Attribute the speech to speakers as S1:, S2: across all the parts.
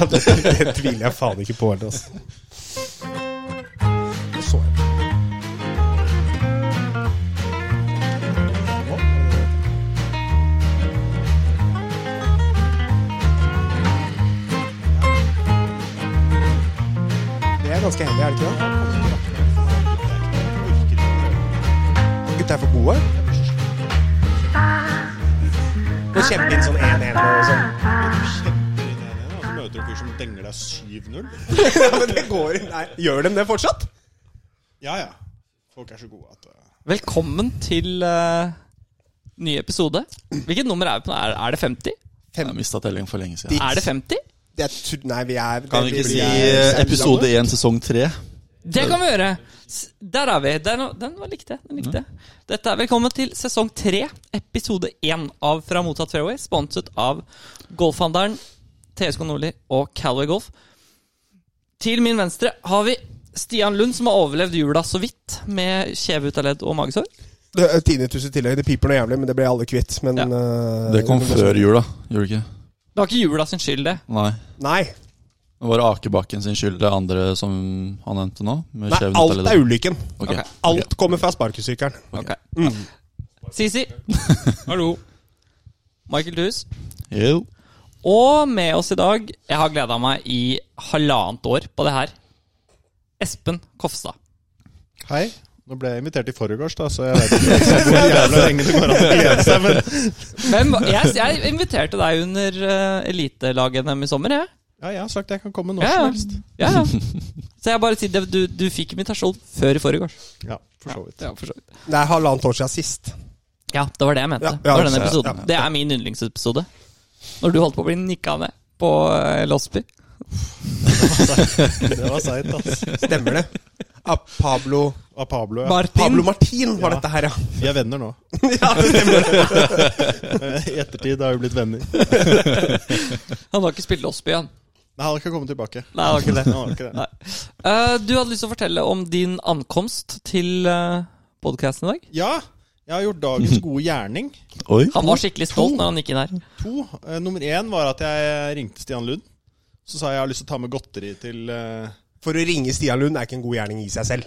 S1: Ja, det, det tviler jeg faen ikke på helt, altså. Det så jeg. Det er ganske heldig, er det ikke det? Gutta er for gode. Gå kjempe inn sånn 1-1 og sånn.
S2: Så møter du en fyr som denger deg 7-0.
S1: Ja, men det går Nei, Gjør de det fortsatt?
S2: Ja, ja. Folk er så gode at eh,
S3: Velkommen til eh, ny episode. Hvilket nummer er vi på? nå? Er, er det 50?
S4: Jeg har mista telling for lenge siden.
S3: Er det 50?
S1: Jeg tror- nei, vi er
S4: Kan vi
S1: det-
S4: ikke
S1: vi
S4: si
S1: er-
S4: eh, episode én, sesong tre?
S3: Det kan vi gjøre. S- Der er vi. Der, den var likte jeg. Den likte jeg. Dette er Velkommen til sesong tre, episode én av Fra mottatt fairway, sponset av golfhandelen TSK Nordli og Calway Golf. Til min venstre har vi Stian Lund, som har overlevd jula så vidt, med kjeve ut av ledd og magesår.
S1: Det er Tinnitus i tillegg. Det piper noe jævlig, men det ble alle kvitt. Men
S3: Ja.
S1: eh,
S4: Det kom
S1: men-
S4: før jula, gjorde det ikke?
S3: Det var ikke jula sin skyld, det.
S4: Nei.
S1: Nei.
S4: Det var Akebakken sin skyld, det andre som han nevnte nå? Med
S1: nei
S4: skjeven
S1: alt
S4: utdelinger.
S1: er ulykken.
S4: Ok.
S3: Ok.
S1: Alt kommer fra sparkesykkelen.
S3: Ok. Sisi. Hallo. Michael Thues.
S4: Jo.
S3: Og med oss i dag Jeg har gleda meg i halvannet år på det her. Espen Kofstad.
S2: Hei. Nå ble jeg invitert i forgårs, da, så jeg vet ikke hvor jævla lenge det går an å glede seg. Men
S3: Hvem, var- jeg, jeg inviterte deg under uh, elitelaget i sommer, jeg.
S2: ja, jeg har sagt jeg kan komme når
S3: Ja,
S2: som
S3: ja.
S2: helst.
S3: ja, ja. Så jeg bare sier det, du, du fikk invitasjon før i forgårs.
S2: Ja, for så vidt.
S3: Ja, for så vidt.
S1: Det er halvannet år siden sist.
S3: Ja, det var det jeg mente.
S1: Ja, ja,
S3: det var den
S1: ja,
S3: episoden.
S1: ja.
S3: Det er min yndlingsepisode. Når du holdt på å bli nikka ned på eh, Losby.
S2: Det var seigt, altså.
S1: Stemmer det? Av Pablo
S2: Av Pablo, ja.
S3: Martin.
S1: Pablo Martin var
S2: Ja.
S1: dette her, ja.
S2: Vi er venner nå. I ettertid har vi blitt venner. Nei,
S3: Han har ikke spilt Losby, han.
S2: han har ikke kommet tilbake.
S3: Nei, han har ikke det.
S2: Han har ikke det.
S3: Nei. Eh, du hadde lyst til å fortelle om din ankomst til uh, podkasten i dag.
S2: Ja, jeg har gjort dagens gode gjerning.
S4: Oi.
S3: Han var skikkelig stolt når han gikk inn her.
S2: To. Eh, nummer én var at jeg ringte Stian Lund. Så sa jeg jeg har lyst til å ta med godteri til eh,
S1: For å ringe Stian Lund er ikke en god gjerning i seg selv.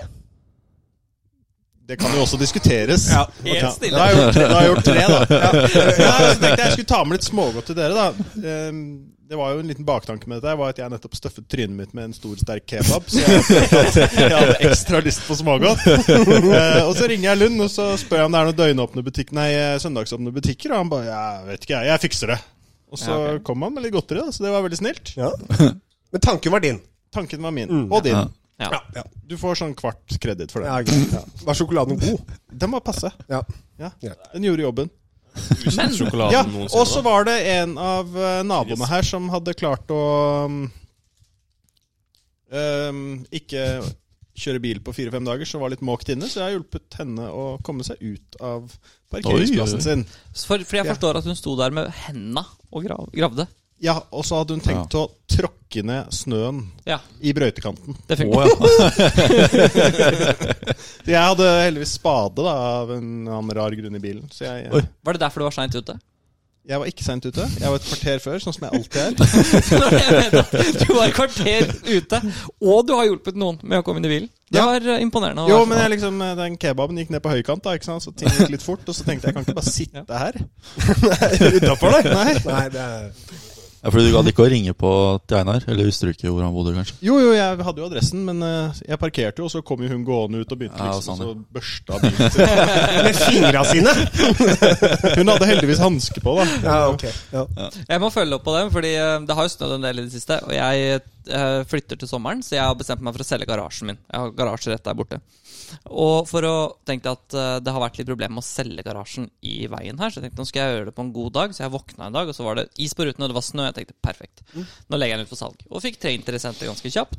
S2: Det kan jo også diskuteres.
S1: Ja,
S3: helt
S2: Ok,
S3: stille.
S2: Da har jeg gjort, da har jeg gjort tre, da. Ja. Nei, så tenkte jeg jeg skulle ta med litt smågodt til dere, da. Ehm, Det var jo en liten baktanke med dette. her, var at Jeg nettopp støffet trynet mitt med en stor, sterk kebab. Så jeg, jeg hadde ekstra lyst på smågodt. Eh, og så ringer jeg Lund og så spør jeg om det er noen døgnåpne butikk, nei, eh, søndagsåpne butikker. Og han bare Jeg vet ikke, jeg. Jeg fikser det. Og så
S3: Ja, ok.
S2: kom han med litt godteri, da, så det var veldig snilt.
S1: Ja. Men tanken var din.
S2: Tanken var min. Og din.
S4: Ja.
S3: Mm. Ja.
S1: Ja.
S2: Du får sånn kvart kreditt for
S1: Ja,
S2: det.
S1: greit. Ja. Var sjokoladen god?
S2: Den var passe.
S1: Ja.
S2: Ja.
S1: Ja.
S2: Den gjorde jobben.
S3: Men
S2: Ja,
S5: sjokoladen noensinne.
S2: og så var det en av eh, naboene her som hadde klart å um, um, ikke kjøre bil på fire-fem dager, så var litt måkt inne. Så jeg har hjulpet henne å komme seg ut av
S4: Oi, oi, oi.
S2: parkeringsplassen sin.
S3: For, for jeg forstår at hun sto der med henda og grav, gravde.
S2: Ja, Og så hadde hun tenkt å tråkke ned snøen
S3: Ja,
S2: i brøytekanten.
S3: det funker.
S4: Å, ja.
S2: Jeg hadde heldigvis spade da, av en annen rar grunn i bilen, så
S4: Oi.
S2: jeg,
S3: Var det derfor du var seint ute?
S2: jeg var ikke seint ute. Jeg var et kvarter før, sånn som jeg alltid er.
S3: Det var det jeg mente. du var et kvarter ute, og du har hjulpet noen med å komme inn i bilen. Det
S2: Ja.
S3: var eh, imponerende. å
S2: Jo,
S3: være
S2: men
S3: sånn.
S2: jeg liksom, den kebaben gikk ned på høykant, da, ikke sant? så ting gikk litt fort. Og så tenkte jeg jeg kan ikke bare sitte her.
S1: Utafor, da? Nei. Nei, det er
S4: Ja, fordi du gadd ikke å ringe på til Einar? Eller visste du ikke hvor han bodde, kanskje?
S2: Jo, jo, jeg hadde jo adressen, men eh, jeg parkerte jo, og så kom jo hun gående ut og begynte
S4: Ja,
S2: liksom
S4: Sanne.
S2: og så børsta bilen sin.
S1: Med fingra sine!
S2: Hun hadde heldigvis hanske på, da.
S1: Ja, ok. Ja.
S3: Jeg må følge opp på det, fordi eh, det har jo snødd en del i det siste. Og jeg eh, flytter til sommeren, så jeg har bestemt meg for å selge garasjen min. Jeg har garasje rett der borte. Og for å tenkte jeg at eh, det har vært litt problemer med å selge garasjen i veien her, så jeg tenkte nå skal jeg gjøre det på en god dag. Så jeg våkna en dag, og så var det is på ruten, og det var snø. Jeg tenkte perfekt. Nå legger jeg den ut for salg. Og fikk tre interessenter ganske kjapt.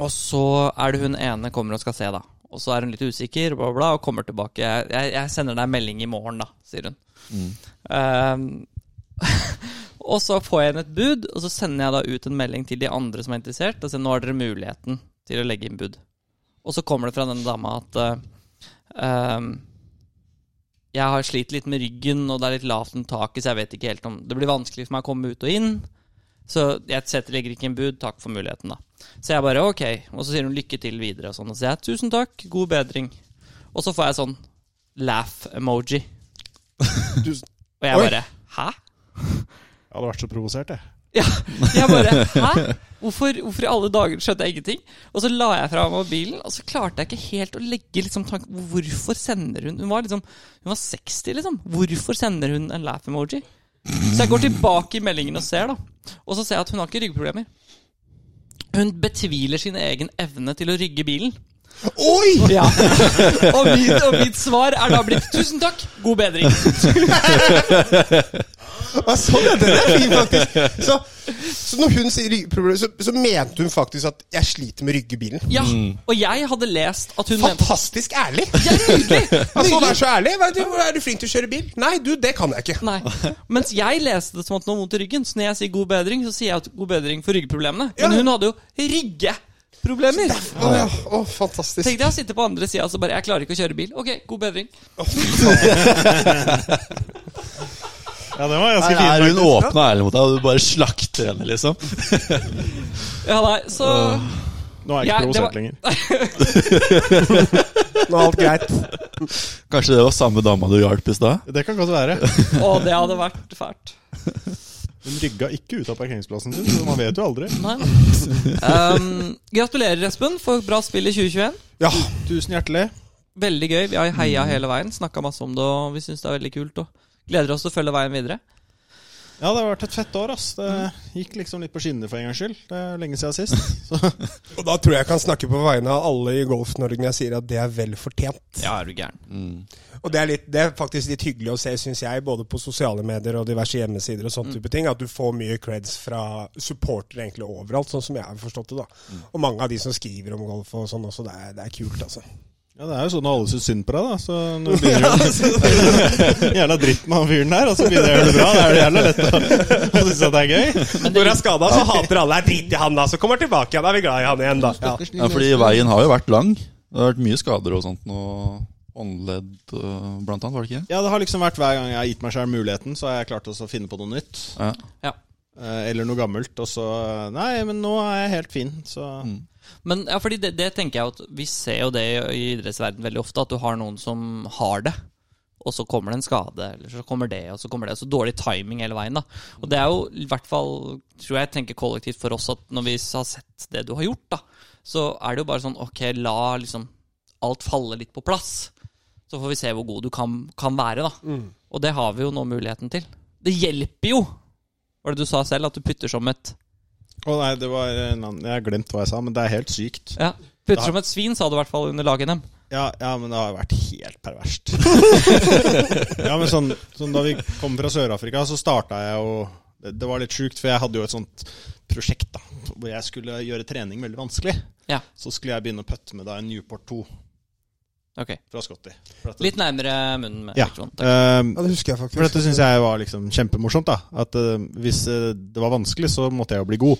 S3: Og så er det hun ene kommer og skal se, da. Og så er hun litt usikker, bla, bla, bla, og kommer tilbake. Jeg, jeg, jeg sender deg en melding i morgen, da, sier hun. Ehm, og så får jeg inn et bud, og så sender jeg da ut en melding til de andre som er interessert. Og sier nå har dere muligheten til å legge inn bud. Og så kommer det fra denne dama at eh, ehm, jeg har slitt litt med ryggen, og det er litt lavt om taket, så jeg vet ikke helt om Det blir vanskelig for meg å komme ut og inn. Så jeg setter, legger ikke en bud, takk for muligheten, da. Så jeg bare ok, og så sier hun lykke til videre og sånn. Og så sier jeg tusen takk, god bedring. Og så får jeg sånn laugh-emoji.
S1: Tusen-
S3: Og jeg
S1: Oi.
S3: bare hæ?
S2: Jeg hadde vært så provosert, jeg.
S3: Ja, jeg bare hæ? Hvorfor, hvorfor i alle dager skjønte jeg ingenting? Og så la jeg fra meg mobilen, og så klarte jeg ikke helt å legge liksom tanken Hvorfor sender hun Hun var liksom Hun var 60, liksom. Hvorfor sender hun en laugh-emoji? Så jeg går tilbake i meldingen og ser, da. Og så ser jeg at hun har ikke ryggproblemer. Hun betviler sin egen evne til å rygge bilen.
S1: Oi!
S3: Ja. Og mitt, og mitt svar er da blitt 'tusen takk, god bedring'.
S1: Ja, sånn, ja, den er fin, faktisk. Så, så når hun sier ryggproblemer, så, så mente hun faktisk at jeg sliter med ryggebilen.
S3: Ja. Og jeg hadde lest at hun mente
S1: Fantastisk ærlig!
S3: Ja, nydelig!
S1: Altså, vær så ærlig. Hva Er du, er du flink til å kjøre bil? Nei, du, det kan jeg ikke.
S3: Nei. Mens jeg leste det som at hun har vondt i ryggen. Så når jeg sier god bedring, så sier jeg at god bedring for ryggproblemene. Men
S1: Ja.
S3: hun hadde jo ryggeproblemer.
S1: Å, ja. Å, fantastisk.
S3: Tenk deg å sitte på andre sida og bare 'Jeg klarer ikke å kjøre bil'. Ok, god bedring.
S2: Ja, den var ganske
S4: Er
S2: fin.
S4: hun åpen og ærlig mot deg, og du bare slakter henne, liksom?
S3: Ja, nei, så
S2: faktisk. Nå er jeg
S3: Ja,
S2: ikke
S3: det var-
S2: provosert lenger.
S1: Nå er alt greit.
S4: Kanskje det var samme dama du hjalp i stad?
S2: Det kan godt være.
S3: Å, det hadde vært fælt.
S2: Hun rygga ikke ut av parkeringsplassen sin, så man vet jo aldri.
S3: Nei. Um, gratulerer, Espen, for bra spill i 2021.
S1: Ja.
S2: Tusen hjertelig.
S3: Veldig gøy. Vi har heia hele veien. Snakka masse om det, og vi syns det er veldig kult. Og gleder oss til å følge veien videre.
S2: Ja, det har vært et fett år, ass. Det gikk liksom litt på skinnene for en gangs skyld. Det er lenge siden sist. Så
S1: Og da tror jeg jeg kan snakke på vegne av alle i Golf-Norge når jeg sier at det er vel fortjent.
S3: Ja, er du gæren.
S1: Og det er, litt, det er faktisk litt hyggelig å se, syns jeg, både på sosiale medier og diverse hjemmesider og sånne type ting, at du får mye creds fra supportere egentlig overalt, sånn som jeg har forstått det, da. Og mange av de som skriver om golf og sånn også, det er, det er kult, altså.
S2: ja, det er jo sånn at alle syns synd på deg, da. Så nå begynner du jævla dritt med han fyren der, og så begynner jeg å gjøre det bra. Da er det jævla lett å, å synes at det er gøy.
S1: Når jeg er skada, så hater alle er drit i han, da. Så kommer han tilbake, ja, da er vi glad i han igjen, da. Ja.
S4: Ja, fordi veien har jo vært lang. Det har vært mye skader og sånt. Og åndeledd, øh, blant annet, var det ikke?
S2: Ja, det har liksom vært hver gang jeg har gitt meg sjøl muligheten, så har jeg klart også å finne på noe nytt.
S4: Ja.
S3: Ja.
S2: eh, Eller noe gammelt. Og så Nei, men nå er jeg helt fin, så
S3: Men ja, fordi det, det tenker jeg at Vi ser jo det i, i idrettsverden veldig ofte, at du har noen som har det. Og så kommer det en skade, eller så kommer det, og så kommer det. Så dårlig timing hele veien. da. Og det er jo i hvert fall, tror jeg, tenker kollektivt for oss at når vi har sett det du har gjort, da, så er det jo bare sånn ok, la liksom alt falle litt på plass. Så får vi se hvor god du kan, kan være, da. Og det har vi jo nå muligheten til. Det hjelper jo! Var det du sa selv, at du putter som et
S2: Å nei, det var en annen Jeg har glemt hva jeg sa, men det er helt sykt.
S3: Ja, putter som et svin, sa du i hvert fall under lag-NM.
S2: Ja, ja men det har jo vært helt perverst. ja, men sånn, sånn Da vi kom fra Sør-Afrika, så starta jeg jo det, det var litt sjukt, for jeg hadde jo et sånt prosjekt da, hvor jeg skulle gjøre trening veldig vanskelig.
S3: Ja.
S2: Så skulle jeg begynne å putte med da en Newport 2
S3: Ok.
S2: fra Scotty. For at-
S3: Litt nærmere munnen med
S2: Ja.
S3: mikrofonen. Takk.
S2: Ehm,
S1: det husker jeg faktisk.
S2: For dette syns jeg var liksom kjempemorsomt. da At eh, hvis eh, det var vanskelig, så måtte jeg jo bli god.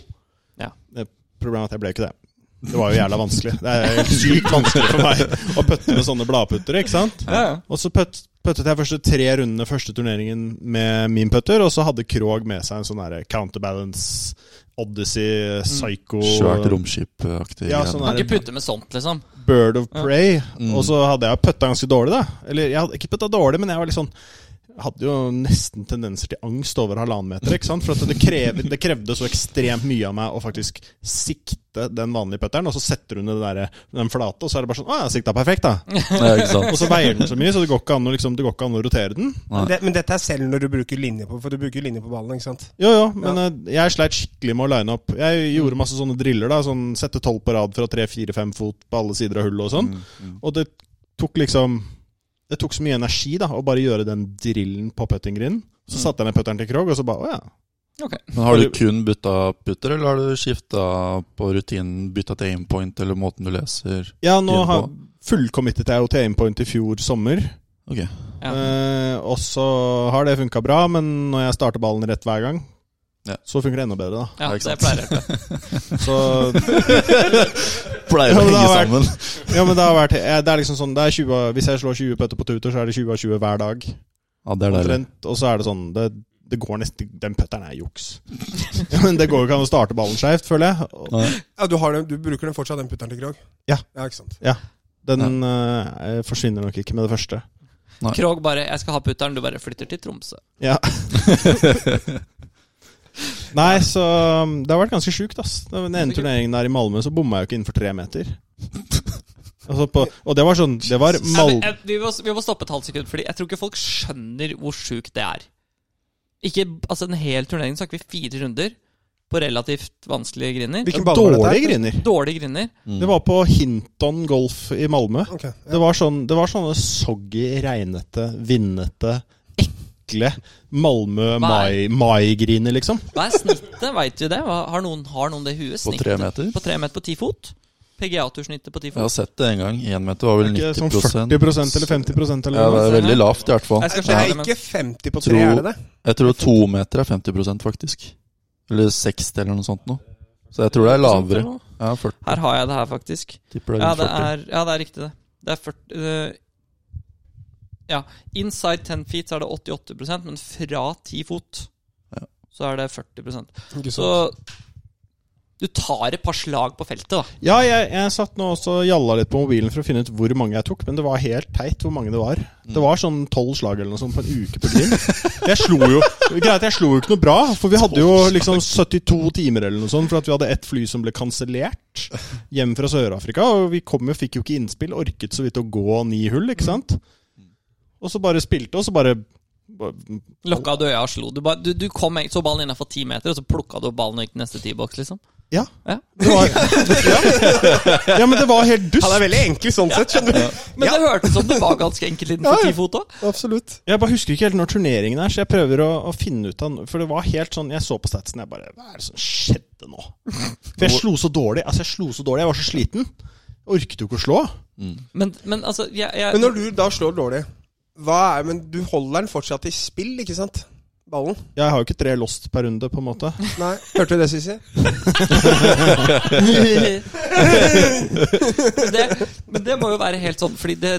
S3: Ja.
S2: Eh, Problemet er at jeg ble jo ikke det. Det var jo jævla vanskelig. Det er helt sykt vanskelig for meg å putte med sånne bladputtere. ikke sant?
S3: Ja, ja.
S2: Og så putt, puttet jeg første tre rundene første turneringen med min putter, og så hadde Krog med seg en sånn derre counterbalance, Odyssey, Psycho
S4: Svært romskipaktig.
S2: Ja,
S4: greier.
S2: sånn
S3: Kan
S2: der-
S3: ikke putte med sånt, liksom.
S2: Bird of Prey. Og så hadde jeg putta ganske dårlig, da. Eller jeg hadde ikke putta dårlig, men jeg var litt sånn hadde jo nesten tendenser til angst over halvannen meter. ikke sant? For at det, krever, det krevde så ekstremt mye av meg å faktisk sikte den vanlige putteren, og så setter hun det der, den flate, og så er det bare sånn Å, jeg sikta perfekt, da.
S4: Ja, ikke sant?
S2: Og så veier den så mye, så det går ikke an å, liksom, det går ikke an å rotere den.
S1: Men det, men dette er selv når du bruker linje på For du bruker linje på ballen, ikke sant?
S2: Jo, jo, men eh, jeg sleit skikkelig med å line opp. Jeg
S4: Mm.
S2: gjorde masse sånne driller. da sånn Sette tolv på rad fra tre, fire, fem fot på alle sider av hullet og sånn.
S4: Mm,
S3: Mm.
S2: Og det tok liksom Det tok så mye energi da å bare gjøre den drillen på puttinggrinden. Så
S4: Mm.
S2: satte jeg ned putteren til Krog, og så bare Å ja.
S4: Men har du kun bytta putter, eller har du skifta på rutinen? Bytta til aimpoint, eller måten du leser
S2: Ja, nå
S4: Drill på.
S2: har fullcommittet jeg jo til aimpoint i fjor sommer.
S4: Ok.
S3: Ja.
S2: Eh, og så har det funka bra, men når jeg starter ballen rett hver gang,
S4: Ja.
S2: så funker det enda bedre,
S3: Ja,
S4: Ja, ikke
S3: det
S4: sant.
S3: pleier jeg.
S2: da. Så
S4: Pleier
S2: Ja,
S4: å
S2: men det
S4: henge
S2: har
S4: sammen.
S2: Ja, men det har vært eh, Det er liksom sånn det er 20, av- Hvis jeg slår 20 putter på tutor, så er det 20 av 20 hver dag.
S4: Ja, det er deilig.
S2: Omtrent. Og så er det sånn det, det går nesten, Den putteren er juks. Men det går jo ikke an å starte ballen skeivt, føler jeg. Og-
S1: Ja, du, har den, du bruker den fortsatt, den putteren til Krog?
S2: Ja.
S1: ja ikke sant?
S2: Den eh, forsvinner nok ikke med det første.
S4: Nei.
S3: Krog bare 'Jeg skal ha putteren', du bare flytter til Tromsø.
S2: Ja. Nei, så um, Det har vært ganske sjukt, ass. Det var Den ene turneringen der i Malmö, så bomma jeg jo ikke innenfor tre meter. Altså på, og det var sånn Det var
S3: Nei,
S2: Mal...
S3: men, eh, vi, må, vi må stoppe et halvt sekund, Fordi jeg tror ikke folk skjønner hvor sjukt det er. Ikke, altså En hel turnering snakker vi fire runder på relativt vanskelige griner.
S1: Hvilken bane var
S2: Dårlige
S1: dette?
S2: griner.
S3: Dårlige griner.
S2: Det var på Hinton golf i Malmö.
S1: Ok, ja.
S2: Det var, sånn, det var sånne soggy, regnete, vindete, ekle
S3: Nei.
S2: Malmö-mai-griner, liksom.
S3: Hva er snittet? Veit vi det? Hva, har, noen, har noen det i huet?
S4: På
S3: Snittet
S4: tre meter?
S3: På tre meter på ti fot? PGA-tursnittet på ti
S4: Jeg har
S3: fot?
S4: sett det en gang. Én meter var vel
S2: Ikke
S4: 90
S2: sånn 40 eller 50 eller
S4: Ja, det
S2: noe.
S4: er veldig lavt, i hvert fall.
S3: Jeg skal
S1: Det
S3: sjekke
S1: er
S3: det, men
S1: ikke 50 på
S4: Tro-
S1: tre, er det det?
S4: Jeg tror to meter er 50 faktisk. Eller 60 eller noe sånt noe. Så jeg tror det er lavere. Ja, 40,
S3: her har jeg det her, faktisk.
S4: tipper det
S3: Ja,
S4: er
S3: det
S4: rundt 40.
S3: er, ja, det er riktig, det. Det er 40 eh, Ja. Inside 10 feet så er det 88 men fra 10 fot
S4: Ja.
S3: så er det 40
S1: Ikke sant?
S3: Så du tar et par slag på feltet, da.
S2: Ja, jeg, jeg satt nå også og jalla litt på mobilen for å finne ut hvor mange jeg tok, men det var helt teit hvor mange det var.
S4: Mm.
S2: Det var sånn tolv slag eller noe sånt på en uke på Grim. Jeg slo jo Greit, jeg slo jo ikke noe bra, for vi hadde jo liksom 72 timer eller noe sånt, for at vi hadde ett fly som ble kansellert hjem fra Sør-Afrika, og vi kom jo, fikk jo ikke innspill, orket så vidt å gå ni hull, ikke sant? Og så bare spilte, og så bare
S3: Lokka du øya og slo. Du, bare, du, du kom, egentlig- så ballen innafor ti meter, og så plukka du opp ballen og gikk til neste T-boks, liksom.
S2: Ja.
S3: Ja.
S2: Det var, ja. ja, men det var helt dust.
S1: Han er veldig enkel sånn sett, skjønner du.
S3: Men det hørtes som det var ganske enkelt
S1: Ja, ja.
S3: innenfor ti fot òg.
S1: Absolutt.
S2: Jeg bare husker ikke helt når turneringen er, så jeg prøver å, å finne ut av For det var helt sånn Jeg så på statsen, jeg bare Hva er det som skjedde nå? For jeg slo så dårlig. Altså, jeg slo så dårlig. Jeg var så sliten. Jeg orket jo ikke å slå.
S3: Men, men altså jeg, jeg,
S1: Men når du da slår dårlig, hva er Men du holder den fortsatt i spill, ikke sant? Ballen?
S2: Jeg har jo ikke tre lost per runde, på en måte.
S1: Nei. Hørte du det, Sissy?
S3: men, det, men det må jo være helt sånn, fordi det,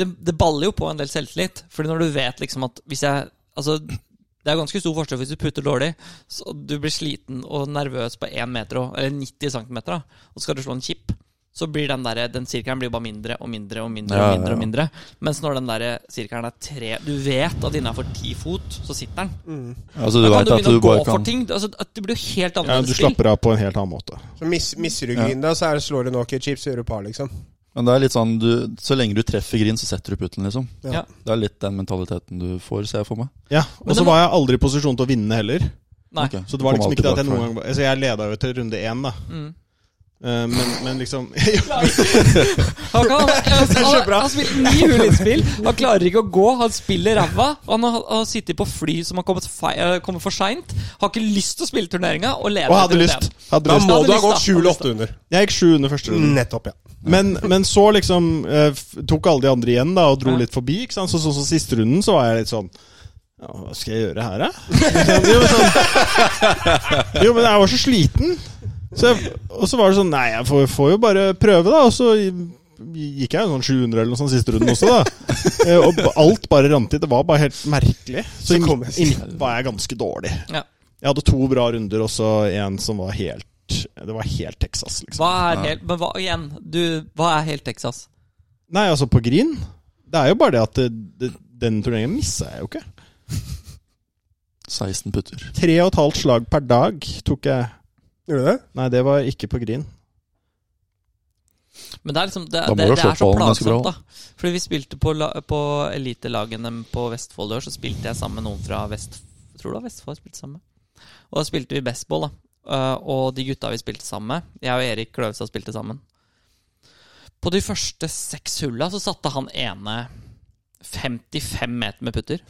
S3: det, det baller jo på en del selvtillit. Fordi når du vet liksom at hvis jeg Altså, det er ganske stor forskjell hvis du putter dårlig, så du blir sliten og nervøs på 1 meter, og- eller 90 cm, da, og så skal du slå en chip. Så blir den der, den sirkelen blir bare mindre og mindre og mindre.
S4: Ja,
S3: og
S4: ja,
S3: mindre og
S4: ja.
S3: mindre Mens når den der sirkelen er tre Du vet at innafor ti fot, så sitter den.
S4: Altså, du
S3: Da kan
S4: vet
S3: du
S4: at
S3: begynne
S4: du
S3: å gå
S4: bare
S3: for
S4: kan
S3: ting. Altså, at det blir jo helt
S2: Ja,
S3: annerledes
S2: du slapper av på en helt annen måte.
S1: Så mis, Misser du grinda, så er det slår du nok i chips, så gjør du par, liksom.
S4: Men det er litt sånn du, Så lenge du treffer grind, så setter du putten, liksom.
S1: Ja.
S3: Ja.
S4: Det er litt den mentaliteten du får, ser jeg for meg.
S2: Ja,
S3: Men
S2: Og så
S3: det
S2: var jeg aldri i posisjon til å vinne heller.
S3: Nei.
S4: Ok,
S2: Så det var
S4: kom
S2: liksom
S4: alltid
S2: ikke det at jeg
S4: bakfra.
S2: noen gang var- Altså, jeg leda jo til runde én, da.
S3: Mm.
S2: Eh, Men, men liksom
S3: Han, kan, han, han, han spiller ni hull innspill. Han klarer ikke å gå. Han spiller ræva. Han har, har sittet på fly som har kommet, fei- eh, kommer for seint. Har ikke lyst til å spille turneringa. Og leder
S2: Og hadde
S3: til
S2: lyst.
S3: det.
S2: Hadde
S1: Da
S2: lyst.
S1: må
S3: hadde
S1: du Mm. ha
S3: lyst,
S1: gått
S3: da.
S1: 7 eller 8 under.
S2: Jeg gikk sju under første runde.
S1: Nettopp, ja.
S2: Men, men så liksom eh, f- tok alle de andre igjen da og dro
S3: Ja.
S2: litt forbi. ikke sant? Så, så, så siste runden så var jeg litt sånn ja, Hva skal jeg gjøre her, da? Liksom, jo, men sånn, jo, men jeg var så sliten. Så jeg, og så var det sånn Nei, jeg får, får jo bare prøve, da. Og så gikk jeg jo sånn 700 eller noe sånn siste runden også, da. Eh, Og ba- alt bare rant i. Det var bare helt merkelig. Så,
S1: Så
S2: i
S1: kom
S2: midt-
S1: jeg.
S2: i midten var jeg ganske dårlig.
S3: Ja.
S2: Jeg hadde to bra runder, og så en som var helt Det var helt Texas, liksom.
S3: Hva er helt Men hva, igjen, du, hva er helt Texas?
S2: Nei, altså på green Det er jo bare det at det, det, den turneringen missa jeg jo ikke.
S4: 16 putter.
S2: Tre og et halvt slag per dag tok jeg.
S1: Gjorde du det?
S2: Nei, det var ikke på green.
S3: Men det er liksom Det,
S4: Da må
S3: det,
S4: du
S3: det
S4: slå
S3: er så
S4: ballen ganske
S3: plagsomt,
S4: bra.
S3: da. Fordi vi spilte på, la- på elitelagene på Vestfold i år, så spilte jeg sammen med noen fra Vest... jeg Tror det var Vestfold jeg spilte sammen med. Og da spilte vi bestball, da. Eh, og de gutta vi spilte sammen med, jeg og Erik Kløvstad spilte sammen På de første seks hulla så satte han ene 55 meter med putter.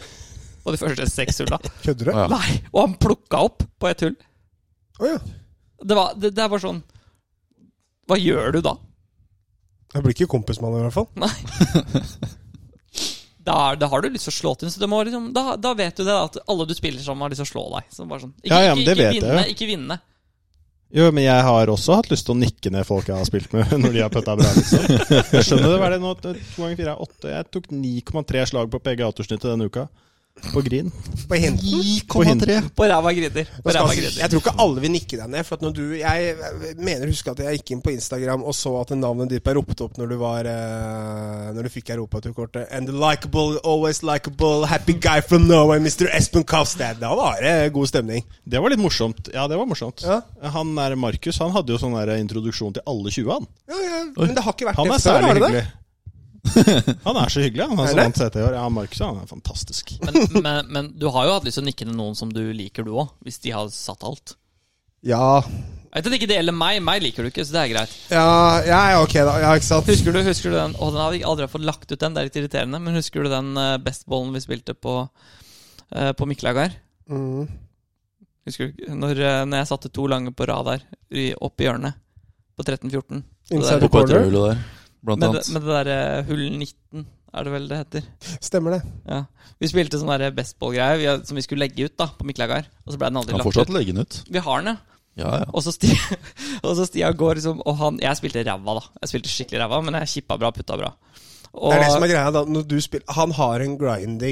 S3: På de første seks hulla.
S1: Kødder du?
S4: Ja.
S3: Nei! Og han plukka opp på ett hull.
S1: Å ja.
S3: Det, var, det, det er bare sånn Hva gjør du da?
S1: Jeg blir ikke kompismann, i hvert fall.
S3: da, er- da har du lyst til å slå til. Så det må liksom, da, da vet du det, da, at alle du spiller sammen, har lyst til å slå deg. Så bare sånn, ikke,
S2: Ja, ja, men
S3: ikke,
S2: det
S3: ikke,
S2: vet jeg
S3: vinne,
S2: jo.
S3: ikke vinne.
S2: Jo, men jeg har også hatt lyst til å nikke ned folk jeg har spilt med når de har putta bra, liksom. Jeg skjønner det. Hva er det nå? To ganger fire er åtte. Jeg tok 9,3 slag på PGA-tursnittet denne uka. På Grin.
S1: På hinten.
S4: 9,3.
S3: På ræva griner. På ræva griner.
S1: Jeg tror ikke alle vil nikke deg ned. For at når du, jeg mener å huske at jeg gikk inn på Instagram og så at navnet ditt ble ropt opp når du, var, eh, når du fikk europaturkortet. And the likable, always likable, happy guy from Norway, Mr. Espen Kavstad. Da var det god stemning.
S2: Det var litt morsomt. Ja, det var morsomt.
S1: Ja.
S2: Han der Markus han hadde jo sånn der introduksjon til alle 20, han.
S1: Ja, ja, men det har ikke vært
S2: Han
S1: det
S2: er
S1: før,
S2: særlig
S1: har det det?
S2: hyggelig. Han er så hyggelig, han.
S1: Er
S2: han som
S1: det?
S2: vant CT i år. Ja, Markus han er fantastisk.
S3: Men, men, men du har jo hatt lyst til å nikke til noen som du liker, du òg. Hvis de har satt alt.
S1: Ja.
S3: Jeg vet at ikke det gjelder meg. Meg liker du ikke, så det er greit.
S1: ja. Ja, ok, da. Ja, ikke sant.
S3: Husker du, husker du den Å, den har vi aldri fått lagt ut, den. Det er litt irriterende. Men husker du den eh, bestballen vi spilte på, eh, på Mikkelaug her?
S1: Mm.
S3: Husker du ikke? når, eh, når jeg satte to lange på rad der, i- opp i hjørnet. På 13-14.
S1: Inside
S4: På
S1: corner.
S4: Patrulje der, blant
S3: Med,
S4: annet.
S3: det- med det derre hull 19, er det vel det heter.
S1: Stemmer det.
S3: Ja. Vi spilte sånn der bestball-greie vi- som vi skulle legge ut da, på Mikkelaug her. Og så ble den aldri
S4: Kan
S3: lagt ut.
S4: fortsatt legge den ut.
S3: Vi har den, ja.
S4: Ja, ja.
S3: Og så Stia, og så Stia går liksom Og han Jeg spilte ræva, da. Jeg spilte skikkelig ræva, men jeg kippa bra, putta bra. Og,
S1: Det er det som er greia. da når du spiller, Han har en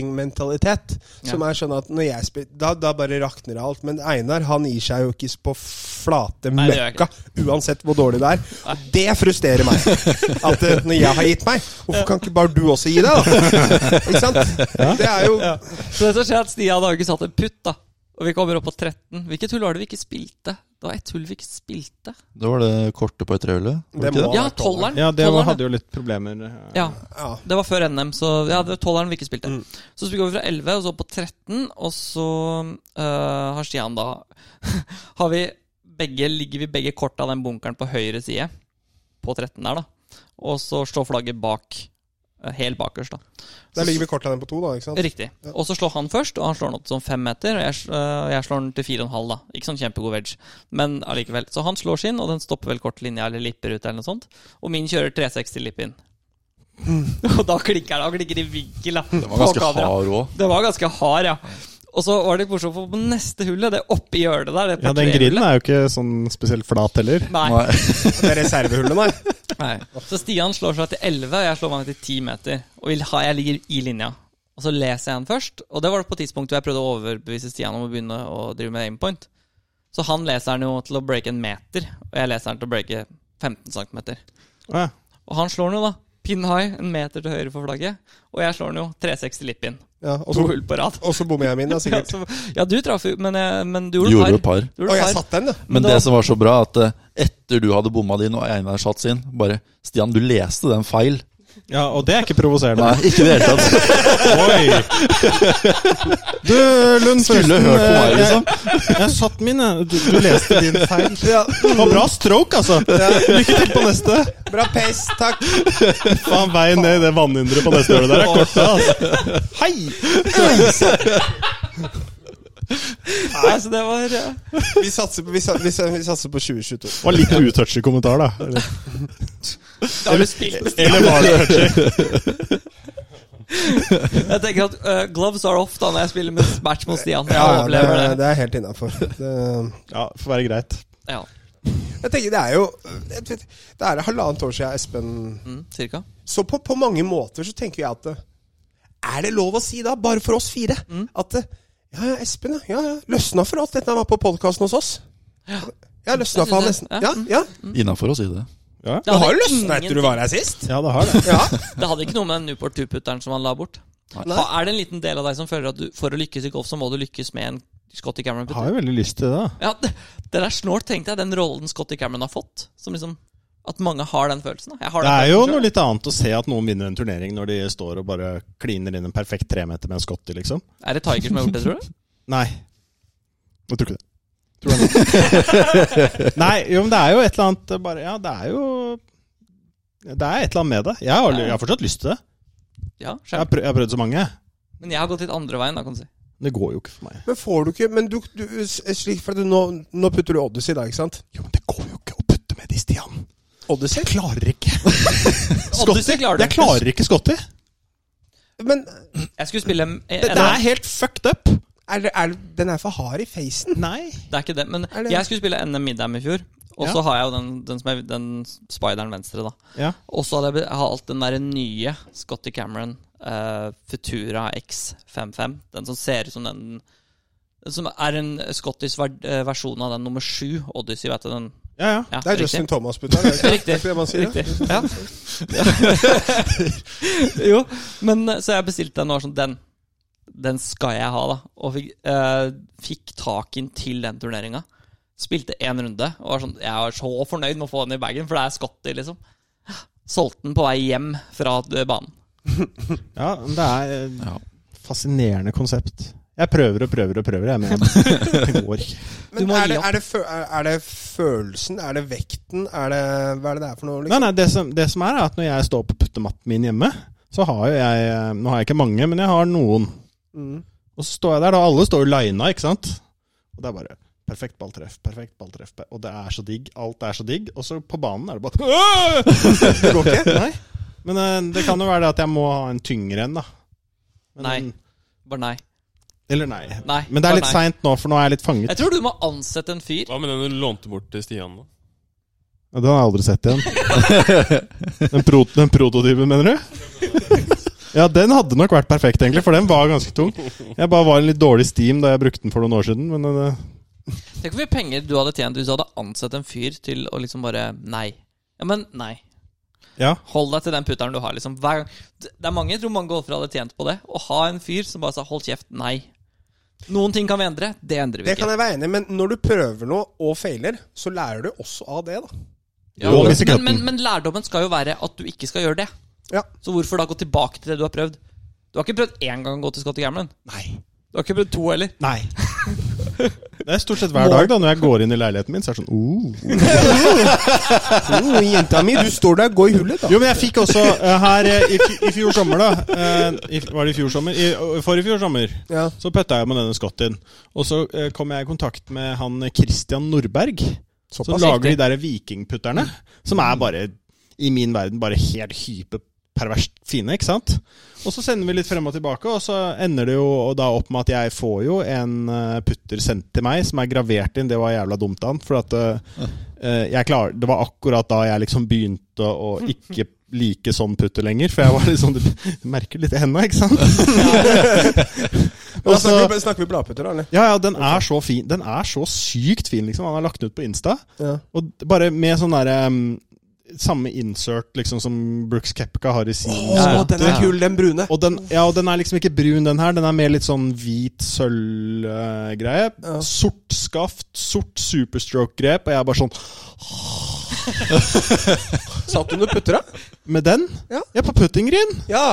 S1: grinding-mentalitet. Som
S3: Ja.
S1: er sånn at når jeg spiller Da, da bare rakner alt. Men Einar han gir seg jo ikke på flate
S3: Nei, det gjør jeg
S1: møkka. Uansett hvor dårlig det er. Og det frustrerer meg. At eh, når jeg har gitt meg, hvorfor kan ikke bare du også gi deg, da? Ikke sant? Det er jo
S3: Så det som skjer, er at Stia hadde ikke satt en putt, da. Og vi kommer opp på 13. Hvilket hull var det vi ikke spilte? Det var ett hull vi ikke spilte.
S4: Det var det kortet på Patrulje.
S1: Det må-
S3: Ja,
S1: var tolveren.
S3: tolveren.
S2: Ja,
S1: Sånn
S2: det
S3: Tolveren,
S2: var, hadde jo litt problemer. eh,
S3: ja.
S1: ja.
S3: Det var før NM, så ja, det var tolveren vi ikke spilte. Så går vi fra 11, og så opp på 13, og så øh, har Stian da har vi begge, Ligger vi begge kort av den bunkeren på høyre side, på 13 der, da. Og så står flagget bak. øh, Helt bakerst, da.
S1: Der ligger vi kort av den på to, da. ikke sant?
S3: Riktig. Og så slår han først, og han slår den opp som fem meter. Og jeg, sl- øh, jeg slår den til fire og en halv, da. Ikke sånn kjempegod wedge, men allikevel. Så han slår sin, og den stopper vel kortlinja eller lipper ut, eller noe sånt. Og min kjører 360 lipp inn.
S2: Mm.
S3: Og da klikker det, han klikker i vinkel, da.
S4: Den var ganske hard òg.
S3: Det var ganske hard, ja. Og så var det litt morsomt, for på neste hullet, det oppi hjørnet der det
S2: Ja, den
S3: portréhullet-
S2: grillen er jo ikke sånn spesielt flat heller.
S3: Nei.
S1: Det er reservehullet, nei.
S3: Nei. Så Stian slår seg til 11, og jeg slår meg ned til 10 meter. Og vil ha, jeg ligger i linja. Og så leser jeg den først, og det var det på tidspunktet hvor jeg prøvde å overbevise Stian om å begynne å drive med aimpoint. Så han leser den jo til å breake en meter, og jeg leser den til å breake 15 cm.
S2: Å Ja.
S3: Og han slår den jo, da. Pin high, en meter til høyre for flagget. Og jeg slår den jo 360 lipp inn.
S1: Ja, og
S3: To
S1: så-
S3: hull på rad.
S1: og så bommer jeg min, da,
S3: Ja,
S1: sikkert.
S3: så, ja du traff jo, men, jeg- men du
S4: Gjorde
S3: gjorde
S4: jo
S3: et par.
S4: par.
S3: Du gjorde
S1: Og
S3: et
S1: jeg
S3: par.
S1: satt den, da.
S4: Men
S3: Men da-
S4: det som var så bra, at eh, etter du hadde bomma din og Einar satt sin, bare Stian, du leste den feil.
S2: ja, og det er ikke provoserende.
S4: Nei, ikke i det hele tatt.
S2: Oi! Du, Lund
S4: Skulle
S2: Førsten,
S4: hørt på
S2: eh,
S4: meg, liksom.
S2: Jeg, jeg satt min, jeg. Du, du leste din feil. Det var bra stroke, altså. Lykke til på neste.
S1: Bra pace, takk.
S2: Faen, veien ned i det vannhinderet på neste år der er kort. Altså. Hei!
S3: Nei, så det var eh,
S1: Vi satser på, vi sa- vi sa- vi satser på 2022.
S2: Det var litt utouchy kommentar, da. Eller,
S3: Da har du spilt med Stian.
S2: eller var det touchy?
S3: Jeg tenker at eh, gloves are off da når jeg spiller med match mot Stian. Jeg
S1: Ja, ja, det,
S3: overlever
S1: er-
S3: det.
S1: det er helt innafor.
S2: Ja, får være greit.
S3: Ja,
S1: Jeg tenker det er jo jeg vet- Det er halvannet år siden Espen
S3: mm, cirka.
S1: Så på, på mange måter så tenker vi at eh, Er det lov å si da, bare for oss fire, at eh, Ja, ja, Espen, ja, ja. Løsna for alt dette han var på podkasten hos oss. Ja, løsna for han
S3: Jeg synes
S1: nesten.
S3: det,
S1: Ja, ja.
S4: Innafor å si det.
S2: Ja,
S3: Det hadde, ingenting-
S1: var her sist.
S2: ja det har det.
S1: Ja.
S3: det hadde ikke noe med den Newport 2-putteren som han la bort. Ha, er det en liten del av deg som føler at du, for å lykkes i golf, så må du lykkes med en Scotty
S2: Jeg har
S3: Cameron-putter?
S2: jo veldig lyst til det. da.
S3: Ja, det, det der snålt, tenkte jeg. Den rollen Scotty Cameron har fått. Som liksom At mange har den følelsen. Da. Jeg har
S2: Det
S3: den
S2: er jo
S3: følelsen
S2: noe
S3: selv.
S2: litt annet å se at noen vinner en turnering når de står og bare kliner inn en perfekt tremeter med en skott i, liksom.
S3: Er det Tiger som har gjort det, tror du?
S2: Nei. Jeg tror ikke det. Tror jeg ikke. Nei, jo, men det er jo et eller annet eh, bare, Ja, det er jo Det er et eller annet med det. Jeg har,
S3: Ja.
S2: jeg har fortsatt lyst til det. Jeg
S3: Ja,
S2: har,
S3: skjønner.
S2: prøvd, jeg har prøvd så mange.
S3: Men jeg har gått litt andre veien, da, kan du si.
S2: Det går jo ikke for meg.
S1: Men får du ikke Men du, du slik, for at du, nå, nå putter du Odyssey da, ikke sant?
S2: Jo, men det går jo ikke å putte med de, Stian.
S1: Odyssey?
S2: Jeg klarer ikke.
S3: Odyssey klarer du
S2: Jeg klarer ikke Scotty.
S1: Men
S3: Jeg skulle spille eh,
S2: Det
S3: NM.
S2: er helt fucked up.
S1: er, det- er, den er for hard i facen.
S2: Nei.
S3: Det er ikke det, men
S1: Er det-
S3: jeg skulle spille NM Midheim i fjor. Og
S2: Ja.
S3: så har jeg jo den, den, som er, den spideren venstre, da.
S2: Ja.
S3: Og så hadde jeg be- jeg har alt den derre nye Scotty Cameron eh, eh, Futura X55. Den som ser ut som den den som er en skottisk ver eh, versjon av den nummer sju, Odyssey, vet du den?
S2: Ja, ja.
S3: Ja,
S1: Det er
S3: riktig.
S1: Justin Thomas, putta. Det er ikke
S3: Riktig.
S1: det man sier.
S3: Riktig. Ja. jo, men eh, så jeg bestilte den og var sånn Den den skal jeg ha, da. Og fikk, eh, fikk tak i den til den turneringa. Spilte én runde og var sånn Jeg var så fornøyd med å få den i bagen, for det er Scotty, liksom. Solgte den på vei hjem fra eh, banen.
S2: ja men det er eh,
S4: Ja.
S2: fascinerende konsept. Jeg prøver og prøver og prøver, jeg, men det går ikke.
S3: Du
S1: Men
S3: må
S1: er det,
S3: gi opp.
S1: er, det fø- er er det følelsen? Er det vekten? Er det, hva er det det er for noe?
S2: Nei,
S1: Liksom?
S2: nei, det som, det som er, er at når jeg står på puttematten min hjemme, så har jo jeg eh, Nå har jeg ikke mange, men jeg har noen.
S1: Mm.
S2: Og så står jeg der, da. Alle står jo lina, ikke sant? Og det er bare perfekt balltreff, perfekt balltreff. per- Og det er så digg. Alt er så digg. Og så på banen er det bare «Åh!» Det går ikke. Nei. Men eh, det kan jo være det at jeg må ha en tyngre en, da.
S3: Nei. Bare nei.
S2: Eller nei.
S3: Nei.
S2: Men det er
S3: bare
S2: litt
S3: nei.
S2: seint nå, for nå er jeg litt fanget.
S3: Jeg tror du må ansette en fyr.
S5: Hva med den du lånte bort til Stian, da?
S2: Ja, Den har jeg aldri sett igjen. Den, pro den prototypen, mener du? Ja, den hadde nok vært perfekt, egentlig, for den var ganske tung. Jeg bare var i en litt dårlig steam da jeg brukte den for noen år siden. Men eh,
S3: Tenk hvor mye penger du hadde tjent hvis du hadde ansatt en fyr til å liksom bare Nei. Ja, men nei.
S2: ja.
S3: Hold deg til den putteren du har. liksom Hver gang Det det er mange jeg tror mange golfere hadde tjent på det. Å ha en fyr som bare sa 'hold kjeft', nei. Noen ting kan vi endre. Det endrer vi
S1: Det kan
S3: ikke.
S1: jeg være enig i, men når du prøver noe og feiler, så lærer du også av det, da.
S3: Ja,
S2: Jo,
S3: men,
S2: hvis ikke
S3: men,
S2: at
S3: men,
S2: den-
S3: men lærdommen skal jo være at du ikke skal gjøre det.
S1: Ja.
S3: Så hvorfor da gå tilbake til det du har prøvd? Du har ikke prøvd én gang å gå til Scotty Gamlin.
S2: Nei.
S3: Du har ikke prøvd to heller.
S2: Nei. Det er stort sett hver dag da når jeg går inn i leiligheten min, så er det sånn oh.
S1: Jo, jenta mi, du står der, gå i hullet, da.
S2: Jo, men jeg fikk også eh, her eh, i, fj- i fjor sommer, da eh, i, f- Var det i fjor sommer? I, for i fjor sommer.
S1: Ja.
S2: Så pøtta jeg med denne skotten. Og så eh, kom jeg i kontakt med han Christian Nordberg. Som
S1: Såpass.
S2: lager de
S3: riktig.
S2: der vikingputterne. Som er bare, i min verden, bare helt hyperperverst fine, ikke sant? Og så sender vi litt frem og tilbake, og så ender det jo og da opp med at jeg får jo en eh, putter sendt til meg som er gravert inn. Det var jævla dumt av han, for at eh, eh, jeg klar, det var akkurat da jeg liksom begynte å ikke like sånn putter lenger. For jeg var liksom Du merker litt i henda, ikke sant?
S1: Men Da
S2: Og så-
S1: snakker vi, snakker vi bladputter, da, eller?
S2: ja, ja, den er så fin. Den er så sykt fin, liksom. Han har lagt den ut på Insta.
S1: Ja.
S2: Og d- bare med sånn derre um, Samme insert liksom som Brooks Kepka har i sin
S3: ja.
S1: Å, den er kul, den brune.
S2: Og den, ja, og den er liksom ikke brun, den her. Den er mer litt sånn hvit sølvgreie.
S1: Ja.
S2: Sort skaft, sort superstroke-grep. Og jeg er bare sånn
S1: Satt du under putter, da?
S2: Med den?
S1: Ja.
S2: Jeg er på puttinggreen?
S1: Ja.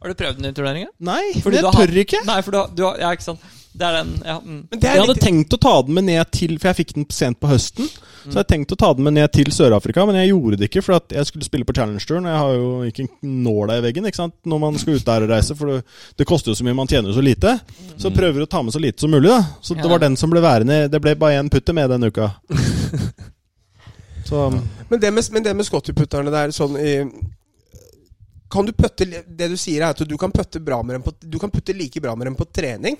S3: Har du prøvd den i turneringa?
S2: Nei,
S3: Fordi
S2: jeg
S3: du har-
S2: tør ikke.
S3: Nei, for du har, du har Ja, ikke sant. Det er den ja, mm.
S1: Men det
S2: Jeg
S1: er
S2: hadde
S1: litt
S2: tenkt å ta den med ned til For jeg fikk den sent på høsten. Så jeg hadde tenkt å ta den med ned til Sør-Afrika, men jeg gjorde det ikke. For at jeg skulle spille på Challenge-turen, og jeg har jo ikke en nåla i veggen ikke sant? når man skal ut der og reise. For det, det koster jo så mye, man tjener jo så lite. Så prøver å ta med så lite som mulig, da. Så
S3: Ja.
S2: det var den som ble værende. Det ble bare én putter med den uka. Så um,
S1: Men det med, men det med Scotty-putterne der sånn i kan du putte, Det du sier, er at du kan putte, bra med dem på, du kan putte like bra med dem på trening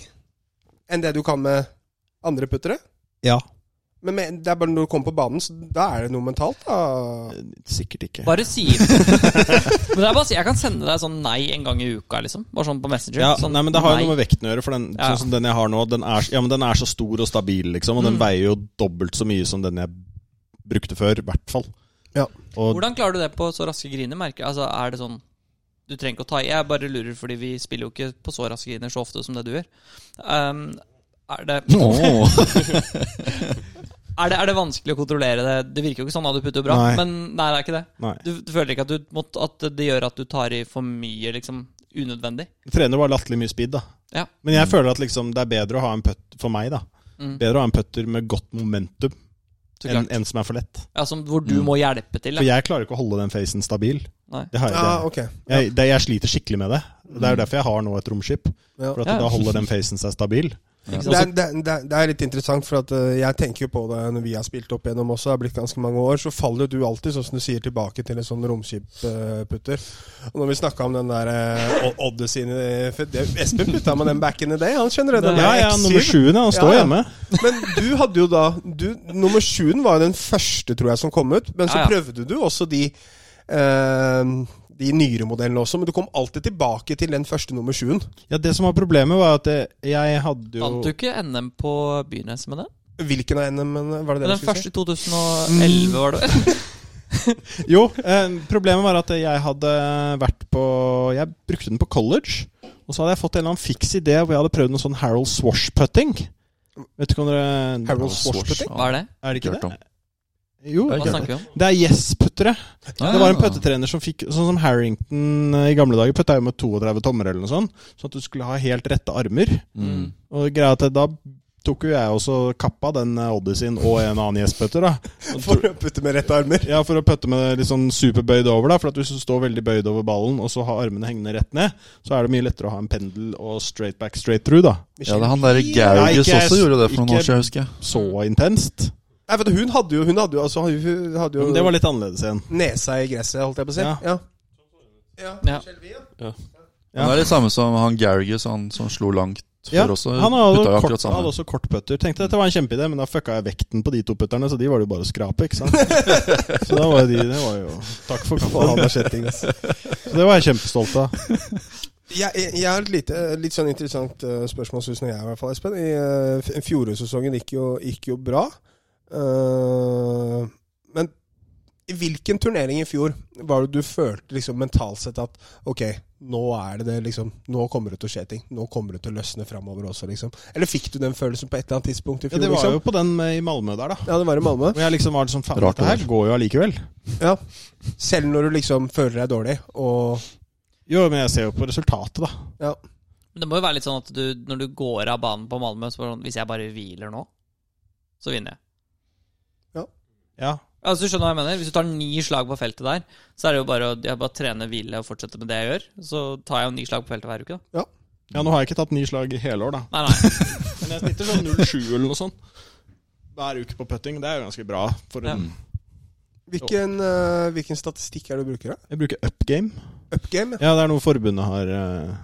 S1: enn det du kan med andre puttere.
S2: ja.
S1: Men med, det er bare når du kommer på banen, så da er det noe mentalt. da.
S2: Sikkert ikke.
S3: Bare si det. Men det er bare å si Jeg kan sende deg sånn nei en gang i uka, liksom. Bare sånn på Messenger.
S2: Ja,
S3: sånn,
S2: nei, men Det har jo
S3: nei.
S2: noe med vekten å gjøre. For den,
S3: Ja, ja.
S2: sånn som den jeg har nå, den er, ja, men den er så stor og stabil, liksom. Og
S3: Mm.
S2: den veier jo dobbelt så mye som den jeg brukte før, i hvert fall.
S1: Ja.
S2: Og
S3: Hvordan klarer du det på så raske griner, merker jeg? Altså, er det sånn Du trenger ikke å ta i. Jeg bare lurer, fordi vi spiller jo ikke på så raske griner så ofte som det du gjør. Ehm, er, det,
S4: Åh.
S3: er, det, er det vanskelig å kontrollere det? Det virker jo ikke sånn, da. Du putter jo bra.
S2: Nei.
S3: Men nei, det er ikke det.
S2: Nei.
S3: Du, du føler ikke at, du, må- at det gjør at du tar i for mye, liksom? Unødvendig?
S2: Jeg trener bare latterlig mye speed, da.
S3: Ja.
S2: Men jeg føler at liksom, det er bedre å ha en putt for meg, da.
S3: Mm.
S2: Bedre å ha en putter med godt momentum
S3: Så
S2: enn
S3: klart.
S2: en som er for lett.
S3: Ja, som, hvor du må hjelpe til.
S2: Mm. For
S3: Ja.
S2: jeg klarer ikke å holde den facen stabil.
S3: Nei.
S2: Det har jeg,
S1: Ja,
S2: ikke.
S1: Ah, ok. Mm.
S2: jeg, det, jeg sliter skikkelig med det. Det er jo derfor jeg har nå et romskip.
S1: Ja.
S2: For at
S3: Ja.
S2: da holder den facen seg stabil.
S3: Ikke
S2: altså,
S1: Det
S3: sant?
S1: er, det, er- det, er, det er litt interessant, for at eh, jeg tenker jo på det når vi har spilt opp igjennom også. Det har blitt ganske mange år. Så faller jo du alltid, sånn som du sier, tilbake til en sånn romskipputter. Og når vi snakka om den der eh, O- Oddesin eh, for det- Espen putta med den back in the day, han skjønner det. Den
S2: Ja,
S1: der
S2: ja,
S1: X7.
S2: nummer sjuen, ja. Han står
S1: Ja, ja.
S2: hjemme.
S1: Men du hadde jo da du, Nummer sjuen var jo den første, tror jeg, som kom ut. Men så
S3: Ja, ja.
S1: prøvde du også de eh, de nyere modellene også, men du kom alltid tilbake til den første nummer sjuen.
S2: Ja, Det som var problemet, var at eh, jeg hadde jo
S3: Vant du ikke NM på Bynes med den?
S1: Hvilken av NM-ene var det dere
S3: Den
S1: skulle si?
S3: første i 2011, var det vel?
S2: Jo, eh, problemet var at jeg hadde vært på Jeg brukte den på college. Og så hadde jeg fått en eller annen fiks idé hvor jeg hadde prøvd noe sånn Harold Swash-putting. Vet ikke om dere
S1: Harold
S2: Mm.
S1: Swashputting?
S3: Hva er det?
S2: Er det ikke
S4: Hørt
S2: det?
S4: om.
S2: Jo.
S4: Det er
S3: Hva
S4: ikke
S3: snakker vi om?
S2: Det er yes-puttere.
S4: Ah,
S2: Det var en puttetrener som fikk Sånn som Harrington eh, i gamle dager putta jo med 32 tommer eller noe sånt. Sånn at du skulle ha helt rette armer.
S4: Mm.
S2: Og greia er at da tok jo jeg også kappa den eh, oddeysien og en annen yes-putter, da.
S1: For å putte med rette armer.
S2: Ja, for å putte med det litt sånn superbøyd over, da. For at hvis du står veldig bøyd over ballen, og så har armene hengende rett ned, så er det mye lettere å ha en pendel og straight back, straight through, da.
S4: Ja, det er han derre Gauges
S2: Nei, ikke-
S4: også gjorde det for noen
S2: ikke-
S4: år siden, husker jeg.
S2: Så intenst.
S1: Nei, for hun hadde jo, hun hadde jo, altså, hun hadde jo
S2: Men det var litt annerledes igjen.
S1: nesa i gresset, holdt jeg på å si.
S2: Ja.
S1: Ja. Ja.
S3: Ja.
S2: Ja.
S4: Det er litt samme som han Gauges, han som slo langt
S2: Ja,
S4: før også.
S2: Han hadde,
S4: Putta jo
S2: kort,
S4: akkurat
S2: hadde
S4: sammen.
S2: også kortputter. Tenkte dette var en kjempeidé, men da fucka jeg vekten på de to putterne, så de var det jo bare å skrape, ikke sant. Så da var jo de, det var jo Takk for
S1: Faen,
S2: kaffen.
S1: det har skjedd ting, ass.
S2: Så det var jeg kjempestolt av.
S1: Jeg, jeg, jeg har et lite, litt sånn interessant eh, spørsmål, synes jeg i hvert fall, Espen. I eh, f- Fjorårssesongen gikk, jo- gikk jo bra. Eh, men i hvilken turnering i fjor var det du følte liksom, mentalt sett at ok, nå er det det, liksom, nå kommer det til å skje ting. Nå kommer det til å løsne framover også, liksom. Eller fikk du den følelsen på et eller annet tidspunkt i
S2: Ja,
S1: fjor?
S2: det var
S1: liksom?
S2: jo på den med, i Malmö der, da.
S1: ja, det var i Malmö.
S2: Og jeg liksom var liksom faen,
S4: Rart
S2: dette her
S4: år.
S2: går jo allikevel.
S1: Ja. Selv når du liksom føler deg dårlig, og
S2: Jo, men jeg ser jo på resultatet, da.
S1: ja.
S3: Men det må jo være litt sånn at du, når du går av banen på Malmö, så bare sånn Hvis jeg bare hviler nå, så vinner jeg.
S2: Ja.
S3: Altså, du skjønner hva jeg mener? Hvis du tar ni slag på feltet der, så er det jo bare å jeg bare trene, hvile og fortsette med det jeg gjør. Så tar jeg jo ni slag på feltet hver uke, da.
S2: ja, nå har jeg ikke tatt ni slag i hele år, da.
S3: Nei, nei.
S2: Men jeg snitter sånn 07 eller noe sånt. Hver uke på putting. Det er jo ganske bra. For en,
S1: hvilken, eh, hvilken statistikk er det du bruker? da?
S2: Jeg bruker upgame.
S1: Upgame?
S2: Ja, det er noe forbundet har eh,
S1: Ja.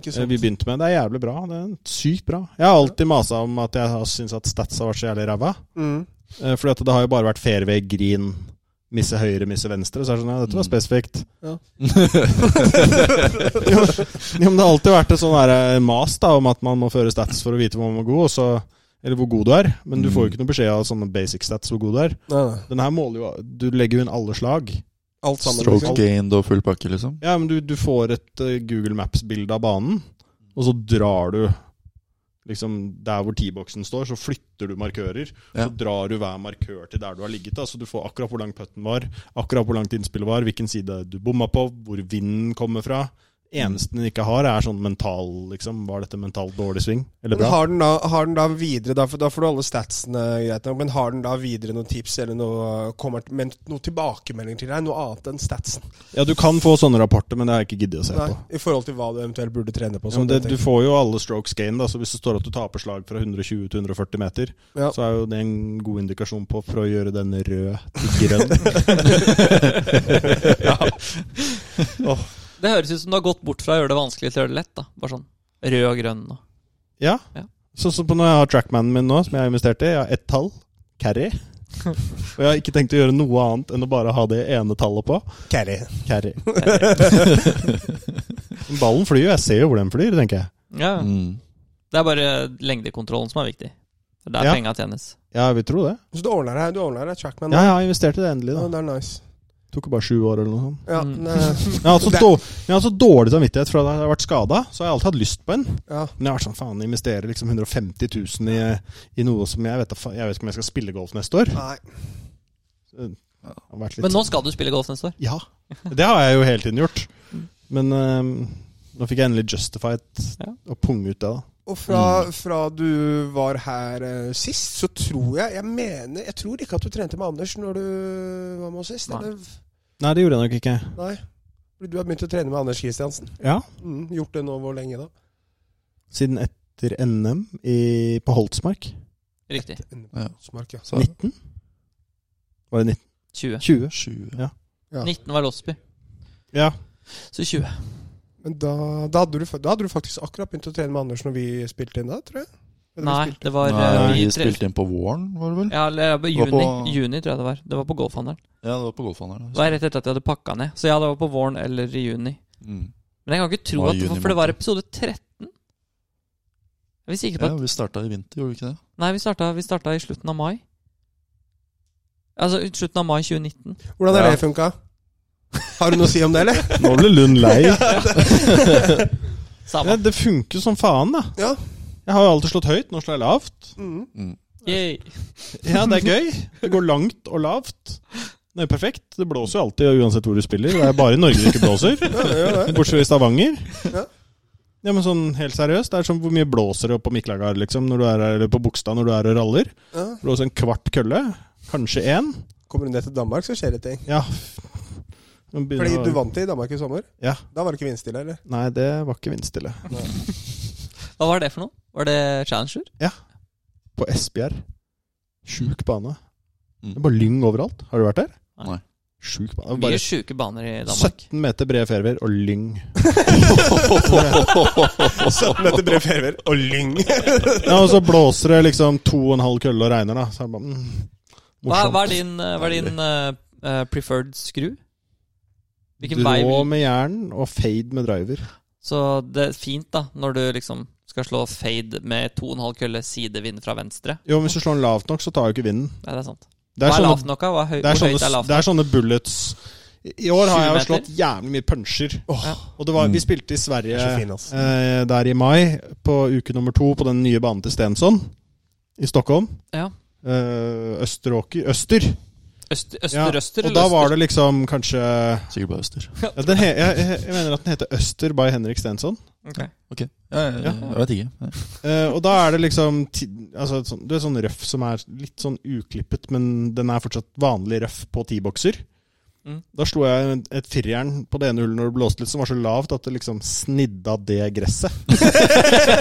S1: Ikke
S2: eh,
S1: sant?
S2: vi begynte med. Det er jævlig bra. Det er sykt bra. Jeg har alltid masa om at jeg har syntes at stats har vært så jævlig ræva.
S1: Mm.
S2: Eh, Fordi at det har jo bare vært fairway, green, misse høyre, misse venstre. Så er det sånn, ja, dette var
S4: Mm.
S2: spesifikt.
S1: Ja.
S2: jo, jo, men det har alltid vært et sånn der, eh, mas da, om at man må føre stats for å vite hvor man er god, og så, eller hvor god du er. Men du
S4: Mm.
S2: får jo ikke noe beskjed av sånne basic stats hvor god du er.
S1: Nei, nei.
S2: Den her måler jo Du legger jo inn alle slag.
S1: Alt sammen.
S4: Stroke
S1: liksom.
S4: gained og full pakke, liksom.
S2: Ja, men du, du får et eh, Google Maps-bilde av banen, og så drar du liksom der hvor T-boksen står, så flytter du markører.
S4: Ja.
S2: Så drar du hver markør til der du har ligget, da, så du får akkurat hvor lang putten var, akkurat hvor langt innspillet var, hvilken side du bomma på, hvor vinden kommer fra. Eneste den ikke har, er sånn mental liksom, Var dette mentalt dårlig sving? Eller
S1: Men
S2: bra?
S1: har den, da, har den da videre da, for da får du alle statsene, greit nok, men har den da videre noen tips eller noe, kommer, men, noen tilbakemelding til deg? Noe annet enn statsen?
S2: Ja, du kan få sånne rapporter, men det har jeg ikke giddet å se
S1: Nei,
S2: på.
S1: I forhold til hva du eventuelt burde trene på?
S2: Ja, men
S1: sånn,
S2: det,
S1: tenker
S2: du
S1: jeg.
S2: får jo alle strokes gain, da, så hvis det står at du taper slag fra 120 til 140 meter,
S1: Ja.
S2: så er jo det en god indikasjon på for å gjøre den rød til grønn.
S3: Det høres ut som du har gått bort fra å gjøre det vanskelig til å gjøre det lett, da. Bare sånn rød og grønn og
S2: ja.
S3: Ja.
S2: Sånn som på når jeg har trackmanen min nå, som jeg har investert i. Jeg har ett tall, carry. Og jeg har ikke tenkt å gjøre noe annet enn å bare ha det ene tallet på.
S1: Carry.
S2: Carry. Ballen flyr jo, jeg ser jo hvor den flyr, tenker jeg.
S3: Ja.
S4: Mm.
S3: Det er bare lengdekontrollen som er viktig. Det er der
S2: Ja.
S3: penga tjenes.
S2: Ja, jeg vil tro det.
S1: Så du ordner deg, du ordner deg trackman?
S2: Ja,
S1: da?
S2: jeg har investert i det endelig,
S1: Ja,
S2: da.
S1: det er nice.
S2: Tok jo bare sju år eller noe sånt.
S1: Ja,
S3: Mm.
S1: nei,
S2: Jeg har hatt så,
S1: Det-
S2: dår- jeg har hatt så dårlig samvittighet for at jeg har vært skada, så har jeg alltid hatt lyst på en.
S1: ja.
S2: Men jeg har vært sånn, faen, investere liksom 150 000 i, i noe som jeg vet, da fa- jeg vet ikke om jeg skal spille golf neste år.
S1: Nei.
S2: Jeg har vært litt
S3: Men nå
S2: sånn-
S3: skal du spille golf neste år.
S2: Ja, det har jeg jo hele tiden gjort. Men ehm, nå fikk jeg endelig justified
S3: Ja.
S2: og punge ut det da.
S1: Og fra, fra du var her eh, sist, så tror jeg Jeg mener, jeg tror ikke at du trente med Anders når du var med oss sist.
S3: Nei.
S1: Eller?
S2: Nei, det gjorde jeg nok ikke.
S1: Nei. Fordi Du har begynt å trene med Anders Kristiansen.
S2: Ja,
S1: Mm, gjort det nå hvor lenge, da?
S2: siden etter NM i, på Holtsmark.
S3: Riktig.
S4: Ja.
S1: Smark, ja.
S4: Så
S2: 19? Var det 19?
S3: 20.
S2: 20?
S4: 20.
S1: Ja.
S3: 19 var Losby,
S2: Ja.
S3: så 20.
S1: Men da, da, hadde du, fa- da hadde du faktisk akkurat begynt å trene med Anders når vi spilte inn da, tror jeg. Men
S3: Nei,
S1: spilte.
S3: det var eh,
S4: Nei,
S3: i
S4: vi
S3: tre-
S4: spilte inn på våren, var det vel?
S3: Ja, eller ja,
S4: var
S3: juni,
S4: på-
S3: juni, tror jeg det var. Det var på golfhandelen.
S4: Ja, det var på golfhandelen.
S3: Det var rett etter at jeg hadde pakka ned. Så ja, det var på våren eller i juni.
S4: Mm.
S3: Men jeg kan ikke tro
S4: Var
S3: at
S4: juni
S3: For det var
S4: måned.
S3: episode 13. Er vi sikre på
S4: Ja,
S3: at
S4: vi starta i vinter, gjorde vi ikke det?
S3: Nei, vi starta, vi starta i slutten av mai. Altså i slutten av mai 2019.
S1: Hvordan har
S4: Ja.
S1: det funka? Har du noe å si om det, eller?
S2: Nå ble Lund lei.
S3: Samme.
S2: Det, det funker som faen, da.
S1: Ja.
S2: Jeg har jo alltid slått høyt, nå slår jeg lavt.
S1: Mm.
S4: Mm.
S3: Yay.
S2: Ja, det er gøy. Det går langt og lavt. Det er jo perfekt. Det blåser jo alltid uansett hvor du spiller. Det er bare i Norge det ikke blåser. Bortsett fra i Stavanger.
S1: Ja.
S2: Ja, men sånn helt seriøst, det er som hvor mye blåser det opp på Miklagard, liksom, når du er her, eller på Bogstad når du er og raller.
S1: Ja.
S2: Blåser en kvart kølle. Kanskje én.
S1: Kommer du ned til Danmark, så skjer det ting.
S2: Ja. Nå begynner
S1: Fordi
S2: å-
S1: du vant det i Danmark i sommer.
S2: Ja.
S1: Da var det ikke vindstille, eller?
S2: Nei, det var ikke vindstille.
S3: Hva var det for noe? Var det Challenger?
S2: På Esbjerg. Sjuk bane.
S4: Mm.
S2: Det er bare lyng overalt. Har du vært der?
S4: Nei.
S2: Sjuk bane. Det er
S3: Mye
S2: Bare
S3: sjuke baner i Danmark.
S2: 17 meter brede fairwayer og lyng.
S1: 17 meter bred fairway og lyng!
S2: Ja, og så blåser det liksom to og en halv kølle og regner, da. Så er det bare mm,
S3: Hva,
S2: Morsomt.
S3: hva er din, eh, hva er din eh, eh, preferred skru? Hvilken vei
S2: Drå
S3: vil
S2: med jern og fade med driver.
S3: Så det er fint, da, når du liksom skal slå fade med 2,5 kølle sidevind fra venstre.
S2: Jo, men hvis du slår den lavt nok, så tar jo ikke vinden.
S3: Nei, det er sant.
S2: Det er
S3: Hva er
S2: sånne,
S3: lavt nok? da? Hva er høy,
S2: det er
S3: hvor
S2: sånne,
S3: høyt er lavt?
S2: det er sånne bullets. I i år har
S3: Sju
S2: jeg jo
S3: meter?
S2: slått jævlig mye puncher.
S3: Ja.
S2: Og det var, vi
S4: Mm.
S2: spilte i
S1: Det
S2: Sverige
S1: er så fin, ass.
S2: eh, der i mai, på uke nummer to på den nye banen til Stensson i Stockholm.
S3: Ja.
S2: Eh, Østeråker Øster.
S3: Øster, østerøster
S2: og da var det liksom kanskje ja,
S4: Sikkert bare øster.
S2: den he, jeg, jeg jeg mener at den heter Øster by Henrik Stensson.
S4: Ok. Ja, jeg,
S2: Ja.
S4: jeg vet ikke. Nei.
S2: Eh, og da er det liksom ti- altså, sånn, Du er sånn røff som er litt sånn uklippet, men den er fortsatt vanlig røff på tibokser.
S3: Mm.
S2: Da slo jeg en- et firjern på det ene hullet når det blåste litt, som var så lavt at det liksom snidda det gresset.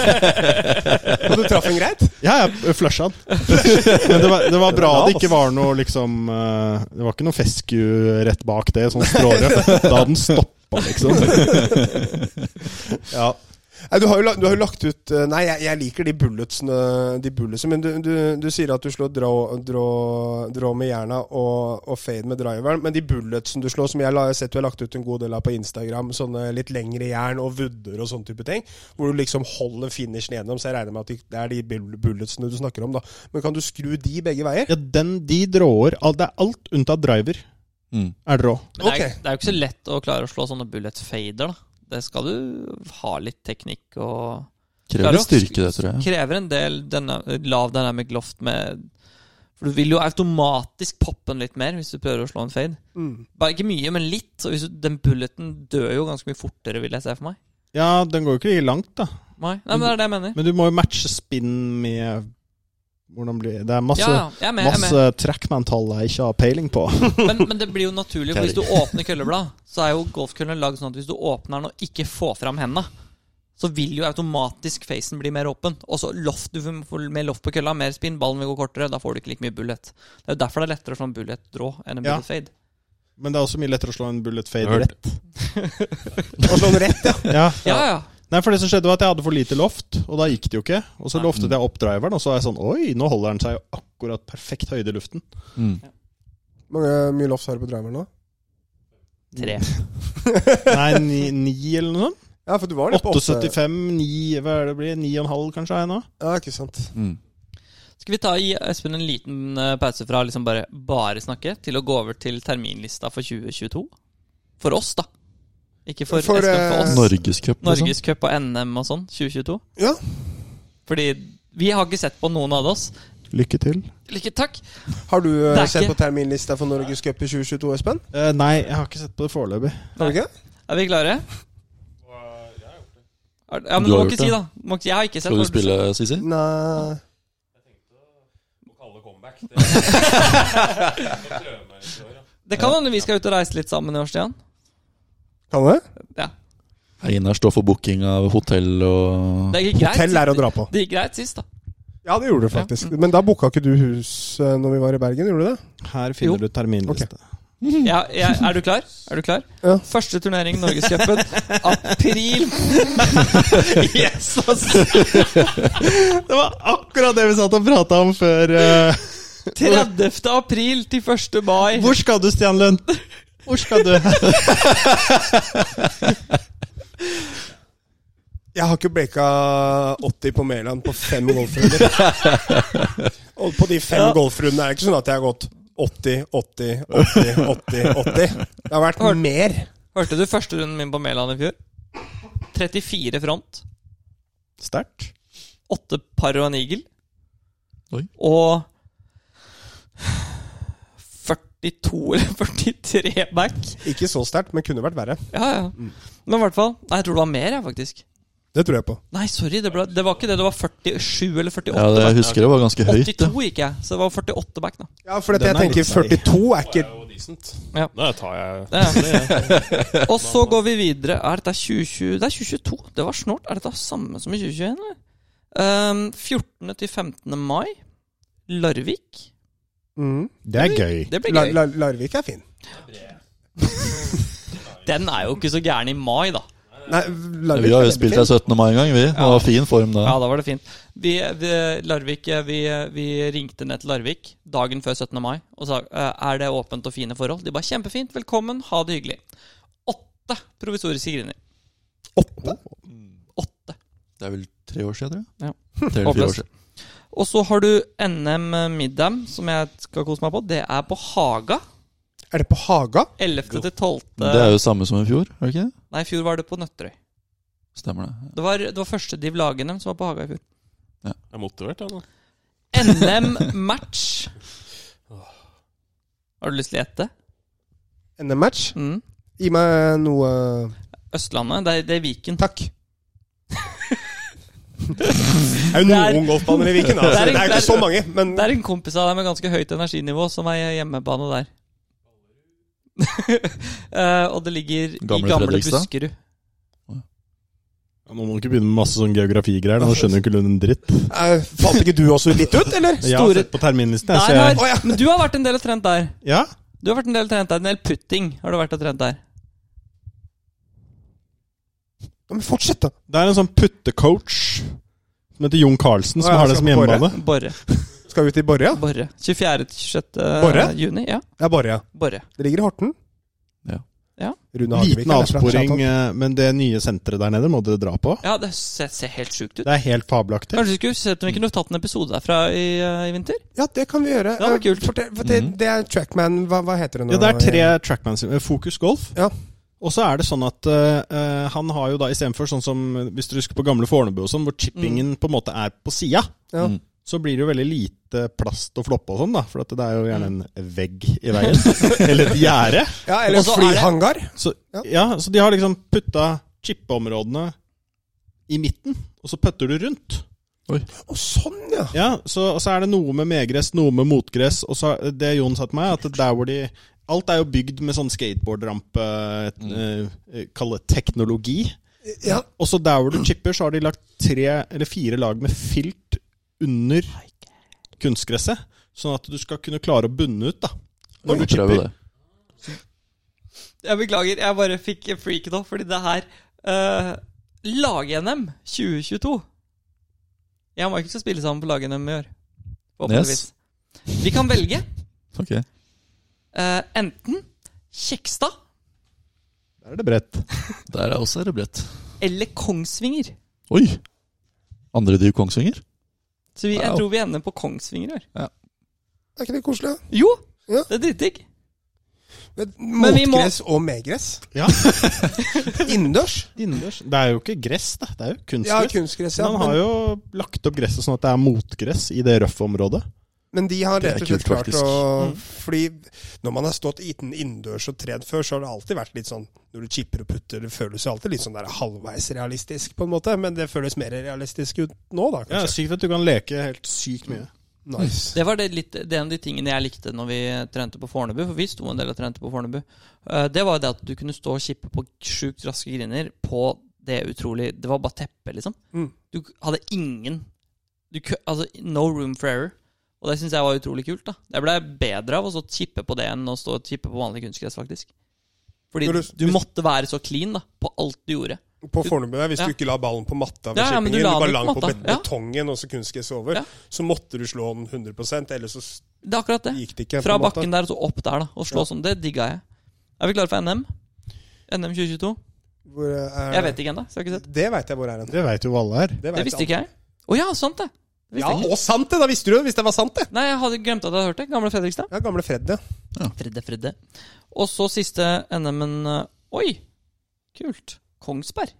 S1: Og du traff en greit?
S2: Ja, jeg flusha den. Men det var, det var bra det ikke var noe liksom eh, Det var ikke noe fesku rett bak det, sånn strårøff. Da hadde den stoppa, liksom. Ja.
S1: Nei, du, har jo, la- du har jo lagt ut eh, Nei, jeg, jeg liker de bulletsene, de bulletsene men du, du, du sier at du slår drå, drå, drå med jerna og, og fade med driveren. Men de bulletsene du slår, som jeg la- jeg har sett du har lagt ut en god del av på Instagram, sånne litt lengre jern og vudder og sånne type ting, hvor du liksom holder finishen gjennom, så jeg regner med at de- det er de bull- bulletsene du snakker om, da. Men kan du skru de begge veier?
S2: ja, den de dråer al- Det er alt unntatt driver
S4: Mm.
S2: er drå.
S3: Men det er,
S1: Ok.
S3: det er jo ikke så lett å klare å slå sånne bullet fader, da. Det skal du ha litt teknikk og
S4: Krever litt styrke, det, tror jeg.
S3: Krever en del denne, lav dynamic loft med For du vil jo automatisk poppe den litt mer hvis du prøver å slå en fade.
S1: Mm.
S3: Bare ikke mye, men litt. Så hvis du, den bulleten dør jo ganske mye fortere, vil jeg se for meg.
S2: Ja, den går jo ikke like langt, da.
S3: Nei, Nei men det er det jeg mener.
S2: Men du må jo matche spinn med Hvordan blir Det er masse,
S3: Ja, ja, jeg er med. Jeg er med.
S2: masse trackman-tall jeg ikke har peiling på.
S3: Men, men det blir jo naturlig, for hvis du åpner kølleblad, så er jo golfkøllen lagd sånn at hvis du åpner den og ikke får fram hendene, så vil jo automatisk facen bli mer åpen. Og så loft, du får mer loft på kølla, mer spinn, ballen vil gå kortere, da får du ikke like mye bullet. Det er jo derfor det er lettere å slå en bullet drå enn en
S2: Ja.
S3: bullet fade.
S2: Men det er også mye lettere å slå en bullet fade
S4: Hørt.
S2: rett.
S1: Og slå den rett, ja.
S2: Ja.
S3: Ja, ja.
S2: Nei, for det som skjedde var at jeg hadde for lite loft, og da gikk det jo ikke. Og så
S3: Nei.
S2: loftet jeg opp driveren, og så er jeg sånn Oi, nå holder den seg jo akkurat perfekt høyde i luften.
S4: Mm.
S1: Mange, mye lofts har du på driveren nå?
S3: Tre.
S2: Nei, ni, ni eller noe sånt.
S1: Ja, for du var nede på 8,75.
S2: 8,75, ni, hva er det det blir? Ni og en halv, kanskje, er jeg nå?
S1: Ja, ikke sant.
S4: Mm.
S3: Skal vi ta gi Espen en liten eh, pause fra liksom bare, bare snakke til å gå over til terminlista for 2022? For oss, da. Ikke for,
S1: For,
S3: Espen,
S1: eh,
S3: for oss.
S4: Norgescup, liksom.
S3: Norgescup og NM og sånn, 2022.
S1: Ja.
S3: Fordi vi har ikke sett på noen av oss.
S2: Lykke til.
S3: Lykke takk.
S1: Har du eh,
S3: Det er
S1: sett
S3: ikke-
S1: på terminlista for Norgescup i 2022, Espen?
S2: Eh, nei, jeg har ikke sett på det foreløpig.
S1: Har du ikke?
S3: Er vi klare? Er- Ja, men
S4: Du
S3: du
S4: har
S3: må
S4: gjort
S3: ikke si, da. Du Må ikke, jeg har ikke sett
S4: Skal du
S3: hva
S4: spille, Sisi?
S1: Nei.
S5: Kalle comeback. Det Jeg prøver meg litt i år, ja.
S3: Det kan hende vi skal ut og reise litt sammen i år, Stian.
S1: Kan det?
S3: Ja.
S4: Einar står for booking av hotell og
S3: Det gikk greit.
S1: Hotell er å dra på.
S3: Det gikk greit sist, da.
S1: Ja, det gjorde det faktisk. Men da booka ikke du hus eh, når vi var i Bergen, gjorde du det?
S2: Her finner du terminliste.
S3: Ja, jeg, er du klar? Er du klar?
S1: Ja.
S3: Første turnering i Norgescupen. April! Jesus!
S2: Det var akkurat det vi satt og prata om før. eh.
S3: 30. april til 1. mai.
S2: Hvor skal du, Stian Lund? Hvor skal du?
S1: Jeg har ikke breaka 80 på Mæland på fem golfrunder. Og på de fem
S3: Ja.
S1: golfrundene er det ikke sånn at jeg har gått 80, 80, 80, 80. 80 Det har vært
S3: Har-
S1: mer.
S3: Hørte du første runden min på Mæland i fjor? 34 front.
S2: Sterkt.
S3: åtte par og en eagle.
S4: Oi.
S3: Og 42 eller 43 back.
S1: Ikke så sterkt, men kunne vært verre.
S3: Ja, ja.
S4: Mm.
S3: Men i hvert fall Nei, jeg tror det var mer, jeg, faktisk.
S1: Det tror jeg på.
S3: Nei, sorry. Det, ble, det var ikke det. Det var 47 eller 48
S4: Ja, det, jeg
S3: back.
S4: husker det var ganske høyt. Det.
S3: 82 gikk jeg, så det var 48 back, da.
S1: Ja, for
S2: Den
S1: jeg
S2: er
S1: tenker
S2: litt seig.
S1: 42 er ikke
S5: jo decent.
S3: Ja.
S5: Da tar jeg
S3: Ja. Og så går vi videre. Er dette 2020? Det er 2022. Det var snålt. Er dette samme som i 2021? eller? Um, 14. til 15. mai. Larvik.
S1: mm.
S2: Det er gøy.
S3: Det blir
S1: La,
S3: gøy.
S1: la, Larvik er fin.
S3: Den er jo ikke så gæren i mai, da.
S1: Nei, Larvik
S4: Vi har
S1: er
S4: jo
S1: veldig
S4: spilt
S1: fin.
S4: der 17. mai en gang, vi. Det var fin form da.
S3: Ja, da var det fint. Vi, vi, Larvik, eh, vi, vi ringte ned til Larvik dagen før 17. mai og sa eh, er det åpent og fine forhold. De bare kjempefint, velkommen, ha det hyggelig. Åtte provisoriske griner.
S1: Åtte?
S3: Åtte.
S4: Det er vel tre år siden, tror
S3: Ja.
S4: jeg. Tre eller fire
S3: Håpløst.
S4: år siden.
S3: Og så har du NM Middam, som jeg skal kose meg på. Det er på Haga.
S1: Er det på Haga?
S3: 11. til 12.
S4: Det er jo samme som i fjor, er det ikke det?
S3: Nei, i fjor var det på Nøtterøy.
S4: Stemmer det.
S3: Det var, det var første div Lagenem som var på Haga i fjor.
S5: Jeg er motivert, jeg nå.
S3: NM-match. Har du lyst til å gjette?
S1: NM-match?
S3: Mm.
S1: Gi meg noe
S3: Østlandet. Det er, det er Viken.
S1: Takk. Det er jo
S3: Det er-
S1: noen golfbaner i Viken,
S3: Det
S1: altså.
S3: er-
S1: Det er jo ikke så mange, men
S3: Det er en kompis av deg med ganske høyt energinivå som er hjemmebane der. Eh, og det ligger
S4: Gamle
S3: i gamle
S4: Fredrikstad?
S3: Buskerud.
S2: Ja, nå må du ikke begynne med masse sånn geografigreier. da. Nå skjønner jo ikke Lund en dritt.
S1: Eh, Falt ikke du også litt ut, eller?
S2: Jeg har
S3: Store-
S2: sett på terminlisten.
S3: altså. Nei,
S2: Jeg, så
S3: nei,
S2: jeg...
S1: Å, ja.
S3: men du har vært en del og trent der.
S2: Ja?
S3: Du har vært En del og trent der En del putting har du vært og trent der.
S1: Ja, Men fortsett, da.
S2: Det er en sånn puttecoach som heter Jon Carlsen,
S1: Å,
S2: som
S1: ja,
S2: har det
S1: skal
S2: som
S1: på Borre.
S2: hjemmebane.
S3: Borre.
S1: Skal vi ut i Borre, ja?
S3: Borre. 24. til 26.
S1: Borre?
S3: juni. Ja,
S1: Ja, Borre, ja.
S3: Borre.
S1: Det ligger i Horten.
S4: Ja.
S3: Ja.
S1: Rune Hagevik
S2: Liten
S1: er derfra,
S2: avsporing,
S1: Kjartan.
S2: eh, men det nye senteret der nede må dere dra på.
S3: Ja, det ser, ser helt sjukt ut.
S2: Det er helt fabelaktig.
S3: Kanskje vi skulle sett om vi kunne tatt en episode derfra i, eh, i vinter?
S1: Ja, det kan vi gjøre.
S3: Det var
S1: Eh,
S3: kult. Mm.
S1: Fortell, fortell, det er Trackman Hva, hva heter det nå?
S2: Ja, det er tre trackmans eh, Fokus Golf.
S1: Ja.
S2: Og så er det sånn at eh, eh, han har jo da istedenfor sånn som eh, hvis du husker på gamle Fornebu og sånn, hvor chippingen på en måte er på sida,
S1: Ja.
S4: Mm.
S2: så blir det jo veldig lite plass til å floppe og sånn, da. For at det er jo gjerne
S1: Mm.
S2: en vegg i veien. Eller et gjerde.
S1: Ja, eller
S3: Og så er det-
S1: flyhangar.
S2: Så,
S1: Ja.
S2: ja. så de har liksom putta chippeområdene i midten, og så putter du rundt.
S1: Å, sånn, ja.
S2: Ja, så, og så er det noe med medgress, noe med motgress, og så det Jon sa til meg, at der hvor de Alt er jo bygd med sånn skateboardrampe, eh, eh, kall det teknologi.
S1: ja.
S2: Og så der hvor du chipper, så har de lagt tre eller fire lag med filt under kunstgresset, sånn at du skal kunne klare å bunne ut, da.
S4: Vi
S2: Når du
S4: får prøve
S2: chipper.
S4: det.
S3: Jeg beklager, jeg bare fikk freaket opp fordi det her uh, Lag-NM 2022 Jeg og Michael skal spille sammen på lag-NM i år. Forhåpentligvis. Vi kan velge
S4: Ok.
S3: eh, enten Kjekstad
S2: Der er det bredt.
S4: Der er også rebrett.
S3: eller Kongsvinger.
S4: Oi! Andre div Kongsvinger?
S3: Så vi, jeg
S4: Wow.
S3: tror vi ender på Kongsvinger i år.
S1: Er ikke det koselig? da?
S3: Jo!
S1: Ja.
S3: Det er dritdigg.
S1: Med
S3: vi må-
S1: Motgress og medgress.
S2: Ja.
S1: Innendørs.
S2: Innendørs. Det er jo ikke gress, da. Det er jo
S1: Ja,
S2: kunstgress.
S1: kunstgress, ja.
S2: Men han har
S1: Men,
S2: jo lagt opp gresset sånn at det er motgress i det røffe området.
S1: men de har
S4: Det er
S1: rett og
S4: kult,
S1: slett klart
S4: faktisk.
S1: å Fordi når man har stått iten innendørs og tredd før, så har det alltid vært litt sånn Når du chipper og putter, det føles jo alltid litt sånn der halvveis realistisk, på en måte. Men det føles mer realistisk ut nå, da,
S2: Ja, det er
S1: kanskje.
S2: Sykt at du kan leke helt sykt mye.
S1: Nice.
S3: Det var det litt, det er en av de tingene jeg likte når vi trente på Fornebu, for vi sto en del og trente på Fornebu. Eh, Det var jo det at du kunne stå og kippe på sjukt raske griner på det utrolig Det var bare teppe, liksom.
S1: Mm.
S3: Du hadde ingen du, kø- Altså, no room for error. Og det syns jeg var utrolig kult. da Jeg ble bedre av å stå og chippe på det enn å stå og chippe på vanlig kunstgress, faktisk. Fordi
S1: Når
S3: du,
S1: du-
S3: måtte være så clean da på alt du gjorde.
S1: På Fornebu der, hvis
S3: Ja.
S1: du ikke la ballen på matta ved
S3: Ja, ja, men du
S1: shippingen, du
S3: la den
S1: bare
S3: jo
S1: la den
S3: på
S1: på
S3: matta.
S1: bet-
S3: Ja.
S1: betongen, og så kunstgress over,
S3: Ja.
S1: så måtte du slå den 100 ellers så s-
S3: Det er akkurat det.
S1: gikk det ikke.
S3: Fra
S1: på en måte.
S3: bakken der og så opp der, da. Og slå sånn. Det digga jeg. Er vi klare for NM? NM 2022?
S1: Hvor, eh,
S3: Jeg vet ikke ennå. så jeg har ikke sett.
S1: Det veit jeg hvor er hen.
S2: Det veit jo alle her.
S1: Det,
S3: Det visste ikke jeg. Å ja, sant det! det
S1: Ja,
S3: visste jeg ikke.
S1: og sant det! Da visste du det, hvis det var sant, det.
S3: Nei, jeg hadde glemt at jeg hadde hørt det. Gamle Fredrikstad.
S1: Ja, gamle Fred, ja.
S3: Fredde, Fredde. Og så siste NM-en eh, Oi! Kult. Kongsberg.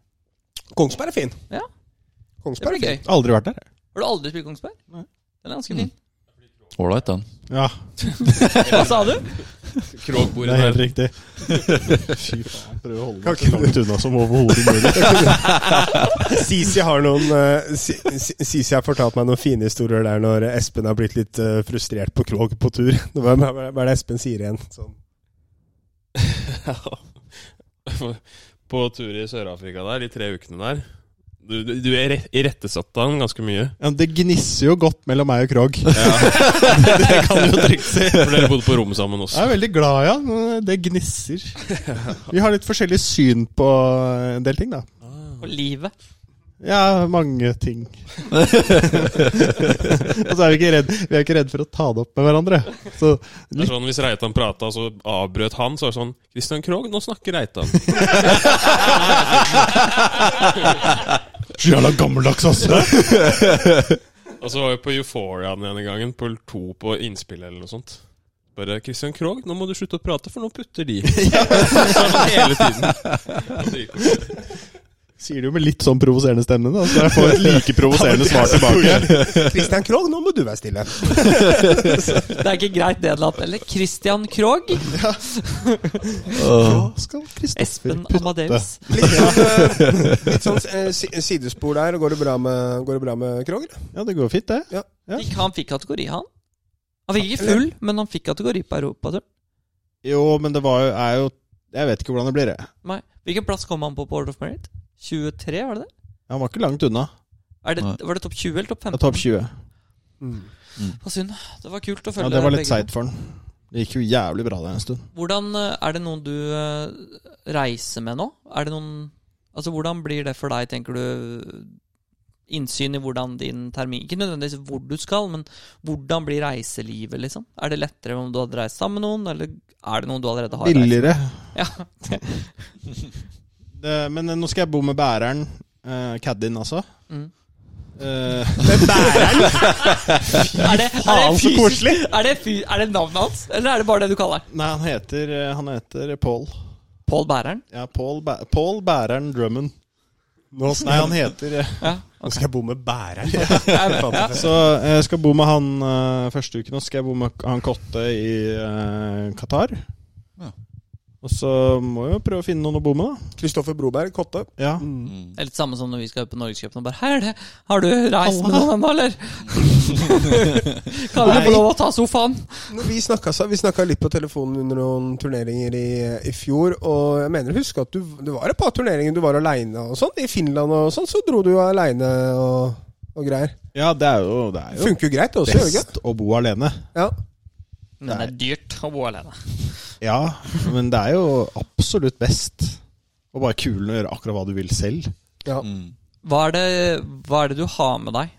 S1: Kongsberg er fin.
S3: Ja. Det
S1: Kongsberg
S3: blir
S1: er fin.
S3: gøy.
S2: Aldri vært der.
S3: Har du aldri spilt Kongsberg?
S2: Nei.
S3: Den er ganske fin.
S4: Ålreit, den.
S2: Ja,
S3: Hva sa du?
S2: det
S5: Krogbordet
S2: er helt
S5: der.
S2: riktig. Fy faen. Prøv å holde meg så langt unna som overhodet mulig.
S1: Sisi har noen eh, Si- Si- Sisi har fortalt meg noen fine historier der når Espen har blitt litt eh, frustrert på Krog på tur. Det var- Hva hva er det Espen sier igjen? Sånn.
S5: På tur i Sør-Afrika der, de tre ukene der. Du, du, du er re- irettesatt av den ganske mye.
S2: Ja, det gnisser jo godt mellom meg og Krog.
S5: Det kan du jo trygt si. For dere bodde på rommet sammen
S2: Jeg
S5: også.
S2: er veldig glad i han. men Det gnisser. Vi har litt forskjellig syn på en del ting, da.
S3: På livet.
S2: Ja, mange ting. Og så er vi ikke redd, vi er ikke redd for å ta det opp med hverandre. Så
S5: Det er sånn, Hvis Reitan prata, så avbrøt han. Så er det sånn 'Christian Krogh, nå snakker Reitan'.
S2: Jævla gammeldags, ass!
S5: Og så var vi på Euphoria den ene gangen, på to på innspill eller noe sånt. Bare 'Christian Krogh, nå må du slutte å prate, for nå putter de'. Sånn hele tiden. Og det gikk jo.
S2: Sier det jo med litt sånn provoserende stemme, da, så jeg får et like provoserende svar tilbake.
S1: Christian Krog, nå må du være stille.
S3: Det er ikke greit nedlatt heller. Christian Krogh.
S2: Hva skal Kristoffer
S3: Espen
S2: putte?
S3: Amadeus.
S1: Litt sånn, eh, litt sånn eh, si- sidespor der. Går det bra med, går det bra med Krog? eller?
S2: Ja, det går fint, det. Ja.
S3: Ikke han fikk kategori, han. Han fikk ikke full, men han fikk kategori på europatur.
S2: Jo, men det var jo, er jo Jeg vet ikke hvordan det blir, jeg.
S3: Nei. Hvilken plass kom han på på Order of Merit? 23, var det det?
S2: Han var ikke langt unna.
S3: Er det
S4: Nei.
S3: var det topp 20 eller topp
S2: Jeg
S3: 15?
S2: er topp 20.
S3: På synd. Det var kult å følge
S2: Ja, Det var
S3: begge
S2: litt
S3: to.
S2: seigt for han. Det gikk jo jævlig bra det en stund.
S3: Hvordan eh, er det noen du eh, reiser med nå? Er det noen Altså, hvordan blir det for deg, tenker du? Innsyn i hvordan din termin Ikke nødvendigvis hvor du skal, men hvordan blir reiselivet, liksom? Er det lettere om du hadde reist sammen med noen, eller er det noen du allerede har reist
S2: Billigere.
S3: Ja.
S2: Det, men eh, nå skal jeg bo med bæreren. Uh, Caddien, altså.
S3: Mm.
S2: Eh,
S3: Er det, er det
S2: faen, så
S3: fysisk-
S2: koselig!
S3: Er det, fy, er det navnet hans, eller er det bare det du kaller han?
S2: nei, han heter, eh, han heter Paul.
S3: Pål Bæreren?
S2: Ja, Paul, Bæ Paul Bæreren Drummond.
S1: Nå skal,
S2: Nei, han heter eh,
S3: Ja.
S1: nå skal jeg bo med bæreren.
S2: Så eh, jeg skal bo med han eh, første uken, og så skal jeg bo med han Kotte i eh, Qatar.
S4: Ja.
S2: Og så må jeg jo prøve å finne noen å bo med, da.
S1: Kristoffer Broberg, Kotte.
S2: Ja.
S4: Mm.
S3: Det er litt samme som når vi skal ut på Norgescupen og bare Her er det! Har du reist med noen ennå, eller? kan jeg få lov å ta sofaen?
S1: Når Vi snakka så- vi snakka litt på telefonen under noen turneringer i, i fjor, og jeg mener å huske at du, det var et par turneringer du var aleine og sånn. I Finland og sånn, så dro du jo aleine og, og greier.
S2: ja, det er jo, det
S1: Det
S2: er jo
S1: funker jo greit, det også, gjør det ikke?
S2: best å bo alene.
S1: Ja.
S3: Men det er dyrt å bo alene.
S2: Ja, men det er jo absolutt best å bare kule og gjøre akkurat hva du vil selv.
S1: ja.
S3: Hva er det, hva er det du har med deg?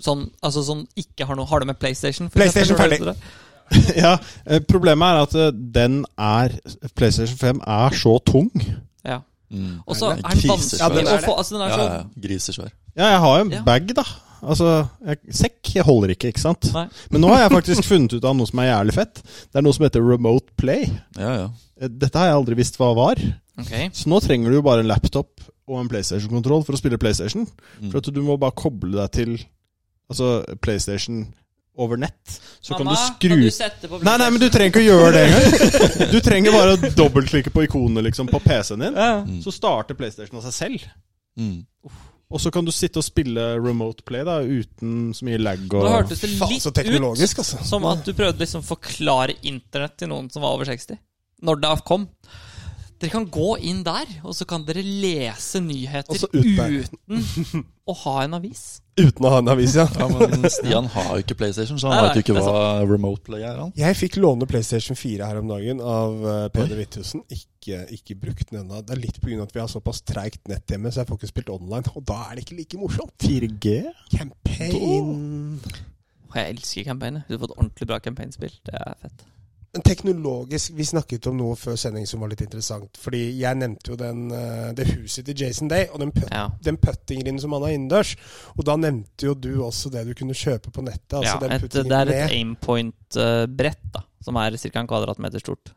S3: Sånn, altså sånn ikke har noe Har du med PlayStation? for
S1: PlayStation,
S3: eksempel?
S1: ferdig.
S2: ja, eh, Problemet er at eh, den er PlayStation 5 er så tung.
S3: Ja.
S4: Mm.
S3: Og så er
S4: Nei, det er
S3: den
S4: Jesus,
S3: vanskelig
S4: ja, den
S1: er
S3: å
S1: det.
S3: få Altså, den er
S4: Ja,
S3: så
S4: ja, ja. Grisesvær.
S2: Ja, jeg har jo en
S3: Ja.
S2: bag, da. Altså, jeg, Sekk jeg holder ikke, ikke sant?
S3: Nei.
S2: Men nå har jeg faktisk funnet ut av noe som er jævlig fett. Det er noe som heter Remote Play.
S4: Ja, ja.
S2: Eh, Dette har jeg aldri visst hva var.
S3: Ok.
S2: Så nå trenger du jo bare en laptop og en PlayStation-kontroll for å spille PlayStation.
S4: Mm.
S2: For at du må bare koble deg til altså, PlayStation over nett. Så kan
S3: Mamma,
S2: du skru
S3: kan du sette på
S2: Nei, nei, men du trenger ikke å gjøre det engang. Du trenger bare å dobbeltklikke på ikonene liksom, på PC-en din.
S3: Ja.
S2: Så starter PlayStation av seg selv.
S4: Mm.
S2: Og så kan du sitte og spille Remote Play da, uten så mye lag og
S3: Nå hørtes det
S1: Faen, så
S3: litt ut
S1: teknologisk, altså.
S3: som at du prøvde liksom å forklare internett til noen som var over 60. Når det kom. Dere kan gå inn der, og så kan dere lese nyheter
S1: Og så ut der.
S3: uten å ha en avis.
S1: Uten å ha en avis, ja.
S4: Ja, men Stian har jo ikke PlayStation, så han
S3: Nei,
S4: vet jo ikke
S3: nei, det er
S4: hva remote play er. han.
S1: Jeg fikk låne PlayStation 4 her om dagen av eh, Peder Hvithusen. Ikke, ikke brukt den ennå. Det er litt pga. at vi har såpass treigt nett hjemme, så jeg får ikke spilt online. Og da er det ikke like morsomt.
S2: 4G?
S1: Campaign
S3: Og jeg elsker campaigner. Du har fått ordentlig bra campaignspill. Det er fett.
S1: Men teknologisk, vi snakket om noe før sending som var litt interessant. Fordi jeg nevnte jo den, eh, det huset til Jason Day, og den, putt,
S3: Ja.
S1: den puttinggrinden som han har innendørs. Og da nevnte jo du også det du kunne kjøpe på nettet. Altså
S3: ja,
S1: den
S3: et, det
S1: puttinggrinden
S3: er et aimpoint-brett, da, som er ca. en kvadratmeter stort.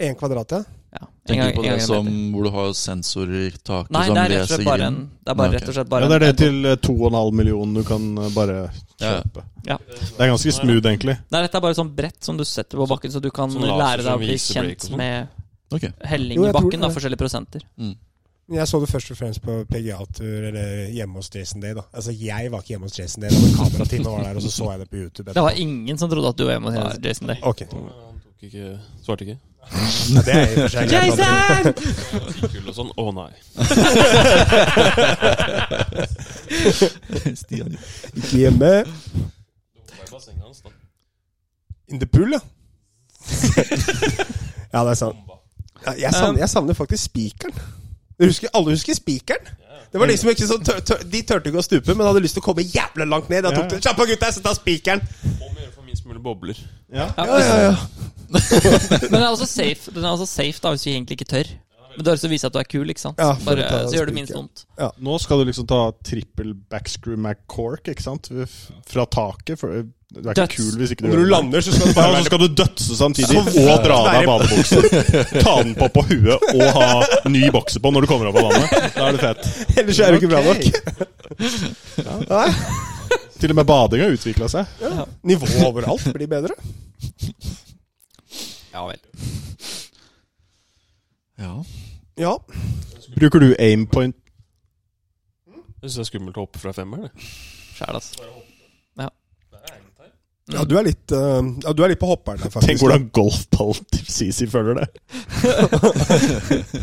S1: med én kvadrat, ja.
S3: Ja, en
S4: Tenker
S3: gang-
S4: du på
S3: en gang
S4: det
S3: en
S4: som
S3: meter.
S4: hvor du har sensorer i taket
S3: Nei,
S4: som
S3: det er rett og
S4: leser
S3: slett bare en
S4: grinden?
S3: Det er bare,
S4: Nei,
S3: rett og slett bare
S2: Ja, det er det
S3: en-
S2: til eh, 2,5 millioner du kan eh, bare
S4: Ja.
S2: kjøpe.
S3: Ja.
S2: Det er ganske smooth, egentlig.
S3: Nei, dette er bare sånn brett som du setter på bakken, så du kan
S5: Sånn laser
S3: lære deg å
S5: som
S3: bli
S5: viser break og
S3: kjent
S5: sånn.
S3: med
S4: Ok.
S3: helling
S1: Jo,
S3: i
S1: jeg tror
S3: bakken, da,
S1: det.
S3: forskjellige prosenter.
S4: Mm.
S1: Men Jeg så det først og fremst på PGA-tur eller hjemme hos Jason Day. da Altså Jeg var ikke hjemme hos Jason Day, da, men kamerateamet var der, og så så jeg det på YouTube.
S3: Det
S1: etterpå.
S3: var ingen som trodde at du var hjemme hos Jason Day.
S1: Ok,
S5: Han tok ikke, svarte ikke.
S1: ja, det er i og for seg greit.
S3: Jason!
S5: Kull og sånn. Å nei.
S4: Stian.
S1: Ikke hjemme.
S5: hans, da.
S1: In the pool, ja. ja, det er sant. Ja, jeg, savner, jeg savner faktisk spikeren. Du husker- Alle husker spikeren? Det var liksom ikke sånn tør, tør, De turte ikke å stupe, men hadde lyst til å komme jævla langt ned. Da tok de Kjapp på, gutta! Jeg setter av spikeren!
S5: Om å gjøre for minst mulig bobler.
S2: Ja.
S3: Ja, Men den er også safe, den er også safe da, hvis vi egentlig ikke tør. Men det har også vist at du er kul, ikke sant?
S1: Ja, for
S3: bare,
S1: å ta
S3: så gjør
S1: spiker.
S3: det minst vondt.
S2: Nå skal du liksom ta trippel backscrew McCork, ikke sant? Fra taket. For du er
S3: Døds.
S2: ikke kul hvis ikke du
S1: Når du
S2: gjør det.
S1: lander, så skal du
S2: Ja, og
S1: bare
S2: så skal du dødse samtidig,
S1: Så
S2: og dra av
S1: være-
S2: deg badebuksen. Ta den på på huet, og ha ny bokse på når du kommer opp av vannet. Da er det fett.
S1: Ellers er du ikke bra nok. Nei,
S2: Til og med bading har utvikla seg.
S1: Nivået overalt blir bedre.
S3: Ja vel.
S4: Ja.
S1: Ja.
S2: Bruker du aimpoint?
S5: Jeg syns det er skummelt å hoppe fra femmer. det.
S3: Sjæl, altså.
S1: ja, du er litt eh, Ja, du er litt på hopperen der, faktisk.
S2: Tenk hvordan golfballen til CC føler det.
S1: Det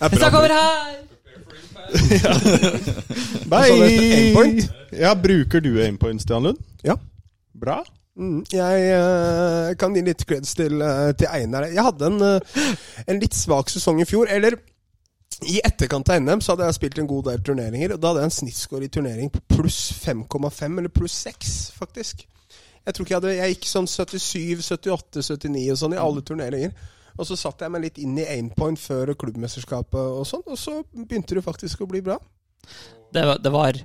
S1: er
S3: Jeg
S1: bra.
S3: snakker over her!
S1: sa du etter aimpoint?
S2: Ja, bruker du aimpoint, Stian Lund?
S1: Ja.
S2: Bra.
S1: Mm, jeg eh, kan gi litt creds til, eh, til Einar. Jeg hadde en, eh, en litt svak sesong i fjor. Eller i etterkant av NM så hadde jeg spilt en god del turneringer, og da hadde jeg en snittscore i turnering på pluss 5,5, eller pluss 6, faktisk. Jeg tror ikke jeg hadde Jeg gikk sånn 77, 78, 79 og sånn i alle turneringer. Og så satte jeg meg litt inn i aimpoint før klubbmesterskapet og sånn, og så begynte det faktisk å bli bra.
S3: Det var, det var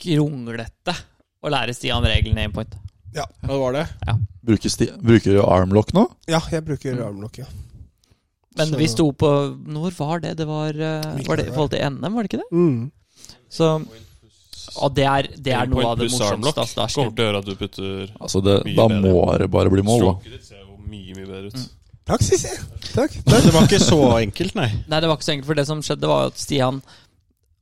S3: kronglete å lære Stian reglene i aimpoint.
S2: Ja, det var det.
S4: Bruker, sti bruker du armlock nå?
S1: Ja, jeg bruker armlock, ja.
S3: Men
S1: Så-
S3: vi sto på Når var det? Det var, eh, var det i forhold til NM, var det ikke det?
S1: Mm.
S3: Så Og det er, det er noe
S5: Aimpoint
S3: av det
S5: pluss
S3: morsomste.
S5: armlock
S3: altså, det er
S5: Kommer
S3: slutt.
S5: til å gjøre at du putter
S4: Altså det,
S5: Mye
S4: da
S5: bedre.
S4: må det bare bli mål, da.
S5: Stroket ditt ser jo mye, mye bedre
S3: Mm.
S5: ut.
S1: Praksis, ja. Takk.
S2: Det var ikke så enkelt, nei.
S3: Nei, det var ikke så enkelt, for det som skjedde, var jo at Stian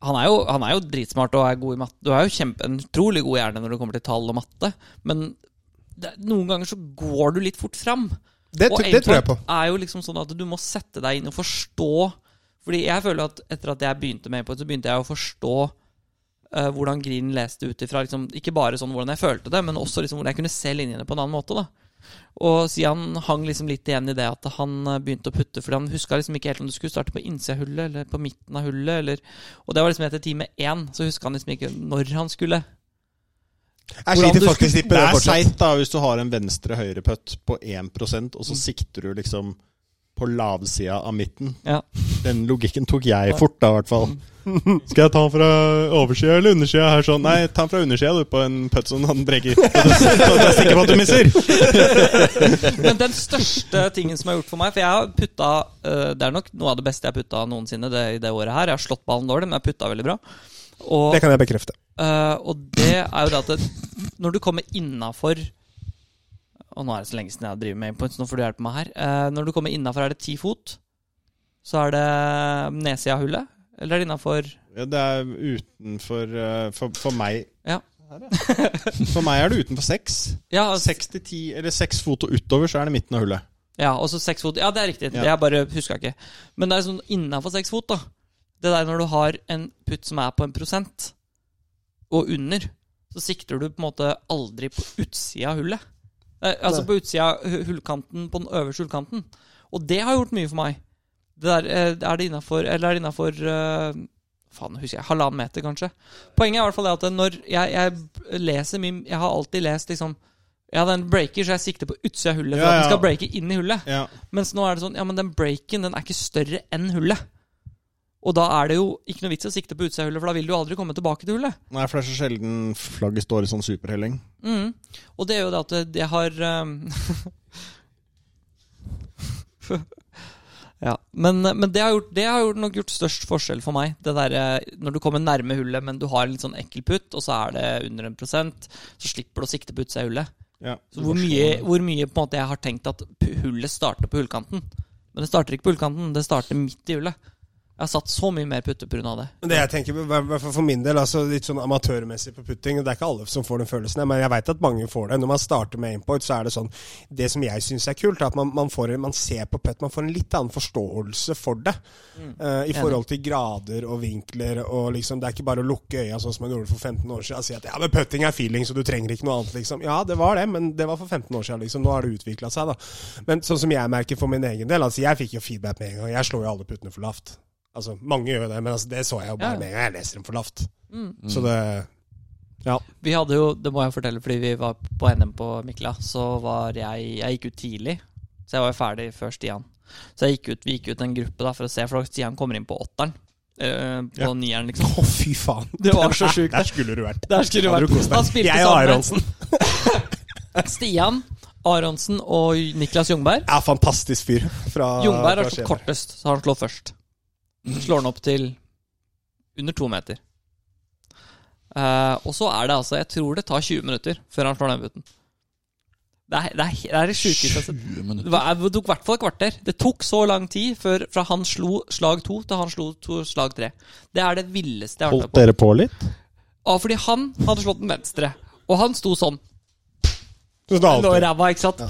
S3: han er, jo, han er jo dritsmart og er god i matte. Du er jo kjempe, en utrolig god hjerne når det kommer til tall og matte, men det, noen ganger så går du litt fort fram.
S1: Det,
S3: Og
S1: det tror jeg på.
S3: aimpoint er jo liksom sånn at du må sette deg inn og forstå Fordi jeg føler at etter at jeg begynte med aimpoint, så begynte jeg å forstå eh, hvordan Green leste ut ifra liksom, Ikke bare sånn hvordan jeg følte det, men også liksom hvordan jeg kunne se linjene på en annen måte. da Og Sian hang liksom litt igjen i det at han eh, begynte å putte, fordi han huska liksom ikke helt om du skulle starte på innsida av hullet eller på midten av hullet. Eller, og det var liksom etter time én, så huska han liksom ikke når han skulle.
S1: Jeg
S3: Hvordan
S1: sliter
S3: du
S1: faktisk litt med
S2: Det
S1: det
S2: er
S1: fortsatt.
S2: seigt da hvis du har en venstre-høyre-putt på 1 og
S1: Mm.
S2: så sikter du liksom på lavsida av midten.
S3: Ja.
S2: Den logikken tok jeg fort, da, i hvert fall.
S1: Mm.
S2: Skal jeg ta den fra oversida eller undersida her sånn? Nei, ta den fra undersida, du, på en putt som han brekker. Så du er sikker på at du misser.
S3: Men den største tingen som har gjort for meg For jeg har putta eh, Det er nok noe av det beste jeg har putta noensinne det, i det året her. Jeg har slått ballen dårlig, men jeg har putta veldig bra. Og
S1: Det kan jeg bekrefte.
S3: Eh, og det er jo det at det, når du kommer innafor Og nå er det så lenge siden jeg har drevet med aimpoints, nå får du hjelpe meg her. Eh, når du kommer innafor, er det ti fot? Så er det nedsida av hullet? Eller er det innafor
S2: Ja, Det er utenfor eh, for, for meg
S3: Ja.
S2: Her, ja. For meg er det utenfor seks.
S3: Ja, altså-
S2: Seks til ti, eller seks fot og utover, så er det midten av hullet.
S3: Ja, og så seks fot. Ja, det er riktig.
S2: Ja.
S3: Jeg bare huska ikke. Men det er sånn innafor seks fot, da. Det der når du har en putt som er på en prosent, og under, så sikter du på en måte aldri på utsida av hullet. Eh, altså
S1: Nei.
S3: på utsida av hu- hullkanten, på den øverste hullkanten. Og det har gjort mye for meg. Det der, eh, er det innafor Eller er det innafor eh, Faen, husker jeg. Halvannen meter, kanskje. Poenget er i hvert fall det at eh, når jeg, jeg leser min Jeg har alltid lest liksom Ja, den breaker, så jeg sikter på utsida av hullet for
S2: Ja,
S3: at den
S2: ja.
S3: skal breake inn i hullet.
S2: Ja.
S3: Mens nå er det sånn Ja, men den breaken den er ikke større enn hullet. Og da er det jo ikke noe vits i å sikte på utsida av hullet, for da vil du aldri komme tilbake til hullet.
S2: Nei, for det er så sjelden flagget står i sånn superhelling.
S3: Mm. Og det er jo det at det- det har um, Ja, men, men det har, gjort, det har gjort nok gjort størst forskjell for meg. Det derre når du kommer nærme hullet, men du har en litt sånn ekkel putt, og så er det under en prosent, så slipper du å sikte på utsida av hullet.
S2: Ja.
S3: Så hvor mye, hvor mye på en måte jeg har tenkt at pu- hullet starter på hullkanten. Men det starter ikke på hullkanten, det starter midt i hullet. Jeg har satt så mye mer putter pga. det.
S1: Men Det jeg tenker, i hvert fall for min del, altså litt sånn amatørmessig på putting Det er ikke alle som får den følelsen, men jeg veit at mange får det. Når man starter med aimpoint, så er det sånn Det som jeg syns er kult, er at man, man, får, en- man ser på putt, man får en litt annen forståelse for det. eh, I forhold til grader og vinkler og liksom Det er ikke bare å lukke øya sånn som man gjorde for 15 år siden og si at ja, men putting er feeling, så du trenger ikke noe annet, liksom. Ja, det var det, men det var for 15 år siden, liksom. Nå har det utvikla seg, da. Men sånn som jeg merker for min egen del, altså jeg fikk jo feedback med en gang. Jeg slår jo alle puttene for lavt. Altså, mange gjør jo det, men altså, det så jeg jo bare
S3: Ja, ja.
S1: med en gang. Jeg leser dem for lavt. Så det Ja.
S3: Vi hadde jo, det må jeg fortelle, fordi vi var på NM på Mikla, så var jeg Jeg gikk ut tidlig, så jeg var jo ferdig før Stian. Så jeg gikk ut, vi gikk ut en gruppe da for å se, for Stian kommer inn på åtteren. eh, på
S1: Ja.
S3: nieren,
S1: Å,
S3: liksom.
S1: fy faen.
S3: Det var så sjukt.
S1: Der skulle du vært.
S3: Der skulle du
S1: Hadde
S3: vært.
S1: du kost
S3: Han
S1: deg.
S3: spilte
S1: Jeg og Aronsen.
S3: sammen med Stian, Aronsen og Niklas Jungberg.
S1: Ja, fantastisk fyr. Fra,
S3: Jungberg har
S1: fra
S3: slått
S1: Skien.
S3: kortest, så han slår først. Slår den opp til under to meter. Eh, og så er det altså Jeg tror det tar 20 minutter før han slår den putten. Det er det, er, det, er det sjukeste jeg har sett.
S4: 20
S3: Det
S4: minutter.
S3: var- det tok i hvert fall et kvarter. Det tok så lang tid før, fra han slo slag to til han slo to, slag tre. Det er det villeste jeg har vært med på.
S2: dere på litt?
S3: Ah, fordi han hadde slått den venstre, og han sto sånn.
S1: Så da
S3: Han lå i
S1: alltid.
S3: ræva, ikke sant?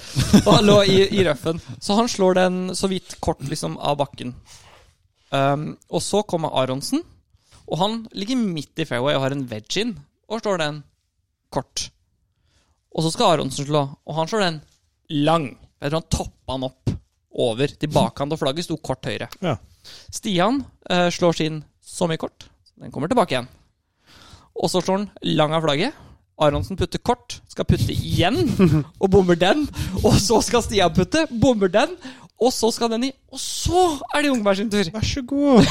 S3: Og han lå i, i røffen. Så han slår den så vidt kort liksom av bakken. Um, og så kommer Aronsen, og han ligger midt i fairway og har en wedge in, og slår den kort. Og så skal Aronsen slå, og han slår den lang. Jeg tror han toppa den opp over til bakhånd, og flagget sto kort høyre.
S2: Ja.
S3: Stian eh, slår sin så mye kort, så den kommer tilbake igjen. Og så slår han lang av flagget. Aronsen putter kort, skal putte igjen, og bommer den. Og så skal Stian putte, bommer den, og så skal den i. Og så er det Jungberg sin tur!
S2: Vær så god.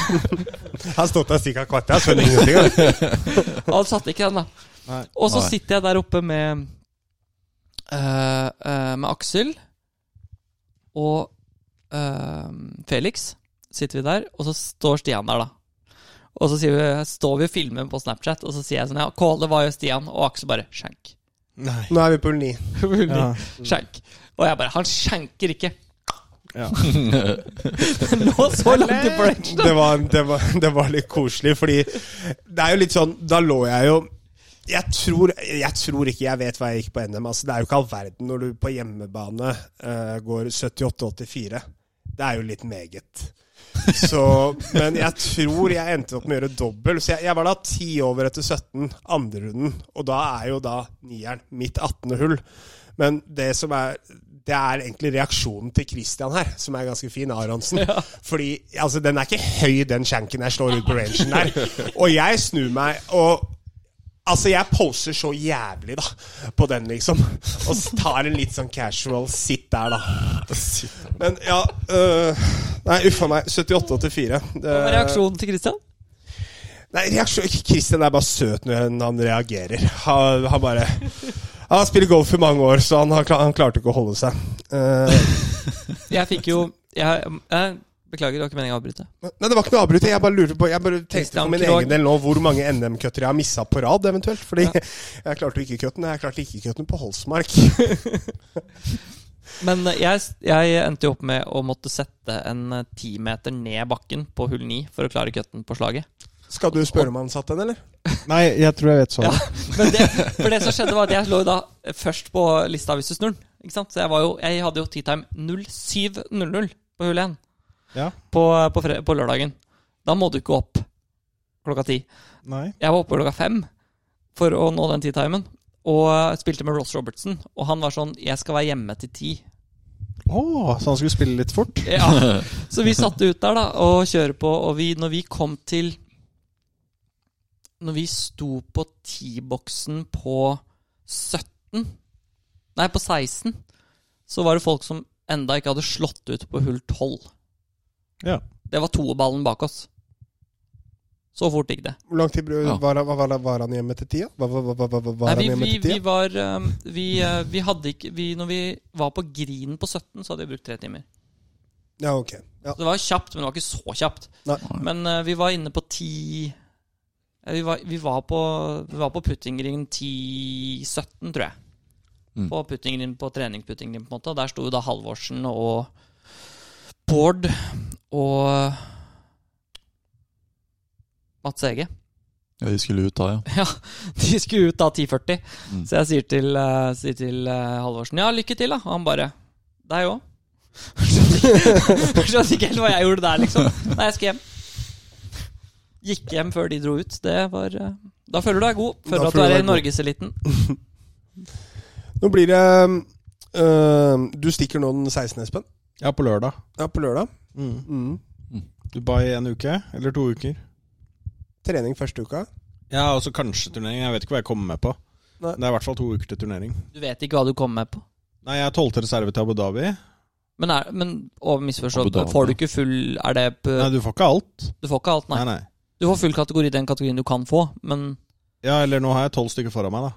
S1: Jeg har stått der stikka kvart, jeg skjønner ingenting. jeg.
S3: Han satte ikke den, da.
S2: Nei.
S3: Og så
S4: Nei.
S3: sitter jeg der oppe med eh, eh, Med Aksel og eh, Felix. Sitter vi der, og så står Stian der, da. Og så sier vi, står vi og filmer på Snapchat, og så sier jeg sånn Ja, Kåle, hva gjør Stian? Og Aksel bare skjenk.
S2: Nei.
S1: Nå er vi på 9.
S2: Ja.
S3: Skjenk. Og jeg bare Han skjenker ikke!
S2: Ja.
S3: Lå så langt i break.
S1: det, var, det, var, det var litt koselig, fordi det er jo litt sånn Da lå jeg jo jeg tror, jeg tror ikke jeg vet hva jeg gikk på NM. Altså, det er jo ikke all verden når du på hjemmebane eh, går 78-84. Det er jo litt meget. Så, men jeg tror jeg endte opp med å gjøre dobbel. Så jeg, jeg var da ti over etter 17, andre runden. Og da er jo da nieren mitt 18. hull. Men det som er det er egentlig reaksjonen til Christian her, som er ganske fin. Aronsen. Fordi altså, den er ikke høy, den shanken jeg slår ut på rangen der. Og jeg snur meg, og Altså, jeg poser så jævlig, da, på den, liksom. Og s- tar en litt sånn casual sitt der, da. Men ja øh, Nei, uffa meg. 78-84.
S3: Hva var
S1: Det-
S3: reaksjonen til Christian?
S1: Nei, reaksjon ikke Christian er bare søt når han- han reagerer. Han, han bare Han har spilt golf i mange år, så han, har kla- han klarte ikke å holde seg. Eh,
S3: Jeg fikk jo jeg, jeg, Beklager, det var ikke meningen å avbryte.
S1: Nei, det var ikke noe avbryting. Jeg bare lurte på Jeg bare tenkte
S3: Christian
S1: for min
S3: Krogh.
S1: egen del nå hvor mange NM-cutter jeg har missa på rad, eventuelt. Fordi jeg klarte ikke cutten. Jeg klarte ikke cutten på Holsmark.
S3: Men eh, jeg, jeg endte jo opp med å måtte sette en eh, ti meter ned bakken på hull ni for å klare cutten på slaget.
S1: Skal du spørre om han satt den, eller?
S2: Nei, jeg tror jeg vet svaret.
S3: Men det, for det som skjedde, var at jeg lå da først på lista hvis du snur den. Ikke sant? Så jeg, var jo, jeg hadde jo teatime 07.00 på hull 1
S2: Ja.
S3: på, på, fre på lørdagen. Da må du ikke opp klokka ti.
S2: Nei.
S3: Jeg var oppe klokka fem for å nå den teatimen. Og spilte med Ross Robertson, og han var sånn 'Jeg skal være hjemme til ti'.
S2: Å, så han skulle spille litt fort?
S3: Ja. Så vi satt ut der da og kjører på, og vi, når vi kom til Når vi sto på T-boksen på 17 Nei, på 16, så var det folk som enda ikke hadde slått ut på hull 12.
S2: Ja.
S3: Det var toerballen bak oss. Så fort gikk det.
S1: Hvor lang tid bru-
S4: Ja.
S1: var, han- var, var, var han hjemme til tida? Var, var, var, var, var
S3: Nei,
S1: han
S3: vi,
S1: hjemme
S3: vi,
S1: til
S3: vi
S1: tida?
S3: var um, vi, eh, vi hadde ikke vi, Når vi var på grinen på 17, så hadde vi brukt tre timer.
S1: Ja, ok. Ja.
S3: Så det var kjapt, men det var ikke så kjapt.
S1: Nei.
S3: Men eh, vi var inne på ti eh, vi, var, vi, var på, vi var på puttingringen 10-17, tror jeg.
S4: Mm.
S3: På puttingringen på treningsputtingringen, på en måte. Der sto jo da Halvorsen og Bård og Mats Ege.
S4: Ja, de skulle ut da, ja.
S3: Ja, de skulle ut da 10.40.
S4: Mm.
S3: Så jeg sier til, eh, sier til eh, Halvorsen ja, lykke til, da. Og han bare deg òg. Skjønte ikke helt hva jeg gjorde der, liksom. Nei, jeg skal hjem. Gikk hjem før de dro ut. Det var eh, Da føler du deg god.
S1: Da
S3: Føler at du
S1: føler du
S3: er i
S1: deg
S3: norgeseliten.
S1: Nå blir det øhm, Du stikker nå den 16., Espen.
S2: Ja, på lørdag.
S1: Ja, på lørdag. Mm.
S2: Dubai en uke, eller to uker?
S1: Trening første uka.
S2: Ja, og så kanskje turnering. Jeg vet ikke hva jeg kommer med på.
S1: Nei.
S2: Det er i hvert fall to uker til turnering.
S3: Du vet ikke hva du kommer med på.
S2: Nei, jeg er tolvte reserve til Abu Dhabi.
S3: Men, er, men og misforstå,
S4: Abu Dhabi.
S3: får du ikke full Er det p-
S2: Nei, du får ikke alt.
S3: Du får ikke alt, nei.
S2: Nei, nei.
S3: Du får full kategori i den kategorien du kan få, men
S2: Ja, eller nå har jeg tolv stykker foran meg, da.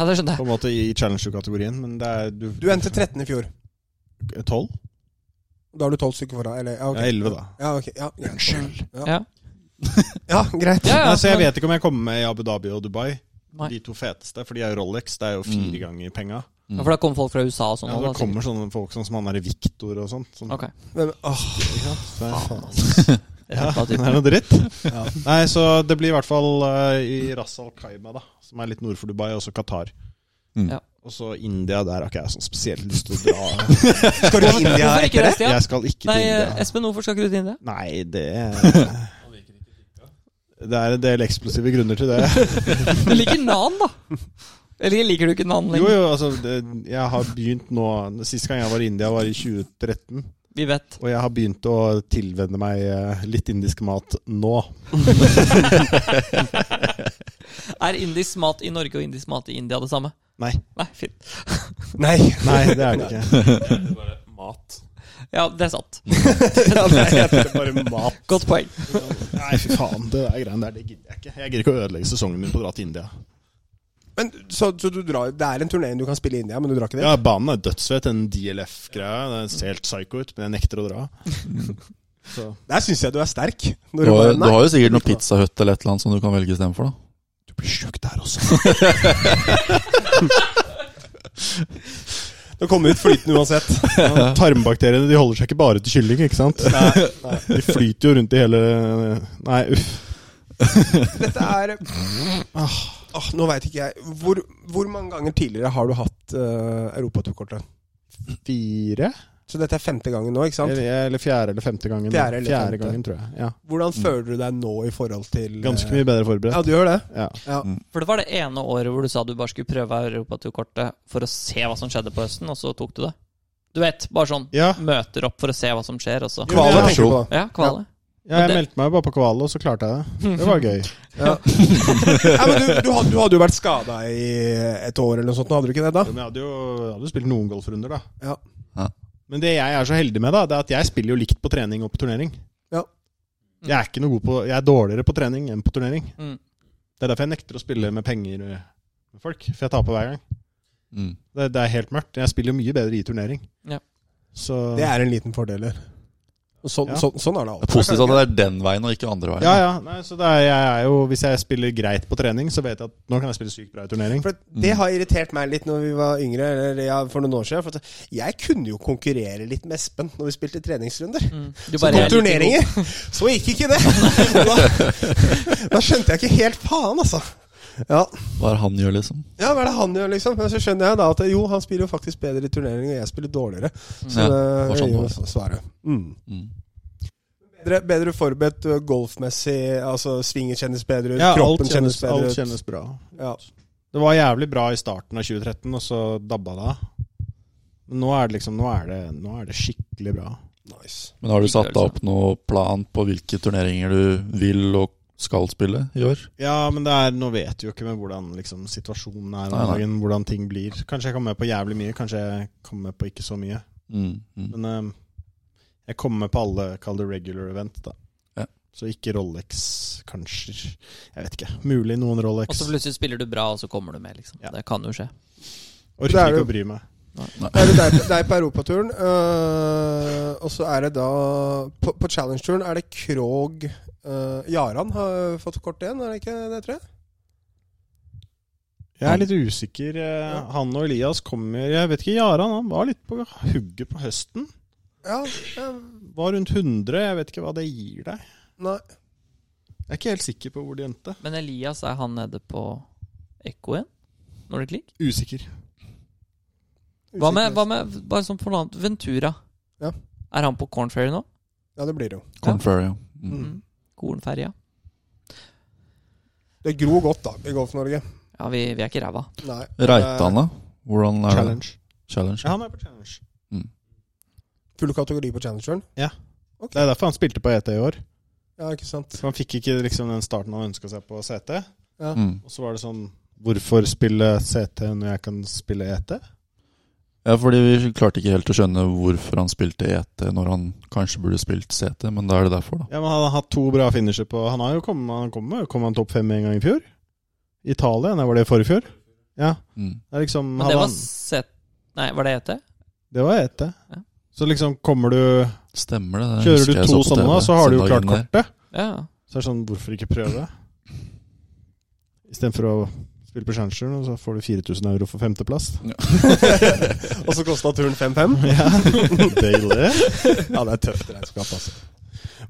S3: Ja, det skjønner jeg.
S2: På en måte i challenger-kategorien, men det er Du,
S1: Du endte 13. i fjor.
S2: tolv?
S1: Da har du 12 stykker foran. Eller, ja, ok.
S2: Ja, elleve, da.
S1: Ja, ok. Ja, greit.
S2: Unnskyld.
S3: Ja.
S1: Ja, greit.
S3: Ja, ja,
S2: Nei, så jeg
S3: men-
S2: vet ikke om jeg kommer med i Abu Dhabi og Dubai.
S3: Nei.
S2: De to feteste, for de er jo Rolex. Det er jo fire ganger penga.
S3: Ja, for da kommer folk fra USA og
S2: Mm.
S3: sånn.
S2: Ja,
S3: og
S2: da
S3: da sikkert-
S2: kommer sånne folk sånn som han derre Victor og sånt. Sånn,
S3: Ok. altså.
S1: Men, åh,
S2: Så det er-
S3: Ja,
S2: Det er noe dritt. Nei, så det blir i hvert fall eh, i Ras Al Khaimah, da, som er litt nord for Dubai, og så Qatar.
S4: Mm.
S3: Ja.
S2: Og så India, der har ikke jeg sånn spesielt lyst til å dra.
S1: skal du til India
S3: Hvorfor ikke
S1: etter
S3: det,
S1: det?
S3: Stian?
S2: Jeg skal ikke
S3: Nei, eh,
S2: til India.
S3: Espen, hvorfor skal ikke du til India?
S2: Nei, det Det er en del eksplosive grunner til det.
S3: Du liker nan, da! Eller liker du ikke nan
S2: Jo,
S3: lenger?
S2: jo, altså det, Jeg har begynt nå Sist gang jeg var i India, var i 2013.
S3: Vi vet.
S2: Og jeg har begynt å tilvenne meg eh, litt indisk mat nå.
S3: Er indisk mat i Norge og indisk mat i India det samme?
S2: Nei,
S3: Nei, fint.
S1: Nei.
S2: nei det er det ikke.
S5: Det er bare mat.
S3: Ja, det er sant.
S1: Ja, det heter bare mat.
S3: Godt poeng.
S2: Nei, fy faen, det der greiene der, det gidder jeg ikke. Jeg gidder ikke å ødelegge sesongen min på å dra til India.
S1: Men, så, så du drar Det er en turnering du kan spille i India, men du drar ikke det?
S2: Ja, banen er dødsfett, den DLF-greia. Den ser helt psycho ut, men jeg nekter å dra. Så.
S1: Der syns jeg du er sterk. Når
S4: Du
S1: du
S4: har,
S1: bare,
S4: du
S1: nei.
S4: har jo sikkert noe Pizza Hut eller et eller annet som du kan velge istedenfor, da.
S2: Du blir sjuk der også.
S1: Du kommer ut flytende uansett.
S2: Tarmbakteriene de holder seg ikke bare til kylling, ikke sant? De flyter jo rundt i hele Nei, uff.
S1: Dette er ah, ah, Nå veit ikke jeg. Hvor, hvor mange ganger tidligere har du hatt uh, europaturkortet?
S2: Fire?
S1: Så dette er femte gangen nå, ikke sant?
S2: Eller, eller fjerde eller femte gangen.
S1: Fjerde eller femte.
S2: gangen, tror jeg. Ja.
S1: Hvordan føler du deg nå i forhold til eh,
S2: Ganske mye bedre
S1: Ja,
S2: forberedt.
S1: du gjør det?
S2: Ja.
S1: Ja.
S3: For det var det ene året hvor du sa du bare skulle prøve europaturkortet for å se hva som skjedde på høsten, og så tok du det. Du vet, bare sånn
S2: Ja.
S3: møter opp for å se hva som skjer, og så
S1: Kvala tenker du på.
S3: Ja, kvale.
S2: Ja, jeg
S3: Men det-
S2: meldte meg jo bare på Kvalo, og så klarte jeg det. Det var gøy.
S1: Nei, men du, du, hadde, du hadde jo vært skada i et år eller noe sånt, nå hadde du ikke det da?
S2: Jo, men jeg hadde jo jeg hadde jo spilt noen golfrunder, da.
S1: Ja.
S4: Ja.
S2: Men det jeg er så heldig med, da, det er at jeg spiller jo likt på trening og på turnering.
S1: Ja.
S2: Jeg er ikke noe god på Jeg er dårligere på trening enn på turnering.
S3: Mm.
S2: Det er derfor jeg nekter å spille med penger eh, med folk, for jeg taper hver gang.
S4: Mm.
S2: Det, det er helt mørkt. Jeg spiller jo mye bedre i turnering.
S3: Ja.
S2: Så
S1: Det er en liten fordel her. Og Sånn,
S2: Ja.
S1: sånn, sånn er det
S4: Det er
S1: alltid.
S4: positivt at det er den veien og ikke andre veien.
S2: Ja, ja. Nei, så det er, jeg er jo, hvis jeg spiller greit på trening, så vet jeg at nå kan jeg spille sykt bra i turnering.
S1: For det har irritert meg litt når vi var yngre, eller ja, for noen år siden. For at jeg kunne jo konkurrere litt med Espen når vi spilte treningsrunder.
S3: mm. Du
S1: Så
S3: bare
S1: på
S3: er like
S1: turneringer så gikk ikke det! Da, da skjønte jeg ikke helt faen, altså. Ja.
S4: Hva er han gjør, liksom?
S1: ja, hva er det han gjør, liksom? Men så skjønner jeg da at jo, han spiller jo faktisk bedre i turnering, og jeg spiller dårligere. Så
S4: Ja,
S1: det
S4: var sånn
S1: er jo
S4: det
S1: svaret. Mm.
S4: Mm.
S1: Bedre, bedre forberedt uh, golfmessig, altså svingen kjennes bedre ut,
S2: Ja, alt
S1: kroppen kjennes,
S2: kjennes,
S1: bedre
S2: alt
S1: ut.
S2: kjennes bra.
S1: Ja.
S2: Det var jævlig bra i starten av 2013, og så dabba det av. Men Nå er det liksom, nå er det, nå er det skikkelig bra.
S1: Nice.
S4: Men har du
S3: Ikke
S4: satt deg
S3: altså.
S4: opp noen plan på hvilke turneringer du vil og skal spille i år?
S2: Ja, men det er, nå vet du jo ikke med hvordan liksom, situasjonen er om
S4: Nei, nei.
S2: dagen, hvordan ting blir. Kanskje jeg kommer med på jævlig mye, kanskje jeg kommer med på ikke så mye.
S4: Mm, mm.
S2: Men eh, jeg kommer med på alle, kall det regular event, da.
S4: Ja.
S2: Så ikke Rolex, kanskje. Jeg vet ikke. Mulig noen
S3: Og
S2: Rolex.
S4: Altså,
S3: så plutselig spiller du bra, og så kommer du med, liksom.
S2: Ja.
S3: Det kan jo skje.
S1: Det
S2: Orker
S1: er
S2: ikke
S1: jo-
S2: å bry meg.
S1: Det er, det der, det er på europaturen. øh, og så er det da På, på challenge-turen er det Krog øh, Jaran har fått kort igjen, er det ikke det, tror jeg?
S2: Jeg er litt usikker. eh,
S1: Ja.
S2: Han og Elias kommer Jeg vet ikke, Jaran han var litt på hugget på høsten.
S1: Ja, ja,
S2: Var rundt 100. Jeg vet ikke hva det gir deg.
S1: nei.
S2: Jeg er ikke helt sikker på hvor det endte.
S3: Men Elias, er han nede på Ekko igjen? Nordic League?
S2: Usikker.
S3: Hva
S2: altså.
S3: med, hva med bare sånn for noe annet, Ventura?
S1: Ja.
S3: Er han på Cornferry nå?
S1: Ja, det blir det jo.
S4: Conferry, ja. Mm.
S1: Mm.
S3: Kornferja?
S1: Det gror godt, da, i Golf-Norge.
S3: Ja, vi, vi er ikke ræva.
S1: Nei.
S4: Reitan, da? Hvordan er det?
S2: Challenge.
S4: Challenge.
S2: Ja, han er på challenge.
S1: Eh, Full kategori på challengeren?
S2: Det er derfor han spilte på ET i år.
S1: Ja, ikke sant?
S2: For Han fikk ikke liksom den starten han ønska seg på CT.
S4: Mm.
S2: Og så var det sånn Hvorfor spille CT når jeg kan spille E ET?
S4: Ja, fordi vi klarte ikke helt å skjønne hvorfor han spilte ET når han kanskje burde spilt CT, men da er det derfor, da.
S2: Ja, men Han har hatt to bra finisher på Han har jo kommet, han kom, med- kom han topp fem en gang i fjor? Italia? Nei, var det i forrige fjor? Ja.
S4: Mm.
S2: Det er liksom
S3: Men
S2: hadde
S3: det var
S2: han-
S3: set... Nei, var det ET?
S2: Det var ET.
S3: Ja.
S2: Så liksom kommer du
S4: Stemmer det. det
S2: Kjører
S4: husker
S2: du
S4: jeg
S2: to
S4: så på
S2: sånne,
S4: TV
S2: så har du jo
S4: søndagen
S2: klart
S4: der.
S2: kortet.
S3: Ja.
S2: Så det er sånn, hvorfor ikke prøve? Istedenfor å spille på Changeren, og så får du 4000 euro for femteplass.
S1: Og så kosta turen 5-5.
S2: Ja, Deilig.
S1: Ja, det er tøft regnskap, altså.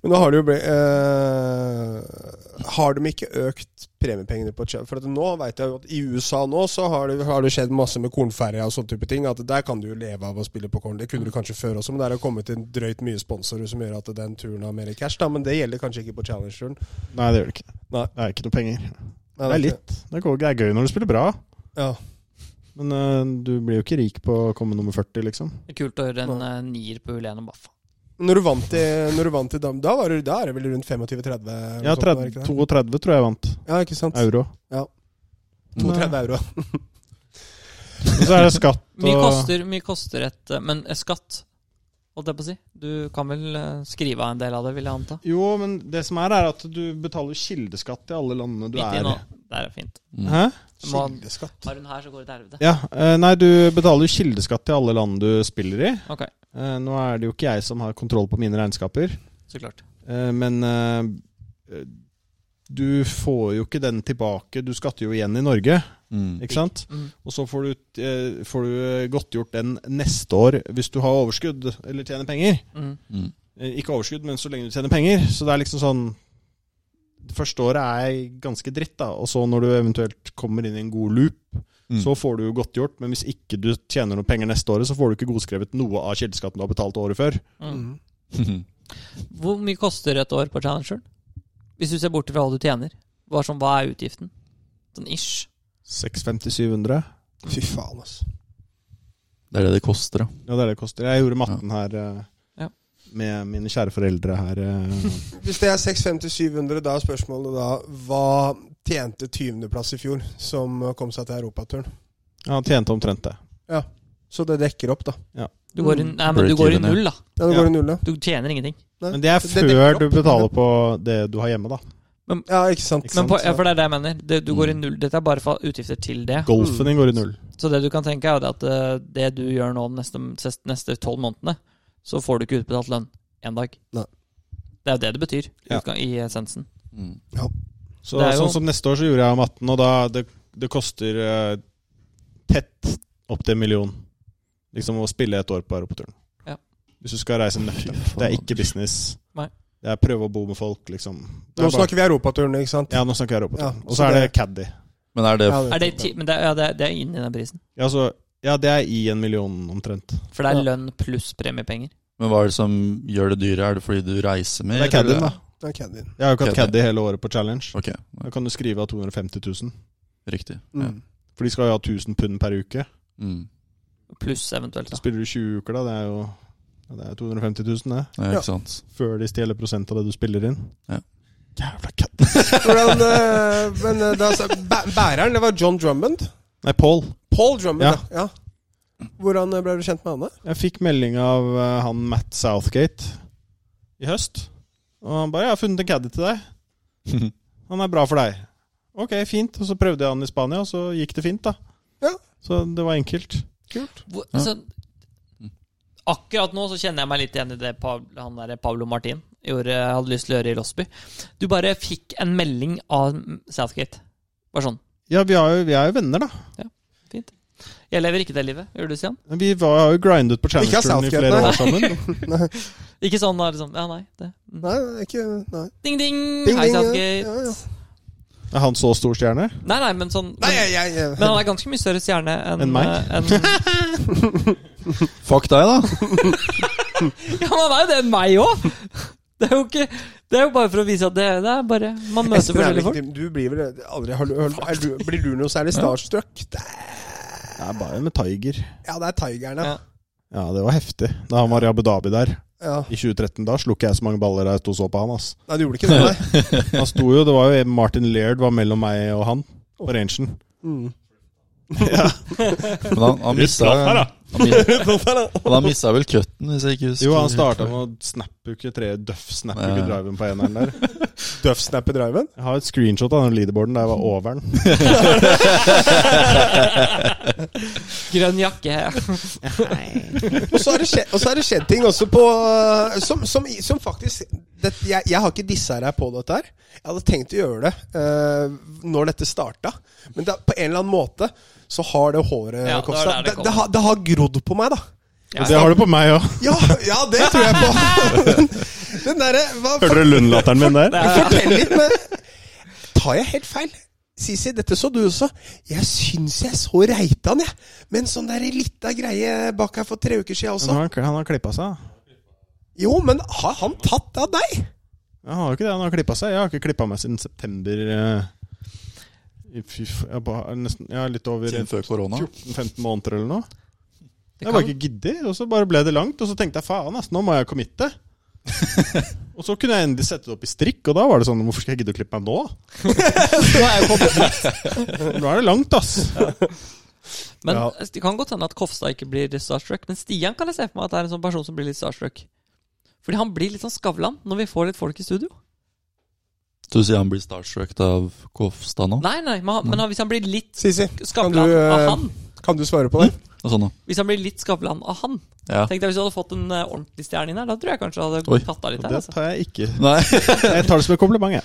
S1: Men nå har det jo blitt eh, Har de ikke økt premiepengene på Chad? For at nå vet jeg jo at i USA nå så har det, har det skjedd masse med kornferja og sånne type ting. At der kan du jo leve av å spille på korn. Det kunne du kanskje før også, men der har det kommet inn drøyt mye sponsorer som gjør at den turen har mer cash. da, Men det gjelder kanskje ikke på Challenge-turen.
S2: Nei, det gjør det ikke.
S1: Nei.
S2: Det er ikke noe penger.
S1: Nei,
S2: Det er
S1: ikke-
S2: litt. Det er go- det er gøy når du spiller bra,
S1: Ja.
S2: men eh, du blir jo ikke rik på å komme nummer 40, liksom.
S3: Det er Kult å gjøre en eh, nier på hull 1 og bare faen.
S1: Når du vant i, når du vant i dam, da, var du, da er det vel rundt 25-30? eller noe sånt, er
S2: Ja,
S1: sånn, det
S2: 30,
S1: ikke det?
S2: 32 tror jeg vant.
S1: ja, ikke sant?
S2: Euro.
S1: 32 euro.
S2: Og så er det skatt
S3: Mye
S2: og
S3: koster, mye koster et eh, Men eh, skatt, holdt jeg på å si. Du kan vel eh, skrive av en del av det, vil jeg anta.
S2: Jo, men det som er, er at du betaler kildeskatt i alle landene du
S3: Midt i
S2: er
S3: nå.
S2: i.
S3: Det er fint.
S4: Mm.
S2: Hæ?
S3: Man-
S1: Kildeskatt.
S3: Har hun her, så går det til helvete.
S2: Ja, eh, nei, du betaler jo kildeskatt i alle land du spiller i.
S3: Ok,
S2: Eh, Nå er det jo ikke jeg som har kontroll på mine regnskaper,
S3: så klart.
S2: eh, men eh, du får jo ikke den tilbake. Du skatter jo igjen i Norge,
S4: Mm.
S2: ikke sant?
S3: Mm.
S2: Og så får du, eh, får du eh, godtgjort den neste år hvis du har overskudd eller tjener penger.
S3: Mm.
S4: Mm.
S2: Eh, Ikke overskudd, men så lenge du tjener penger. Så det er liksom sånn Det første året er ganske dritt, da. Og så når du eventuelt kommer inn i en god loop,
S4: Mm.
S2: så får du jo godtgjort. Men hvis ikke du tjener noe penger neste året, så får du ikke godskrevet noe av kildeskatten du har betalt året før.
S3: Mm.
S1: Mm.
S3: Hvor mye koster et år på Challengeren? Hvis du ser bort fra hva du tjener. Hva, som, hva er utgiften? Sånn ish.
S2: 650-700.
S1: Fy faen, altså.
S4: Det er det det koster, ja.
S2: Ja, det er det det koster. Jeg gjorde matten her eh,
S3: Ja.
S2: med mine kjære foreldre her. eh.
S1: Hvis det er 650-700, da er spørsmålet da Hva tjente 20.-plass i fjor, som kom seg til europaturen?
S2: Ja, Han tjente omtrent det.
S1: Så det dekker opp, da.
S3: Du går i,
S1: Mm.
S3: nei, men du
S4: Break
S3: går i
S4: even, ja.
S3: null, da.
S1: Ja, det
S2: Ja.
S1: går i null, ja.
S3: Du tjener ingenting.
S1: Nei,
S2: Men det er
S1: dekker
S2: før du
S1: opp.
S2: betaler på det du har hjemme, da.
S1: Ja, ikke sant.
S2: Ikke
S3: Men
S2: sant?
S3: på, ja, for det er det jeg mener. Det, du går i
S4: Mm.
S3: null. Dette er bare for utgifter til det.
S2: Golfen din går i null.
S3: Så det du kan tenke, er jo det at eh, det du gjør nå de neste, ses- neste tolv månedene, så får du ikke utbetalt lønn. én dag.
S1: Nei.
S3: Det er jo det det betyr i
S2: Ja.
S3: utgang- i essensen.
S4: Mm.
S2: Så,
S3: Det er jo-
S2: Sånn som neste år så gjorde jeg om 18, og da det, det koster eh, tett opp til en million liksom å spille et år på Europaturen.
S3: Ja.
S2: Hvis du skal reise nøkternt.
S4: Fy faen.
S2: Det er ikke business.
S3: Nei.
S2: Det er prøve å bo med folk, liksom. Det er
S1: Nå
S2: bare-
S1: snakker vi europaturen, ikke sant?
S2: ja, nå snakker jeg Europaturen.
S1: Ja,
S2: og så er det Caddy.
S4: Men er det,
S1: Ja,
S3: Er det, ti, men det, er- ja, det, er- det er inn i den prisen.
S2: Ja, så, ja, det er i en million omtrent.
S3: For det er
S1: Ja.
S3: lønn pluss premiepenger.
S4: men hva er det som gjør det dyre? Er det fordi du reiser mer?
S2: Det er Caddy,
S4: eller?
S2: da.
S1: Det er caddien.
S2: Jeg har jo ikke hatt
S4: Caddy.
S2: Caddy hele året på Challenge.
S4: Ok,
S2: Da kan du skrive av 250 000.
S4: riktig. Ja.
S1: Mm.
S2: For de skal jo ha 1000 pund per uke.
S4: Mm.
S3: Pluss eventuelt,
S2: Så
S3: da.
S2: spiller du 20 uker, da. Det er jo ja, det er 250 000, det.
S4: Ja,
S1: Ja.
S4: ikke sant.
S2: Før de stjeler prosent av det du spiller inn.
S4: Ja.
S2: Jævla katt.
S1: Hvordan, eh, men eh, da, sa- bæ bæreren, det var John Drummond.
S2: Nei, Paul.
S1: Paul Drummond,
S2: Ja.
S1: ja. ja. Hvordan eh, ble du kjent med han? da?
S2: Jeg fikk melding av eh, han Matt Southgate i høst. Og han bare 'Jeg har funnet en caddy til deg. Han er bra for deg'. Ok, fint. Og så prøvde jeg han i Spania, og så gikk det fint, da.
S1: Ja.
S2: Så det var enkelt.
S3: Hvor,
S4: Ja.
S3: så, akkurat nå så kjenner jeg meg litt igjen i det Pa- han der Pablo Martin gjorde, hadde lyst til å gjøre i Losby. Du bare fikk en melding av Southgate. Bare sånn.
S2: Ja, vi er jo, vi er jo venner, da.
S3: Fint. Jeg lever ikke det livet. Gjør du, Stian?
S2: Vi var, har jo grindet på
S1: Ikke av
S2: Challenge-turen i
S1: Southgate,
S2: flere
S1: nei.
S2: år sammen.
S3: Ikke sånn da, liksom. Ja, nei. Det. mm.
S1: Nei, det er ikke nei.
S3: Ding, ding!
S1: Ding,
S3: Hei,
S1: ding, ja.
S3: Southgate.
S1: Ja, ja.
S2: Er han så stor stjerne?
S3: Nei, nei, men sånn
S1: Nei,
S3: men,
S1: jeg, jeg, jeg.
S3: men han er ganske mye større stjerne enn
S2: Enn meg?
S3: eh, enn-
S4: Fuck deg, da!
S3: ja, men han er jo det enn meg òg! Det er jo ikke Det er jo bare for å vise at det, det er bare Man
S1: Espen
S3: møter
S1: er
S3: forskjellige
S1: vel
S3: folk.
S1: ikke- Du blir vel aldri har du, har, er du, Blir du noe særlig starstruck? Det er,
S2: Det er bare med Tiger.
S1: ja, det er Tigeren, ja.
S3: Ja.
S2: Ja, det var heftig. Da han var i Abu Dhabi der
S1: ja.
S2: i 2013, da slo ikke jeg så mange baller da jeg sto og så på han. ass.
S1: Nei, du gjorde ikke det, nei.
S2: Han sto jo, det var jo Martin Laird var mellom meg og han på rangen.
S1: Mm.
S4: Men han, han mista
S5: Slapp her, da.
S4: han mi- Men han mista vel cutten, hvis jeg ikke husker
S2: Jo, han starta
S4: helt feil.
S2: med å snapuke tre
S4: Ja.
S2: duff-snapuke-driven på eneren der.
S1: Duff-snapper driven?
S2: Jeg har et screenshot av den leaderboarden da jeg var over den.
S3: Grønn jakke.
S1: Og så har det skjedd, og så har det skjedd ting også på øh, Som, som, i- som faktisk det, jeg, jeg har ikke dissa deg på dette her. Jeg hadde tenkt å gjøre det øh, når dette starta. Men det, på en eller annen måte så har det håret
S3: Ja, det var
S1: Kopstad,
S3: der det
S1: det,
S3: kom.
S1: det, har, det har grodd på meg, da.
S3: Ja,
S2: Det har du på meg òg.
S1: Ja, ja det tror jeg på. Den derre hva-
S2: Hørte dere Lund-latteren min der?
S1: Fortell litt, men Tar jeg helt feil? Sisi, dette så du også. Jeg syns jeg så Reitan, jeg. Med en sånn der lita greie bak her for tre uker siden også.
S2: Han har, han har klippa seg. da.
S1: Jo, men har han tatt det av deg?
S2: Jeg har jo ikke det, han har klippa seg. Jeg har ikke klippa meg siden september eh, i fy f- jeg ba- nesten, ja, litt over
S4: Siden før korona.
S2: 14-15 måneder eller noe.
S3: Det
S2: Jeg
S3: kan-
S2: bare ikke giddet, og så bare ble det langt. Og så tenkte jeg faen, ass, nå må jeg committe. og så kunne jeg endelig sette det opp i strikk, og da var det sånn Hvorfor skal jeg gidde å klippe meg nå?
S3: Nå er jeg kommet
S2: Nå er det langt, ass.
S3: Men altså,
S1: Ja.
S3: Det kan godt hende at Kofstad ikke blir starstruck. Men Stian kan jeg se for meg at er en sånn person som blir litt starstruck. Fordi han blir litt sånn Skavlan når vi får litt folk i studio.
S4: Du sier han blir starstruck av Kofstad nå?
S3: Nei, nei, men, han, men han, hvis han blir litt
S1: Sisi, kan du,
S3: Skavlan av
S1: eh,
S3: han
S1: kan du svare på det?
S4: Og sånn, da.
S3: Hvis han blir litt Skavlan av han
S4: Ja.
S3: Tenk deg hvis du hadde fått en eh, ordentlig stjerne inn her, da tror jeg kanskje jeg
S4: Oi.
S3: hadde tatt av litt
S2: Og
S3: her.
S2: det
S3: Altså.
S2: tar jeg ikke.
S4: Nei.
S2: Jeg tar det som et kompliment, jeg.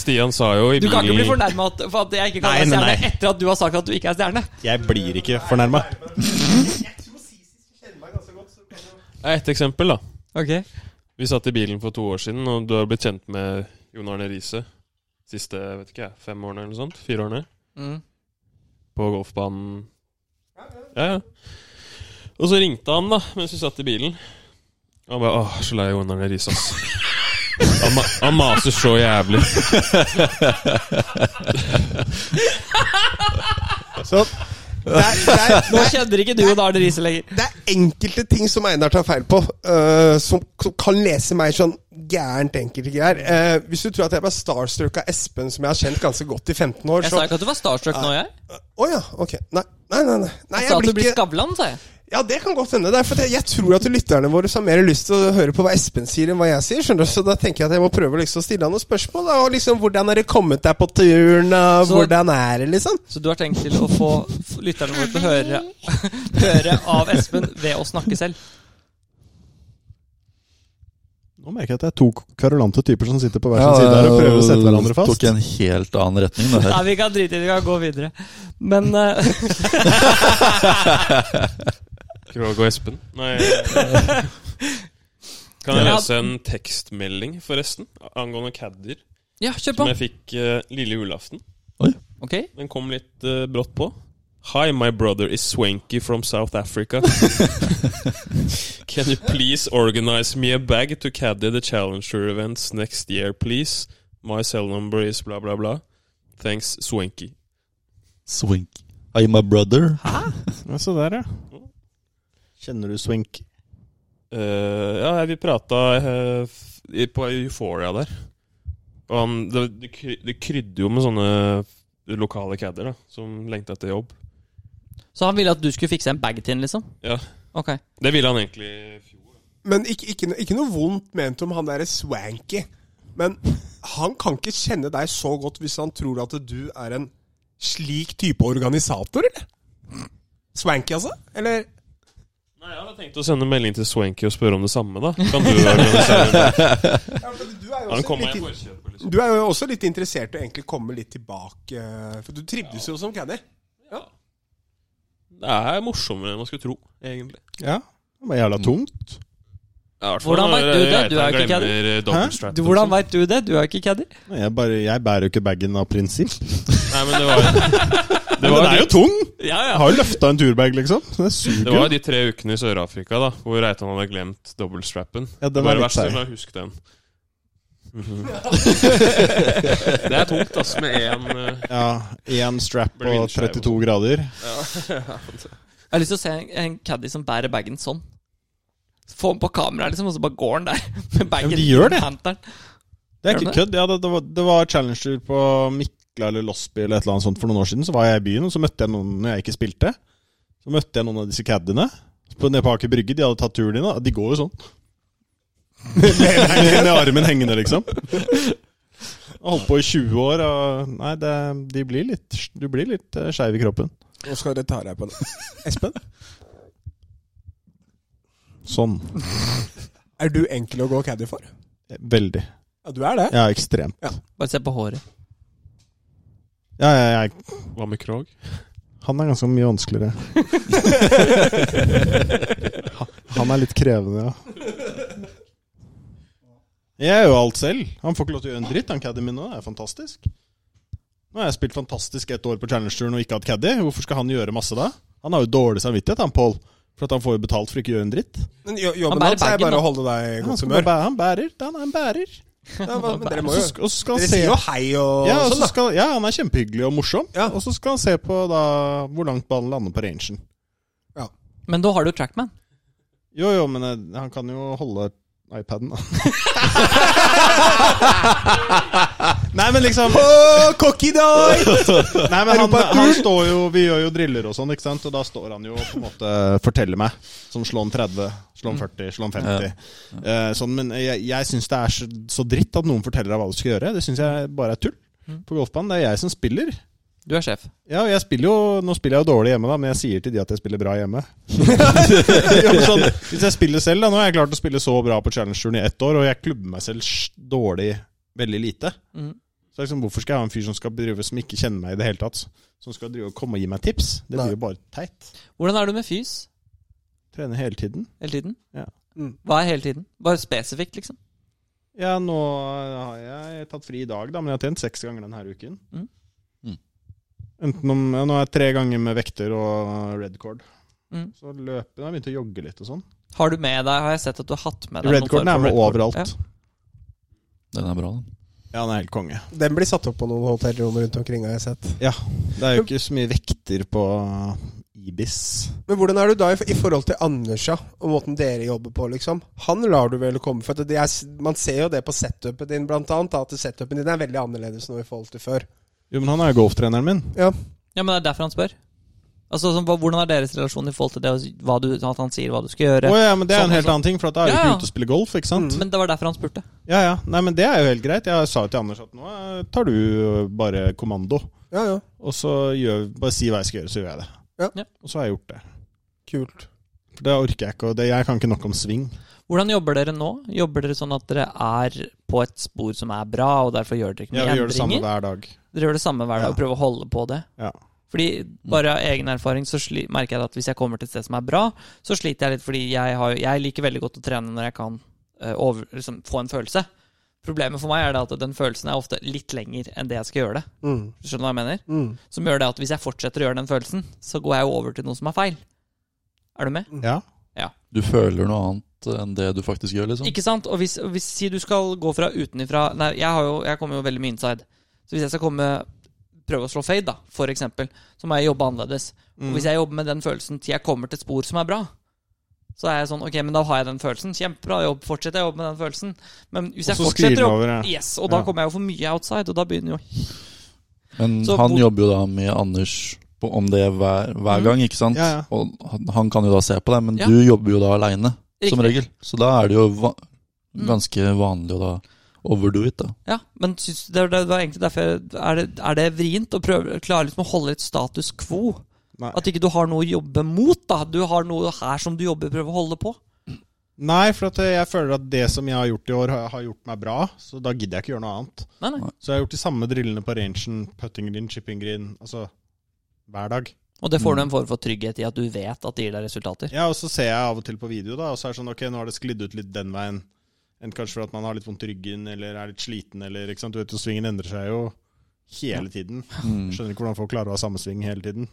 S5: Stian sa jo i
S3: Du kan ikke bli
S5: bilen
S3: fornærma for at jeg ikke kan
S2: Nei,
S3: være
S2: nei,
S3: stjerne
S2: nei.
S3: etter at du har sagt at du ikke er stjerne.
S2: Jeg blir ikke fornærma.
S5: Ja, Et eksempel, da.
S3: Ok
S5: Vi satt i bilen for to år siden, og du har blitt kjent med Jon Arne Riise siste vet ikke jeg, fem årene eller noe sånt. Fire årene.
S3: mm.
S5: På golfbanen. Ja, ja. Og så ringte han, da, mens vi satt i bilen. Og han bare Åh, så lei av Jon Arne Riise, ass. Han, ma han maser så jævlig.
S1: Så, det, er, det, er,
S3: Nå kjenner ikke du og Arne Riise lenger.
S1: det er enkelte ting som Einar tar feil på, øh, som, som kan lese meg sånn gærent enkelte greier. Eh, hvis du tror at jeg ble starstruck av Espen, som jeg har kjent ganske godt i 15 år,
S3: Jeg
S1: så
S3: sa ikke at du var starstruck nå, jeg.
S1: Å ja, ok. Nei, nei, nei. nei. nei
S3: Jeg
S1: jeg
S3: sa at du
S1: blir
S3: blir
S1: ikke
S3: Skavlan, sa jeg.
S1: Ja, det kan godt hende. Det er fordi jeg tror at lytterne våre har mer lyst til å høre på hva Espen sier, enn hva jeg sier. skjønner du? Så da tenker jeg at jeg må prøve liksom å stille han noen spørsmål. Da. Og liksom, Hvordan har det kommet deg på turen? og
S3: Så-
S1: Hvordan er det, liksom?
S3: Så du har tenkt til å få f- lytterne våre til å høre, høre av Espen ved å snakke selv?
S2: Nå merker jeg at det er to kverulante typer som sitter på hver sin
S4: Ja,
S2: side her og
S4: det
S2: prøver å sette hverandre
S4: Tok
S2: fast.
S4: en helt annen retning, det
S3: Nei,
S4: her.
S3: vi kan drite i det, vi kan gå videre. Men eh,
S5: Krog og Espen. Nei eh, Kan jeg lese en tekstmelding, forresten? Angående caddier.
S3: Ja, kjør på.
S5: Som jeg fikk eh, lille julaften.
S3: Ok.
S5: Den kom litt eh, brått på. Hi, my brother is Swanky from South Africa. Can you please organize me a bag to caddy the Challenger events next year, please? My cell number is bla, bla, bla. Thanks, Swanky.
S4: Swink. I'm a brother.
S2: Ja, se der, ja. Kjenner du Swink?
S5: Eh, ja, vi prata eh, f- i- på Euphoria der. Og han, det, det kry- det krydde jo med sånne lokale cadder da, som lengta etter jobb.
S3: Så han ville at du skulle fikse en bag til ham, liksom?
S5: Ja.
S3: Ok.
S5: Det ville han egentlig i fjor.
S1: Men ikke, ikke, no- ikke noe vondt ment om han derre swanky. Men han kan ikke kjenne deg så godt hvis han tror at du er en slik type organisator, eller? Swanky, altså? Eller
S5: Nei, Jeg hadde tenkt å sende melding til Swanky og spørre om det samme. da Kan du organisere det?
S1: du er, jo
S5: Han
S1: også
S5: kom meg i
S1: litt,
S5: forkjøpet, liksom.
S1: du er jo også litt interessert i å egentlig komme litt tilbake, eh, for du trivdes jo som caddy.
S5: Det er morsommere enn man skulle tro, egentlig.
S2: Ja. Det var jævla tungt.
S5: Ja, i hvert fall
S3: Hvordan
S5: når
S3: vet du det? Du er
S5: Reitan
S3: jo ikke
S5: glemmer double strap,
S3: Du, hvordan
S5: liksom.
S3: veit du det? Du er jo ikke caddy.
S2: Nei, Jeg, bare, jeg bærer jo ikke bagen av prinsipp.
S5: Nei, men det var,
S2: Men den er jo tung!
S5: ja,
S2: Jeg
S5: ja.
S2: har jo løfta en turbag, liksom. Så Det
S5: Det
S2: suger jo.
S5: var jo de tre ukene i Sør-Afrika da hvor Reitan hadde glemt dobbeltstrappen.
S2: Ja, den
S5: det
S2: er
S5: var
S2: litt
S5: det verste,
S2: seig.
S5: la husk den. Mhm. det er tungt, ass, med én eh,
S2: Ja, Én strap
S5: Blir
S2: og
S5: vindskeiv
S2: 32 grader.
S3: Jeg har lyst til å se en, en caddy som bærer bagen sånn. Få den på kamera, liksom, og så bare går han der med bagen.
S2: men de gjør
S3: i
S2: det.
S3: hanteren.
S2: Det er
S3: Er det
S2: ikke kødd. Ja, det, det, var, det var challenger på Mikla eller Losby eller et eller annet sånt for noen år siden. Så var jeg i byen, og så møtte jeg noen når jeg ikke spilte. Så møtte jeg noen av disse caddiene på- nede på Aker Brygge. De hadde tatt turen inn. da. De går jo sånn. med, med armen hengende, liksom. Og Holdt på i 20 år, og Nei, det, de blir litt, du blir litt eh, skeiv i kroppen.
S1: Nå skal dere ta deg på det. Espen,
S2: Sånn.
S1: er du enkel å gå caddy for?
S2: Veldig.
S1: Ja, du er det.
S2: Ja, ekstremt.
S3: Bare se på håret.
S2: Ja, ja, jeg
S5: Hva med Krog?
S2: Han er ganske mye vanskeligere. Ha- Han er litt krevende, ja. Jeg gjør jo alt selv. Han får ikke lov til å gjøre en dritt, han caddien min nå. Det er fantastisk. Nå har jeg spilt fantastisk et år på Challenge-turen og ikke hatt caddy. Hvorfor skal han gjøre masse da? Han har jo dårlig samvittighet, han Pål. For at han får jo betalt for ikke å gjøre en dritt.
S1: Men jo-
S3: Han
S1: jobben
S3: bærer
S1: hans er
S3: bagen,
S1: bare
S3: da.
S1: å holde deg i
S2: Han,
S1: godt
S2: skal bare
S1: humør.
S2: bære, han bærer. Han er en bærer.
S1: Ja, hva- men dere
S2: Og
S1: må
S2: så
S1: jo
S2: skal, og så skal
S1: Dere
S2: han se
S1: sier jo hei og,
S2: ja,
S1: og
S2: og så
S1: sånn, da.
S2: skal, ja, han er kjempehyggelig og morsom.
S1: Ja.
S2: Og så skal han se på da, hvor langt ballen lander på rangen.
S3: Men da har du trackman.
S2: Jo, jo, men eh, han kan jo holde iPaden, da. nei, men liksom
S1: Åh, cocky dog!
S2: Nei, men han,
S1: Europa-tur!
S2: han står jo Vi gjør jo driller og sånn, ikke sant? Og da står han jo og på en måte forteller meg. Sånn slå om 30, slå om 40, slå om 50. Eh, sånn, men jeg, jeg syns det er så, så dritt at noen forteller deg hva du skal gjøre. Det syns jeg bare er tull. På golfbanen, det er jeg som spiller.
S3: Du er sjef.
S2: Ja, og jeg spiller jo, Nå spiller jeg jo dårlig hjemme, da, men jeg sier til de at jeg spiller bra hjemme. Jo, men sånn, hvis jeg spiller selv, da, Nå har jeg klart å spille så bra på Challenge-turen i ett år, og jeg klubber meg selv sj- dårlig veldig lite.
S3: Mhm.
S2: Så liksom, Hvorfor skal jeg ha en fyr som skal drive, som ikke kjenner meg i det hele tatt, som skal drive og komme og gi meg tips? Det
S1: Nei.
S2: blir jo bare teit.
S3: Hvordan er du med fys
S2: Trener hele tiden.
S3: hele tiden?
S2: Ja.
S1: Mm.
S3: Hva er hele tiden? Bare spesifikt, liksom?
S2: Ja, nå har jeg tatt fri i dag, da, men jeg har trent seks ganger denne uken.
S3: Mhm.
S4: Mhm.
S2: Enten om, ja, Nå er jeg tre ganger med vekter og red cord.
S3: Mhm.
S2: Så løper jeg har begynt å jogge litt og sånn.
S3: Har du med deg Har jeg sett at du har hatt med deg noen
S2: Redcorden
S3: form
S2: er
S3: for
S2: med
S3: red cord?
S2: overalt.
S3: Ja.
S2: Ja.
S4: Den er bra, den.
S2: han er helt konge.
S1: Den blir satt opp på noen hotellrom rundt omkring, har jeg sett.
S2: Det er jo ikke så mye vekter på Ibis.
S1: Men hvordan er du da i, i forhold til Anders ja, og måten dere jobber på, liksom? Han lar du vel komme for at det er, Man ser jo det på setupet din, blant annet. da, At setupen din er veldig annerledes nå i forhold til før.
S2: Jo, men han er jo golftreneren min.
S1: Ja,
S3: Ja, men det er derfor han spør. Altså, sånn, hva- Hvordan er deres relasjon i forhold til det og hva du, at han sier hva du skal gjøre?
S2: Å ja, men det er
S3: Sånn
S2: en helt
S3: og sånn.
S2: annen ting, for at da er jeg jo
S3: Ja, ja.
S2: ikke ute og spiller golf, ikke sant?
S3: Men det var derfor han spurte.
S2: Ja, ja. Nei, men det er jo helt greit. Jeg sa jo til Anders at nå eh, tar du eh, bare kommando,
S1: ja. ja.
S2: og så gjør, bare si hva jeg skal gjøre, så gjør jeg det.
S1: Ja.
S3: Ja.
S2: Og så har jeg gjort det.
S1: Kult.
S2: For det orker jeg ikke. Og det, jeg kan ikke nok om sving.
S3: Hvordan jobber dere nå? Jobber dere sånn at dere er på et spor som er bra, og derfor gjør dere ikke mye
S2: Jeg gjør det samme
S3: endringer?
S2: hver dag.
S3: dere gjør det samme hver dag
S2: Ja.
S3: og prøver å holde på det?
S2: Ja.
S3: Fordi bare av egen erfaring så sli, merker jeg at hvis jeg kommer til et sted som er bra, så sliter jeg litt fordi jeg, har, jeg liker veldig godt å trene når jeg kan eh, over, liksom, få en følelse. Problemet for meg er det at den følelsen er ofte litt lenger enn det jeg skal gjøre det.
S1: Mm.
S3: Skjønner du hva jeg mener?
S1: Mm.
S3: Som gjør det at hvis jeg fortsetter å gjøre den følelsen, så går jeg jo over til noe som er feil. Er du med?
S2: ja.
S4: Du føler noe annet enn det du faktisk gjør, liksom.
S3: Ikke sant? Og hvis, og hvis si du skal gå fra utenifra Nei, jeg, har jo, jeg kommer jo veldig mye inside. Så hvis jeg skal komme prøve å slå fade, da, for eksempel, så må jeg jobbe annerledes.
S2: Mm.
S3: Og
S2: Mhm.
S3: hvis jeg jobber med den følelsen til jeg kommer til et spor som er bra, så er jeg sånn Ok, men da har jeg den følelsen. Kjempebra jobb. Fortsetter jeg å jobbe med den følelsen. Men hvis
S2: Og
S3: jeg
S2: så
S3: fortsetter
S2: sklir
S3: å
S2: den over, ja.
S3: Yes, og da
S2: Ja.
S3: kommer jeg jo for mye outside, og da begynner jo
S4: Men
S3: Så
S4: han
S3: bo-
S4: jobber jo da med Anders på, om det hver, hver
S3: Mm.
S4: gang, ikke sant?
S2: Ja, ja.
S4: Og han, han kan jo da se på deg, men
S3: Ja.
S4: du jobber jo da aleine, som
S3: Riktig.
S4: regel. Så da er det jo va
S3: Mm.
S4: ganske vanlig å da overdo it, da.
S3: Ja, men syns du det, det var egentlig derfor jeg- Er det, er det vrient å prøve klare liksom å holde litt status quo?
S2: Nei.
S3: At ikke du har noe å jobbe mot, da. Du har noe her som du jobber prøver å holde på.
S2: Nei, for at eh, jeg føler at det som jeg har gjort i år, har- har gjort meg bra. Så da gidder jeg ikke gjøre noe annet.
S3: Nei, nei.
S2: Så jeg har gjort de samme drillene på rangen, putting green, chipping green, altså hver dag.
S3: Og det får
S2: Mm.
S3: du en form for trygghet i at du vet at det gir deg resultater.
S2: Ja, og så ser jeg av og til på video, da, og så er det sånn ok, nå har det sklidd ut litt den veien. Enn kanskje for at man har litt vondt i ryggen, eller er litt sliten, eller ikke sant. Du vet jo, svingen endrer seg jo hele tiden.
S4: Mm.
S2: Skjønner ikke hvordan folk klarer å ha samme sving hele tiden.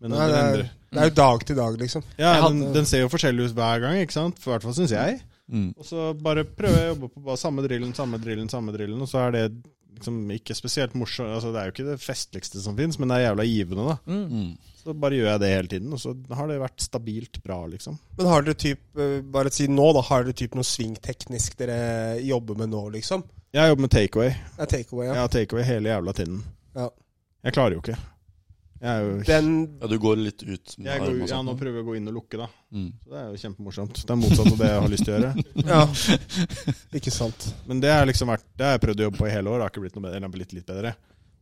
S2: Men
S1: Nei,
S2: den
S1: det, er,
S2: endrer.
S1: det er jo dag til dag, liksom.
S2: Ja,
S3: Jeg
S2: den,
S3: hadde-
S2: den ser jo forskjellig ut hver gang, ikke sant? For i hvert fall syns jeg.
S4: Mm.
S2: Og så bare prøver jeg å jobbe på bare samme drillen, samme drillen, samme drillen, og så er det liksom ikke spesielt morsomt. Altså, det er jo ikke det festligste som fins, men det er jævla givende, da.
S4: Mm.
S2: Så bare gjør jeg det hele tiden, og så har det vært stabilt bra, liksom.
S1: Men har dere typ, eh, bare si nå, da, har dere typ noe svingteknisk dere jobber med nå, liksom?
S2: Jeg har jobbet med takeaway.
S1: Det er takeaway,
S2: Jeg
S1: ja.
S2: har takeaway hele jævla tiden.
S1: Ja.
S2: Jeg klarer jo ikke. Jeg er jo
S1: Den
S4: Ja, du går litt ut med
S2: jeg går,
S4: armen og
S2: ja,
S4: sånt,
S2: Nå
S4: da.
S2: prøver jeg å gå inn og lukke, da.
S4: Mm.
S2: Så det er jo kjempemorsomt. Det er motsatt av det jeg har lyst til å gjøre.
S1: Ja. Ikke sant.
S2: Men det har liksom vært Det har jeg prøvd å jobbe på i hele år. Det har ikke blitt noe bedre. Eller det har blitt litt bedre.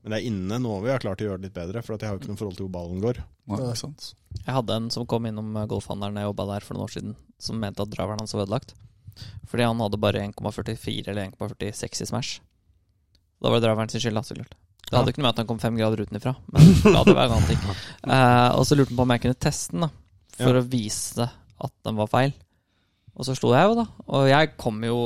S2: Men det er inne nå vi har klart å gjøre det litt bedre, for at jeg har jo ikke noe forhold til hvor ballen går.
S4: Nei, ikke sant.
S3: Jeg hadde en som kom innom eh, golfhandelen jeg jobba der for noen år siden, som mente at driveren hans var ødelagt. Fordi han hadde bare 1,44 eller 1,46 i Smash. Da var det driveren sin skyld, da, så klart. Det hadde ikke noe med at han kom fem grader utenfra, men la det være en annen ting. Eh, og så lurte han på om jeg kunne teste den, da, for å vise at den var feil. Og så slo jeg jo, da. Og jeg kom jo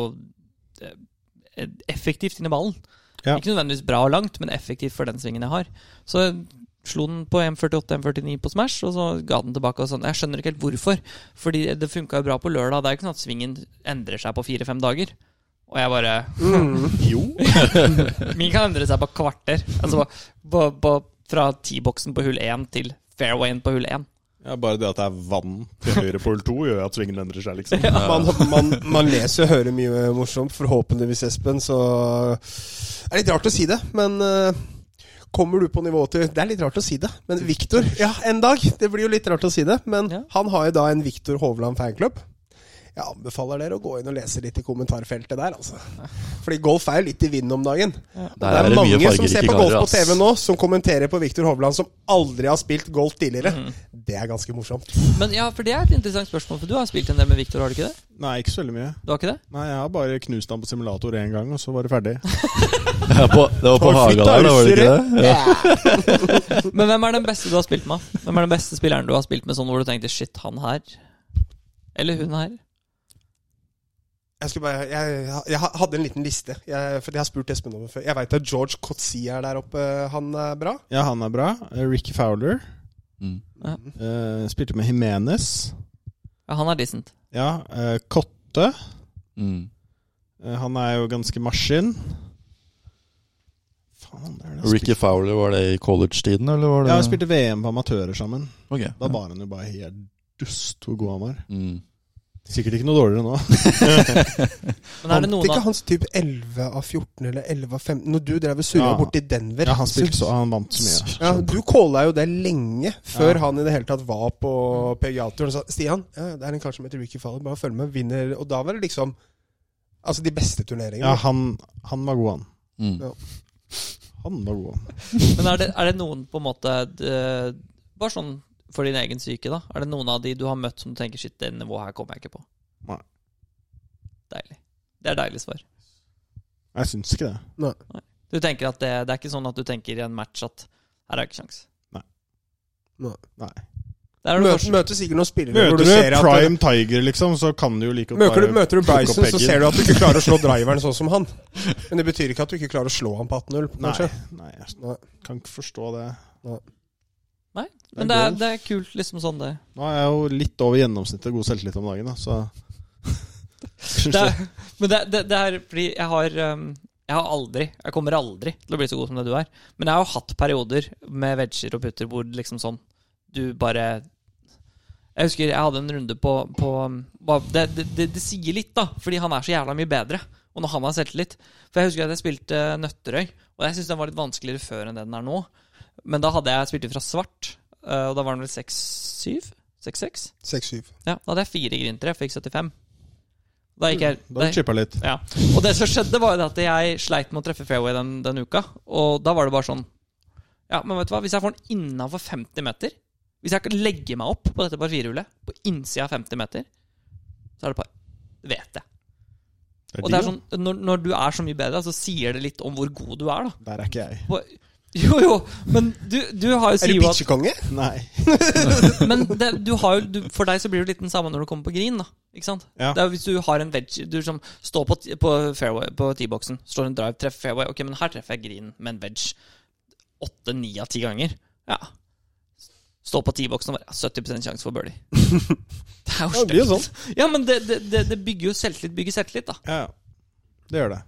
S3: eh, effektivt inn i ballen.
S2: Ja.
S3: Ikke nødvendigvis bra og langt, men effektivt for den svingen jeg har. Så slo den på 1.48-1.49 på Smash, og så ga den tilbake. og sånn. Jeg skjønner ikke helt hvorfor. Fordi det funka jo bra på lørdag. Det er jo ikke sånn at svingen endrer seg på fire-fem dager. Og jeg bare
S1: Mm.
S2: Jo.
S3: Min kan endre seg på kvarter. Altså på, på, på, fra T-boksen på hull 1 til fairwayen på hull 1.
S2: Ja, bare det at det er vann til høyre på hull to, gjør at svingen endrer seg, liksom.
S1: Man, man, man leser og hører mye morsomt, forhåpentligvis, Espen, så Det er litt rart å si det, men eh, kommer du på nivået til Det er litt rart å si det, men Viktor Ja, en dag! Det blir jo litt rart å si det, men
S3: Ja.
S1: han har jo da en Viktor Hovland fanklubb. Jeg anbefaler dere å gå inn og lese litt i kommentarfeltet der, altså. Fordi golf er jo litt i vinden om dagen. Og
S4: Der er det mye
S1: mange som
S4: fargerike
S1: ser på golf
S4: karer,
S1: på
S4: ass.
S1: TV nå, som kommenterer på Viktor Hovland, som aldri har spilt golf tidligere. Det er ganske morsomt.
S3: Men ja, for det er et interessant spørsmål, for du har spilt en del med Victor, har du ikke det?
S2: Nei, ikke så veldig mye.
S3: Du har ikke det?
S2: Nei, jeg har bare knust han på simulator én gang, og så var det ferdig.
S4: Det er på- det var på
S1: Tar
S4: Haga
S1: fitta
S4: der, da, var det ikke
S1: utstyret.
S4: det?
S3: Men hvem er den beste du har spilt med? Hvem er den beste spilleren du har spilt med sånn hvor du tenkte shit, han her? Eller hun her?
S1: Jeg, skulle bare, jeg, jeg hadde en liten liste, jeg, for jeg har spurt Espen om det før. Jeg veit at George Cotzi er der oppe. Han er bra.
S2: Ja, han er bra. Ricky Fowler.
S4: Mm.
S2: Eh, spilte med Jimenez.
S3: Ja, han er decent.
S2: Ja, eh, Kotte.
S4: Mm.
S2: Eh, han er jo ganske maskin. Faen, det er det jeg
S4: Mm. Ricky
S2: spilte-
S4: Fowler, var det i college-tiden, eller var det
S2: Ja, vi spilte VM på amatører sammen.
S4: Ok.
S2: Da var han jo bare helt dust hvor god han var.
S4: Mm.
S2: Sikkert ikke noe dårligere nå.
S3: Men er det
S1: Vant
S3: noen
S1: ikke
S3: av
S1: hans type 11 av 14 eller 11 av 15 Når du drev og surra
S2: Ja.
S1: borti Denver
S2: Ja, han, spilte så, han vant så mye.
S1: ja, Du calla jo det lenge før
S2: Ja.
S1: han i det hele tatt var på PGA-turen og sa Stian, ja, det er en kar som heter Ricky Faller, bare følg med, vinner Og da var det liksom Altså de beste
S2: Ja,
S1: turneringene.
S2: han, han var god, han.
S4: Mm.
S2: Han var god, han.
S3: Men er det, er det noen på en måte eh, Bare sånn for din egen psyke, da? Er det noen av de du har møtt som du tenker shit, det nivået her kommer jeg ikke på?
S2: Nei.
S3: Deilig. Det er deilig svar.
S2: Jeg syns ikke det.
S3: Du tenker at det, det er ikke sånn at du tenker i en match at her er det ikke kjangs.
S2: Nei.
S1: Nei.
S2: Nei.
S3: Der er du
S1: Møter,
S3: forskjell.
S1: møter sikkert noen spillere hvor
S2: Møter
S1: du ser
S2: du
S1: at
S2: Prime Tiger, liksom, så kan du jo like godt
S1: Møter du,
S2: bare
S1: møter du
S2: plukke opp
S1: Bryson, så
S2: eggen.
S1: ser du at du ikke klarer å slå driveren sånn som han. Men det betyr ikke at du ikke klarer å slå han på 18-0, kanskje.
S2: Nei, nei,
S1: Nei.
S2: jeg kan ikke forstå det.
S3: Men det er, det er kult, liksom sånn det.
S2: Nå er jeg jo litt over gjennomsnittet god selvtillit om dagen, da, så Syns
S3: det
S2: det.
S3: er, men det, det, det er fordi jeg har um, Jeg har aldri Jeg kommer aldri til å bli så god som det du er. Men jeg har jo hatt perioder med vegger og putter hvor liksom sånn Du bare Jeg husker jeg hadde en runde på, på um, bare- det, det, det, det sier litt, da, fordi han er så jævla mye bedre. Og når han har selvtillit For jeg husker at jeg spilte Nøtterøy, og jeg syns den var litt vanskeligere før enn det den er nå. Men da hadde jeg spilt ut fra svart, eh, og da var den vel 6-7? 6-6?
S1: 6-7.
S3: Ja, da hadde jeg fire grintere, fikk 75. Da gikk jeg
S2: Mm, Da har du chippa litt.
S3: ja. Og det som skjedde, var jo det at jeg sleit med å treffe fairway den, den uka. Og da var det bare sånn Ja, men vet du hva, hvis jeg får den innafor 50 meter Hvis jeg kan legge meg opp på dette parfirehjulet, på innsida av 50 meter, så er det par. Det vet jeg.
S2: Det er
S3: Og det er
S2: digg,
S3: sånn, når, når du er så mye bedre, så sier det litt om hvor god du er, da.
S2: da. Der er ikke jeg.
S3: På, jo, jo, men du, du har jo
S1: Er du
S3: sier jo at
S1: bitchekonge?
S2: Nei.
S3: Men det, du har jo, du, for deg så blir det litt den samme når du kommer på green. da Ikke sant?
S2: Ja.
S3: Det er jo hvis du har en veggie Du som står på, t- på fairway På T-boksen, slår en drive, treffer fairway. Ok, men her treffer jeg green med en wedge åtte-ni av ti ganger. Ja Stå på T-boksen og bare ja, 70 sjanse for birdie. Det er
S1: Ja,
S3: jo
S1: det blir jo
S2: sånn.
S3: stygt. Ja, men det, det, det, det bygger jo selvtillit. Bygger selvtillit, da. Mm.
S2: Ja, ja. Det gjør det.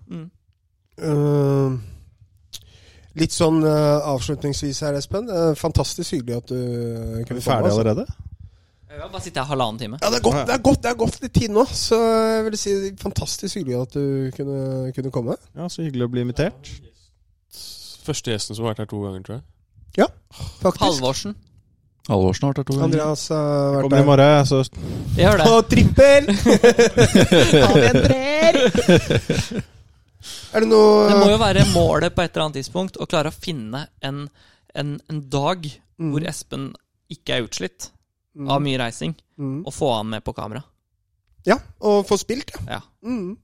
S1: Eh, litt sånn eh, avslutningsvis her, Espen. Eh, fantastisk hyggelig at du eh,
S2: Er
S1: kunne
S2: vi ferdige
S1: komme. altså.
S2: allerede?
S3: Ja, bare sitter jeg halvannen time.
S1: Ja, det er godt, det er godt, det er godt litt tid nå, så jeg vil si fantastisk hyggelig at du kunne, kunne komme.
S2: Ja, så hyggelig å bli invitert.
S5: Første gjesten som har vært her to ganger, tror jeg.
S1: Faktisk.
S3: Halvorsen.
S4: Halvorsen har vært her to ganger.
S1: Andreas har vært
S2: Kommer i
S1: der.
S2: morgen, så
S3: Jeg gjør det.
S1: På trippel! er det noe
S3: Det må jo være målet på et eller annet tidspunkt å klare å finne en, en, en dag
S1: Mm,
S3: hvor Espen ikke er utslitt av mye reising,
S1: Mm.
S3: og få han med på kamera.
S1: Ja, å få spilt, ja.
S3: Ja.
S1: Mm.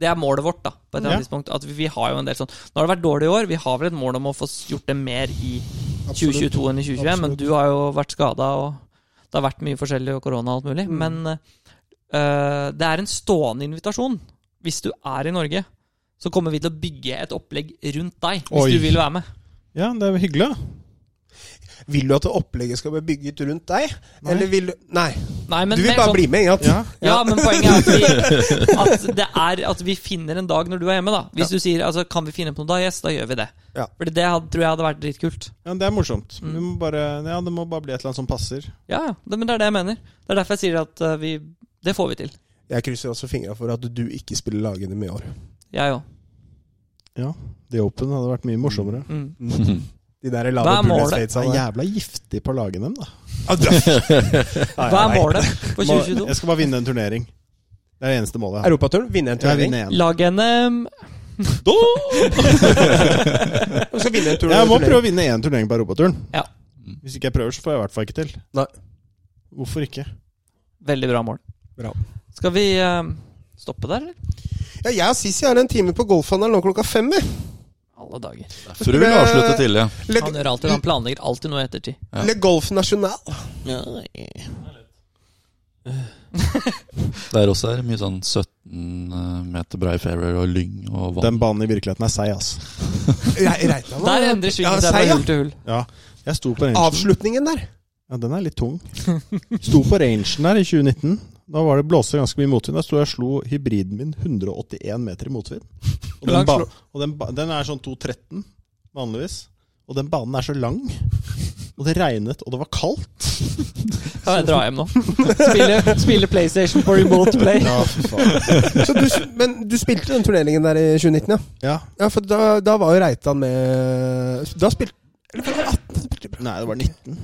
S3: Det er målet vårt, da. På et eller
S2: Ja.
S3: annet tidspunkt At vi, vi har jo en del sånn Nå har det vært dårlig i år, vi har vel et mål om å få s- gjort det mer i
S1: Absolutt.
S3: 2022 enn i 2021, men
S1: Absolutt.
S3: du har jo vært skada, og det har vært mye forskjellig, og korona og alt mulig.
S1: Mm.
S3: Men eh, det er en stående invitasjon. Hvis du er i Norge, så kommer vi til å bygge et opplegg rundt deg, hvis
S2: Oi.
S3: du vil være med.
S2: Ja, det er hyggelig. da.
S1: Vil du at opplegget skal bli bygget rundt deg?
S2: Nei.
S1: Eller vil du Nei.
S3: Nei, men
S1: du vil
S3: mer
S1: bare
S3: sånn-
S1: bli med, ikke sant?
S2: Ja.
S3: Ja, men poenget er at vi, at, det er at vi finner en dag når du er hjemme. da Hvis du sier altså, 'kan vi finne på noe da', yes, da gjør vi det.
S1: Ja.
S3: Fordi det hadde, tror jeg hadde vært dritkult.
S2: Ja, Det er morsomt.
S3: Mm.
S2: Vi må bare, ja, det må bare bli et eller annet som passer.
S3: Ja, ja, det, men det er det jeg mener. Det er derfor jeg sier at eh, vi Det får vi til.
S1: Jeg krysser også fingra for at du ikke spiller lagene med i år.
S3: Jeg òg.
S2: Ja, The Open hadde vært mye morsommere.
S3: Mm.
S1: De der
S3: Hva
S1: lave altså.
S3: er
S2: Det
S3: målet?
S2: er
S1: bullet-statesa.
S2: jævla giftig på å lage dem, da.
S3: Hva er målet for
S2: Må-
S3: 2022?
S2: Jeg skal bare vinne en turnering. Det er det eneste målet jeg har.
S1: Europaturen, vinne en
S2: Jeg
S1: turnering.
S2: vinner én.
S3: Lag NM
S1: Du skal vinne en tur-
S2: Jeg må prøve
S1: turnering.
S2: å vinne én turnering på europaturen.
S3: Ja.
S4: Mm.
S2: Hvis ikke jeg prøver, så får jeg i hvert fall ikke til.
S1: Nei.
S2: Hvorfor ikke?
S3: Veldig bra mål.
S1: Bra.
S3: Skal vi eh, stoppe der, eller?
S1: Ja, jeg og Sisi har en time på golfhandelen nå klokka fem. vi.
S3: Alle dager.
S4: Fru vil avslutte tidlig.
S1: Le,
S3: Han gjør alltid Han planlegger alltid noe i ettertid.
S1: Le Golf National.
S4: Der også er det mye sånn 17 meter brei fairway og lyng og vann.
S2: Den banen i virkeligheten er seig, altså.
S1: Re- Reitan, da.
S3: Der endrer svingen seg
S1: sei,
S3: fra
S1: ja.
S3: hull til hull.
S2: Ja, jeg sto på rangen.
S1: Avslutningen der.
S2: Ja, den er litt tung. Sto på rangen der i 2019. Da var det blåste ganske mye motvind. Da sto jeg og slo hybriden min 181 meter i motvind. Og den, ba og den, ba den er sånn 213 vanligvis. Og den banen er så lang. Og det regnet, og det var kaldt.
S3: Kan jeg dra hjem nå? Spille, spille PlayStation på remote play.
S2: Ja, fy faen.
S1: Så du, s- men du spilte den turneringen der i 2019, ja?
S2: Ja.
S1: Ja, for da, da var jo Reitan med Da spilte Eller var det 18? spilte-
S2: Nei, det var 19.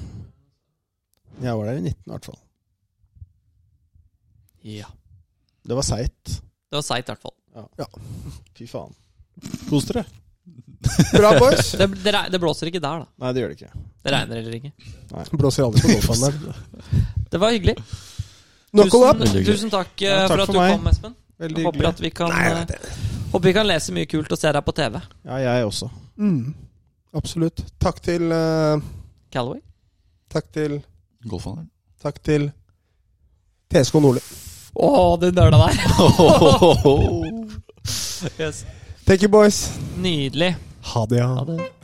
S2: Jeg var der i 19, i hvert fall.
S3: Ja.
S2: Det var seigt.
S3: Det var seigt, i hvert fall.
S2: Fy faen. Kos dere.
S1: Bra, boys.
S3: Det, det, det blåser ikke der, da.
S2: Nei, det gjør det ikke.
S3: Det regner heller ikke.
S1: Blåser aldri på golfhandelen.
S3: Det var hyggelig.
S1: Knuckle up!
S3: Tusen, tusen takk, eh,
S2: Ja, takk
S3: for at
S2: for
S3: du
S2: meg.
S3: kom, Espen. Jeg
S2: Veldig
S3: Håper
S2: hyggelig.
S3: at vi kan,
S1: Nei, jeg
S3: eh,
S1: vet det.
S3: håper vi kan lese mye kult og se deg på TV.
S2: Ja, jeg også.
S1: Mm. Absolutt. Takk til eh,
S3: Callaway.
S1: Takk til
S4: Golfhandelen.
S1: Takk til TSK Nordli.
S3: Å, du nøla der!
S4: Oh.
S3: Yes.
S1: Thank you, boys.
S3: Nydelig.
S1: Ha det, ja.
S3: Ha det.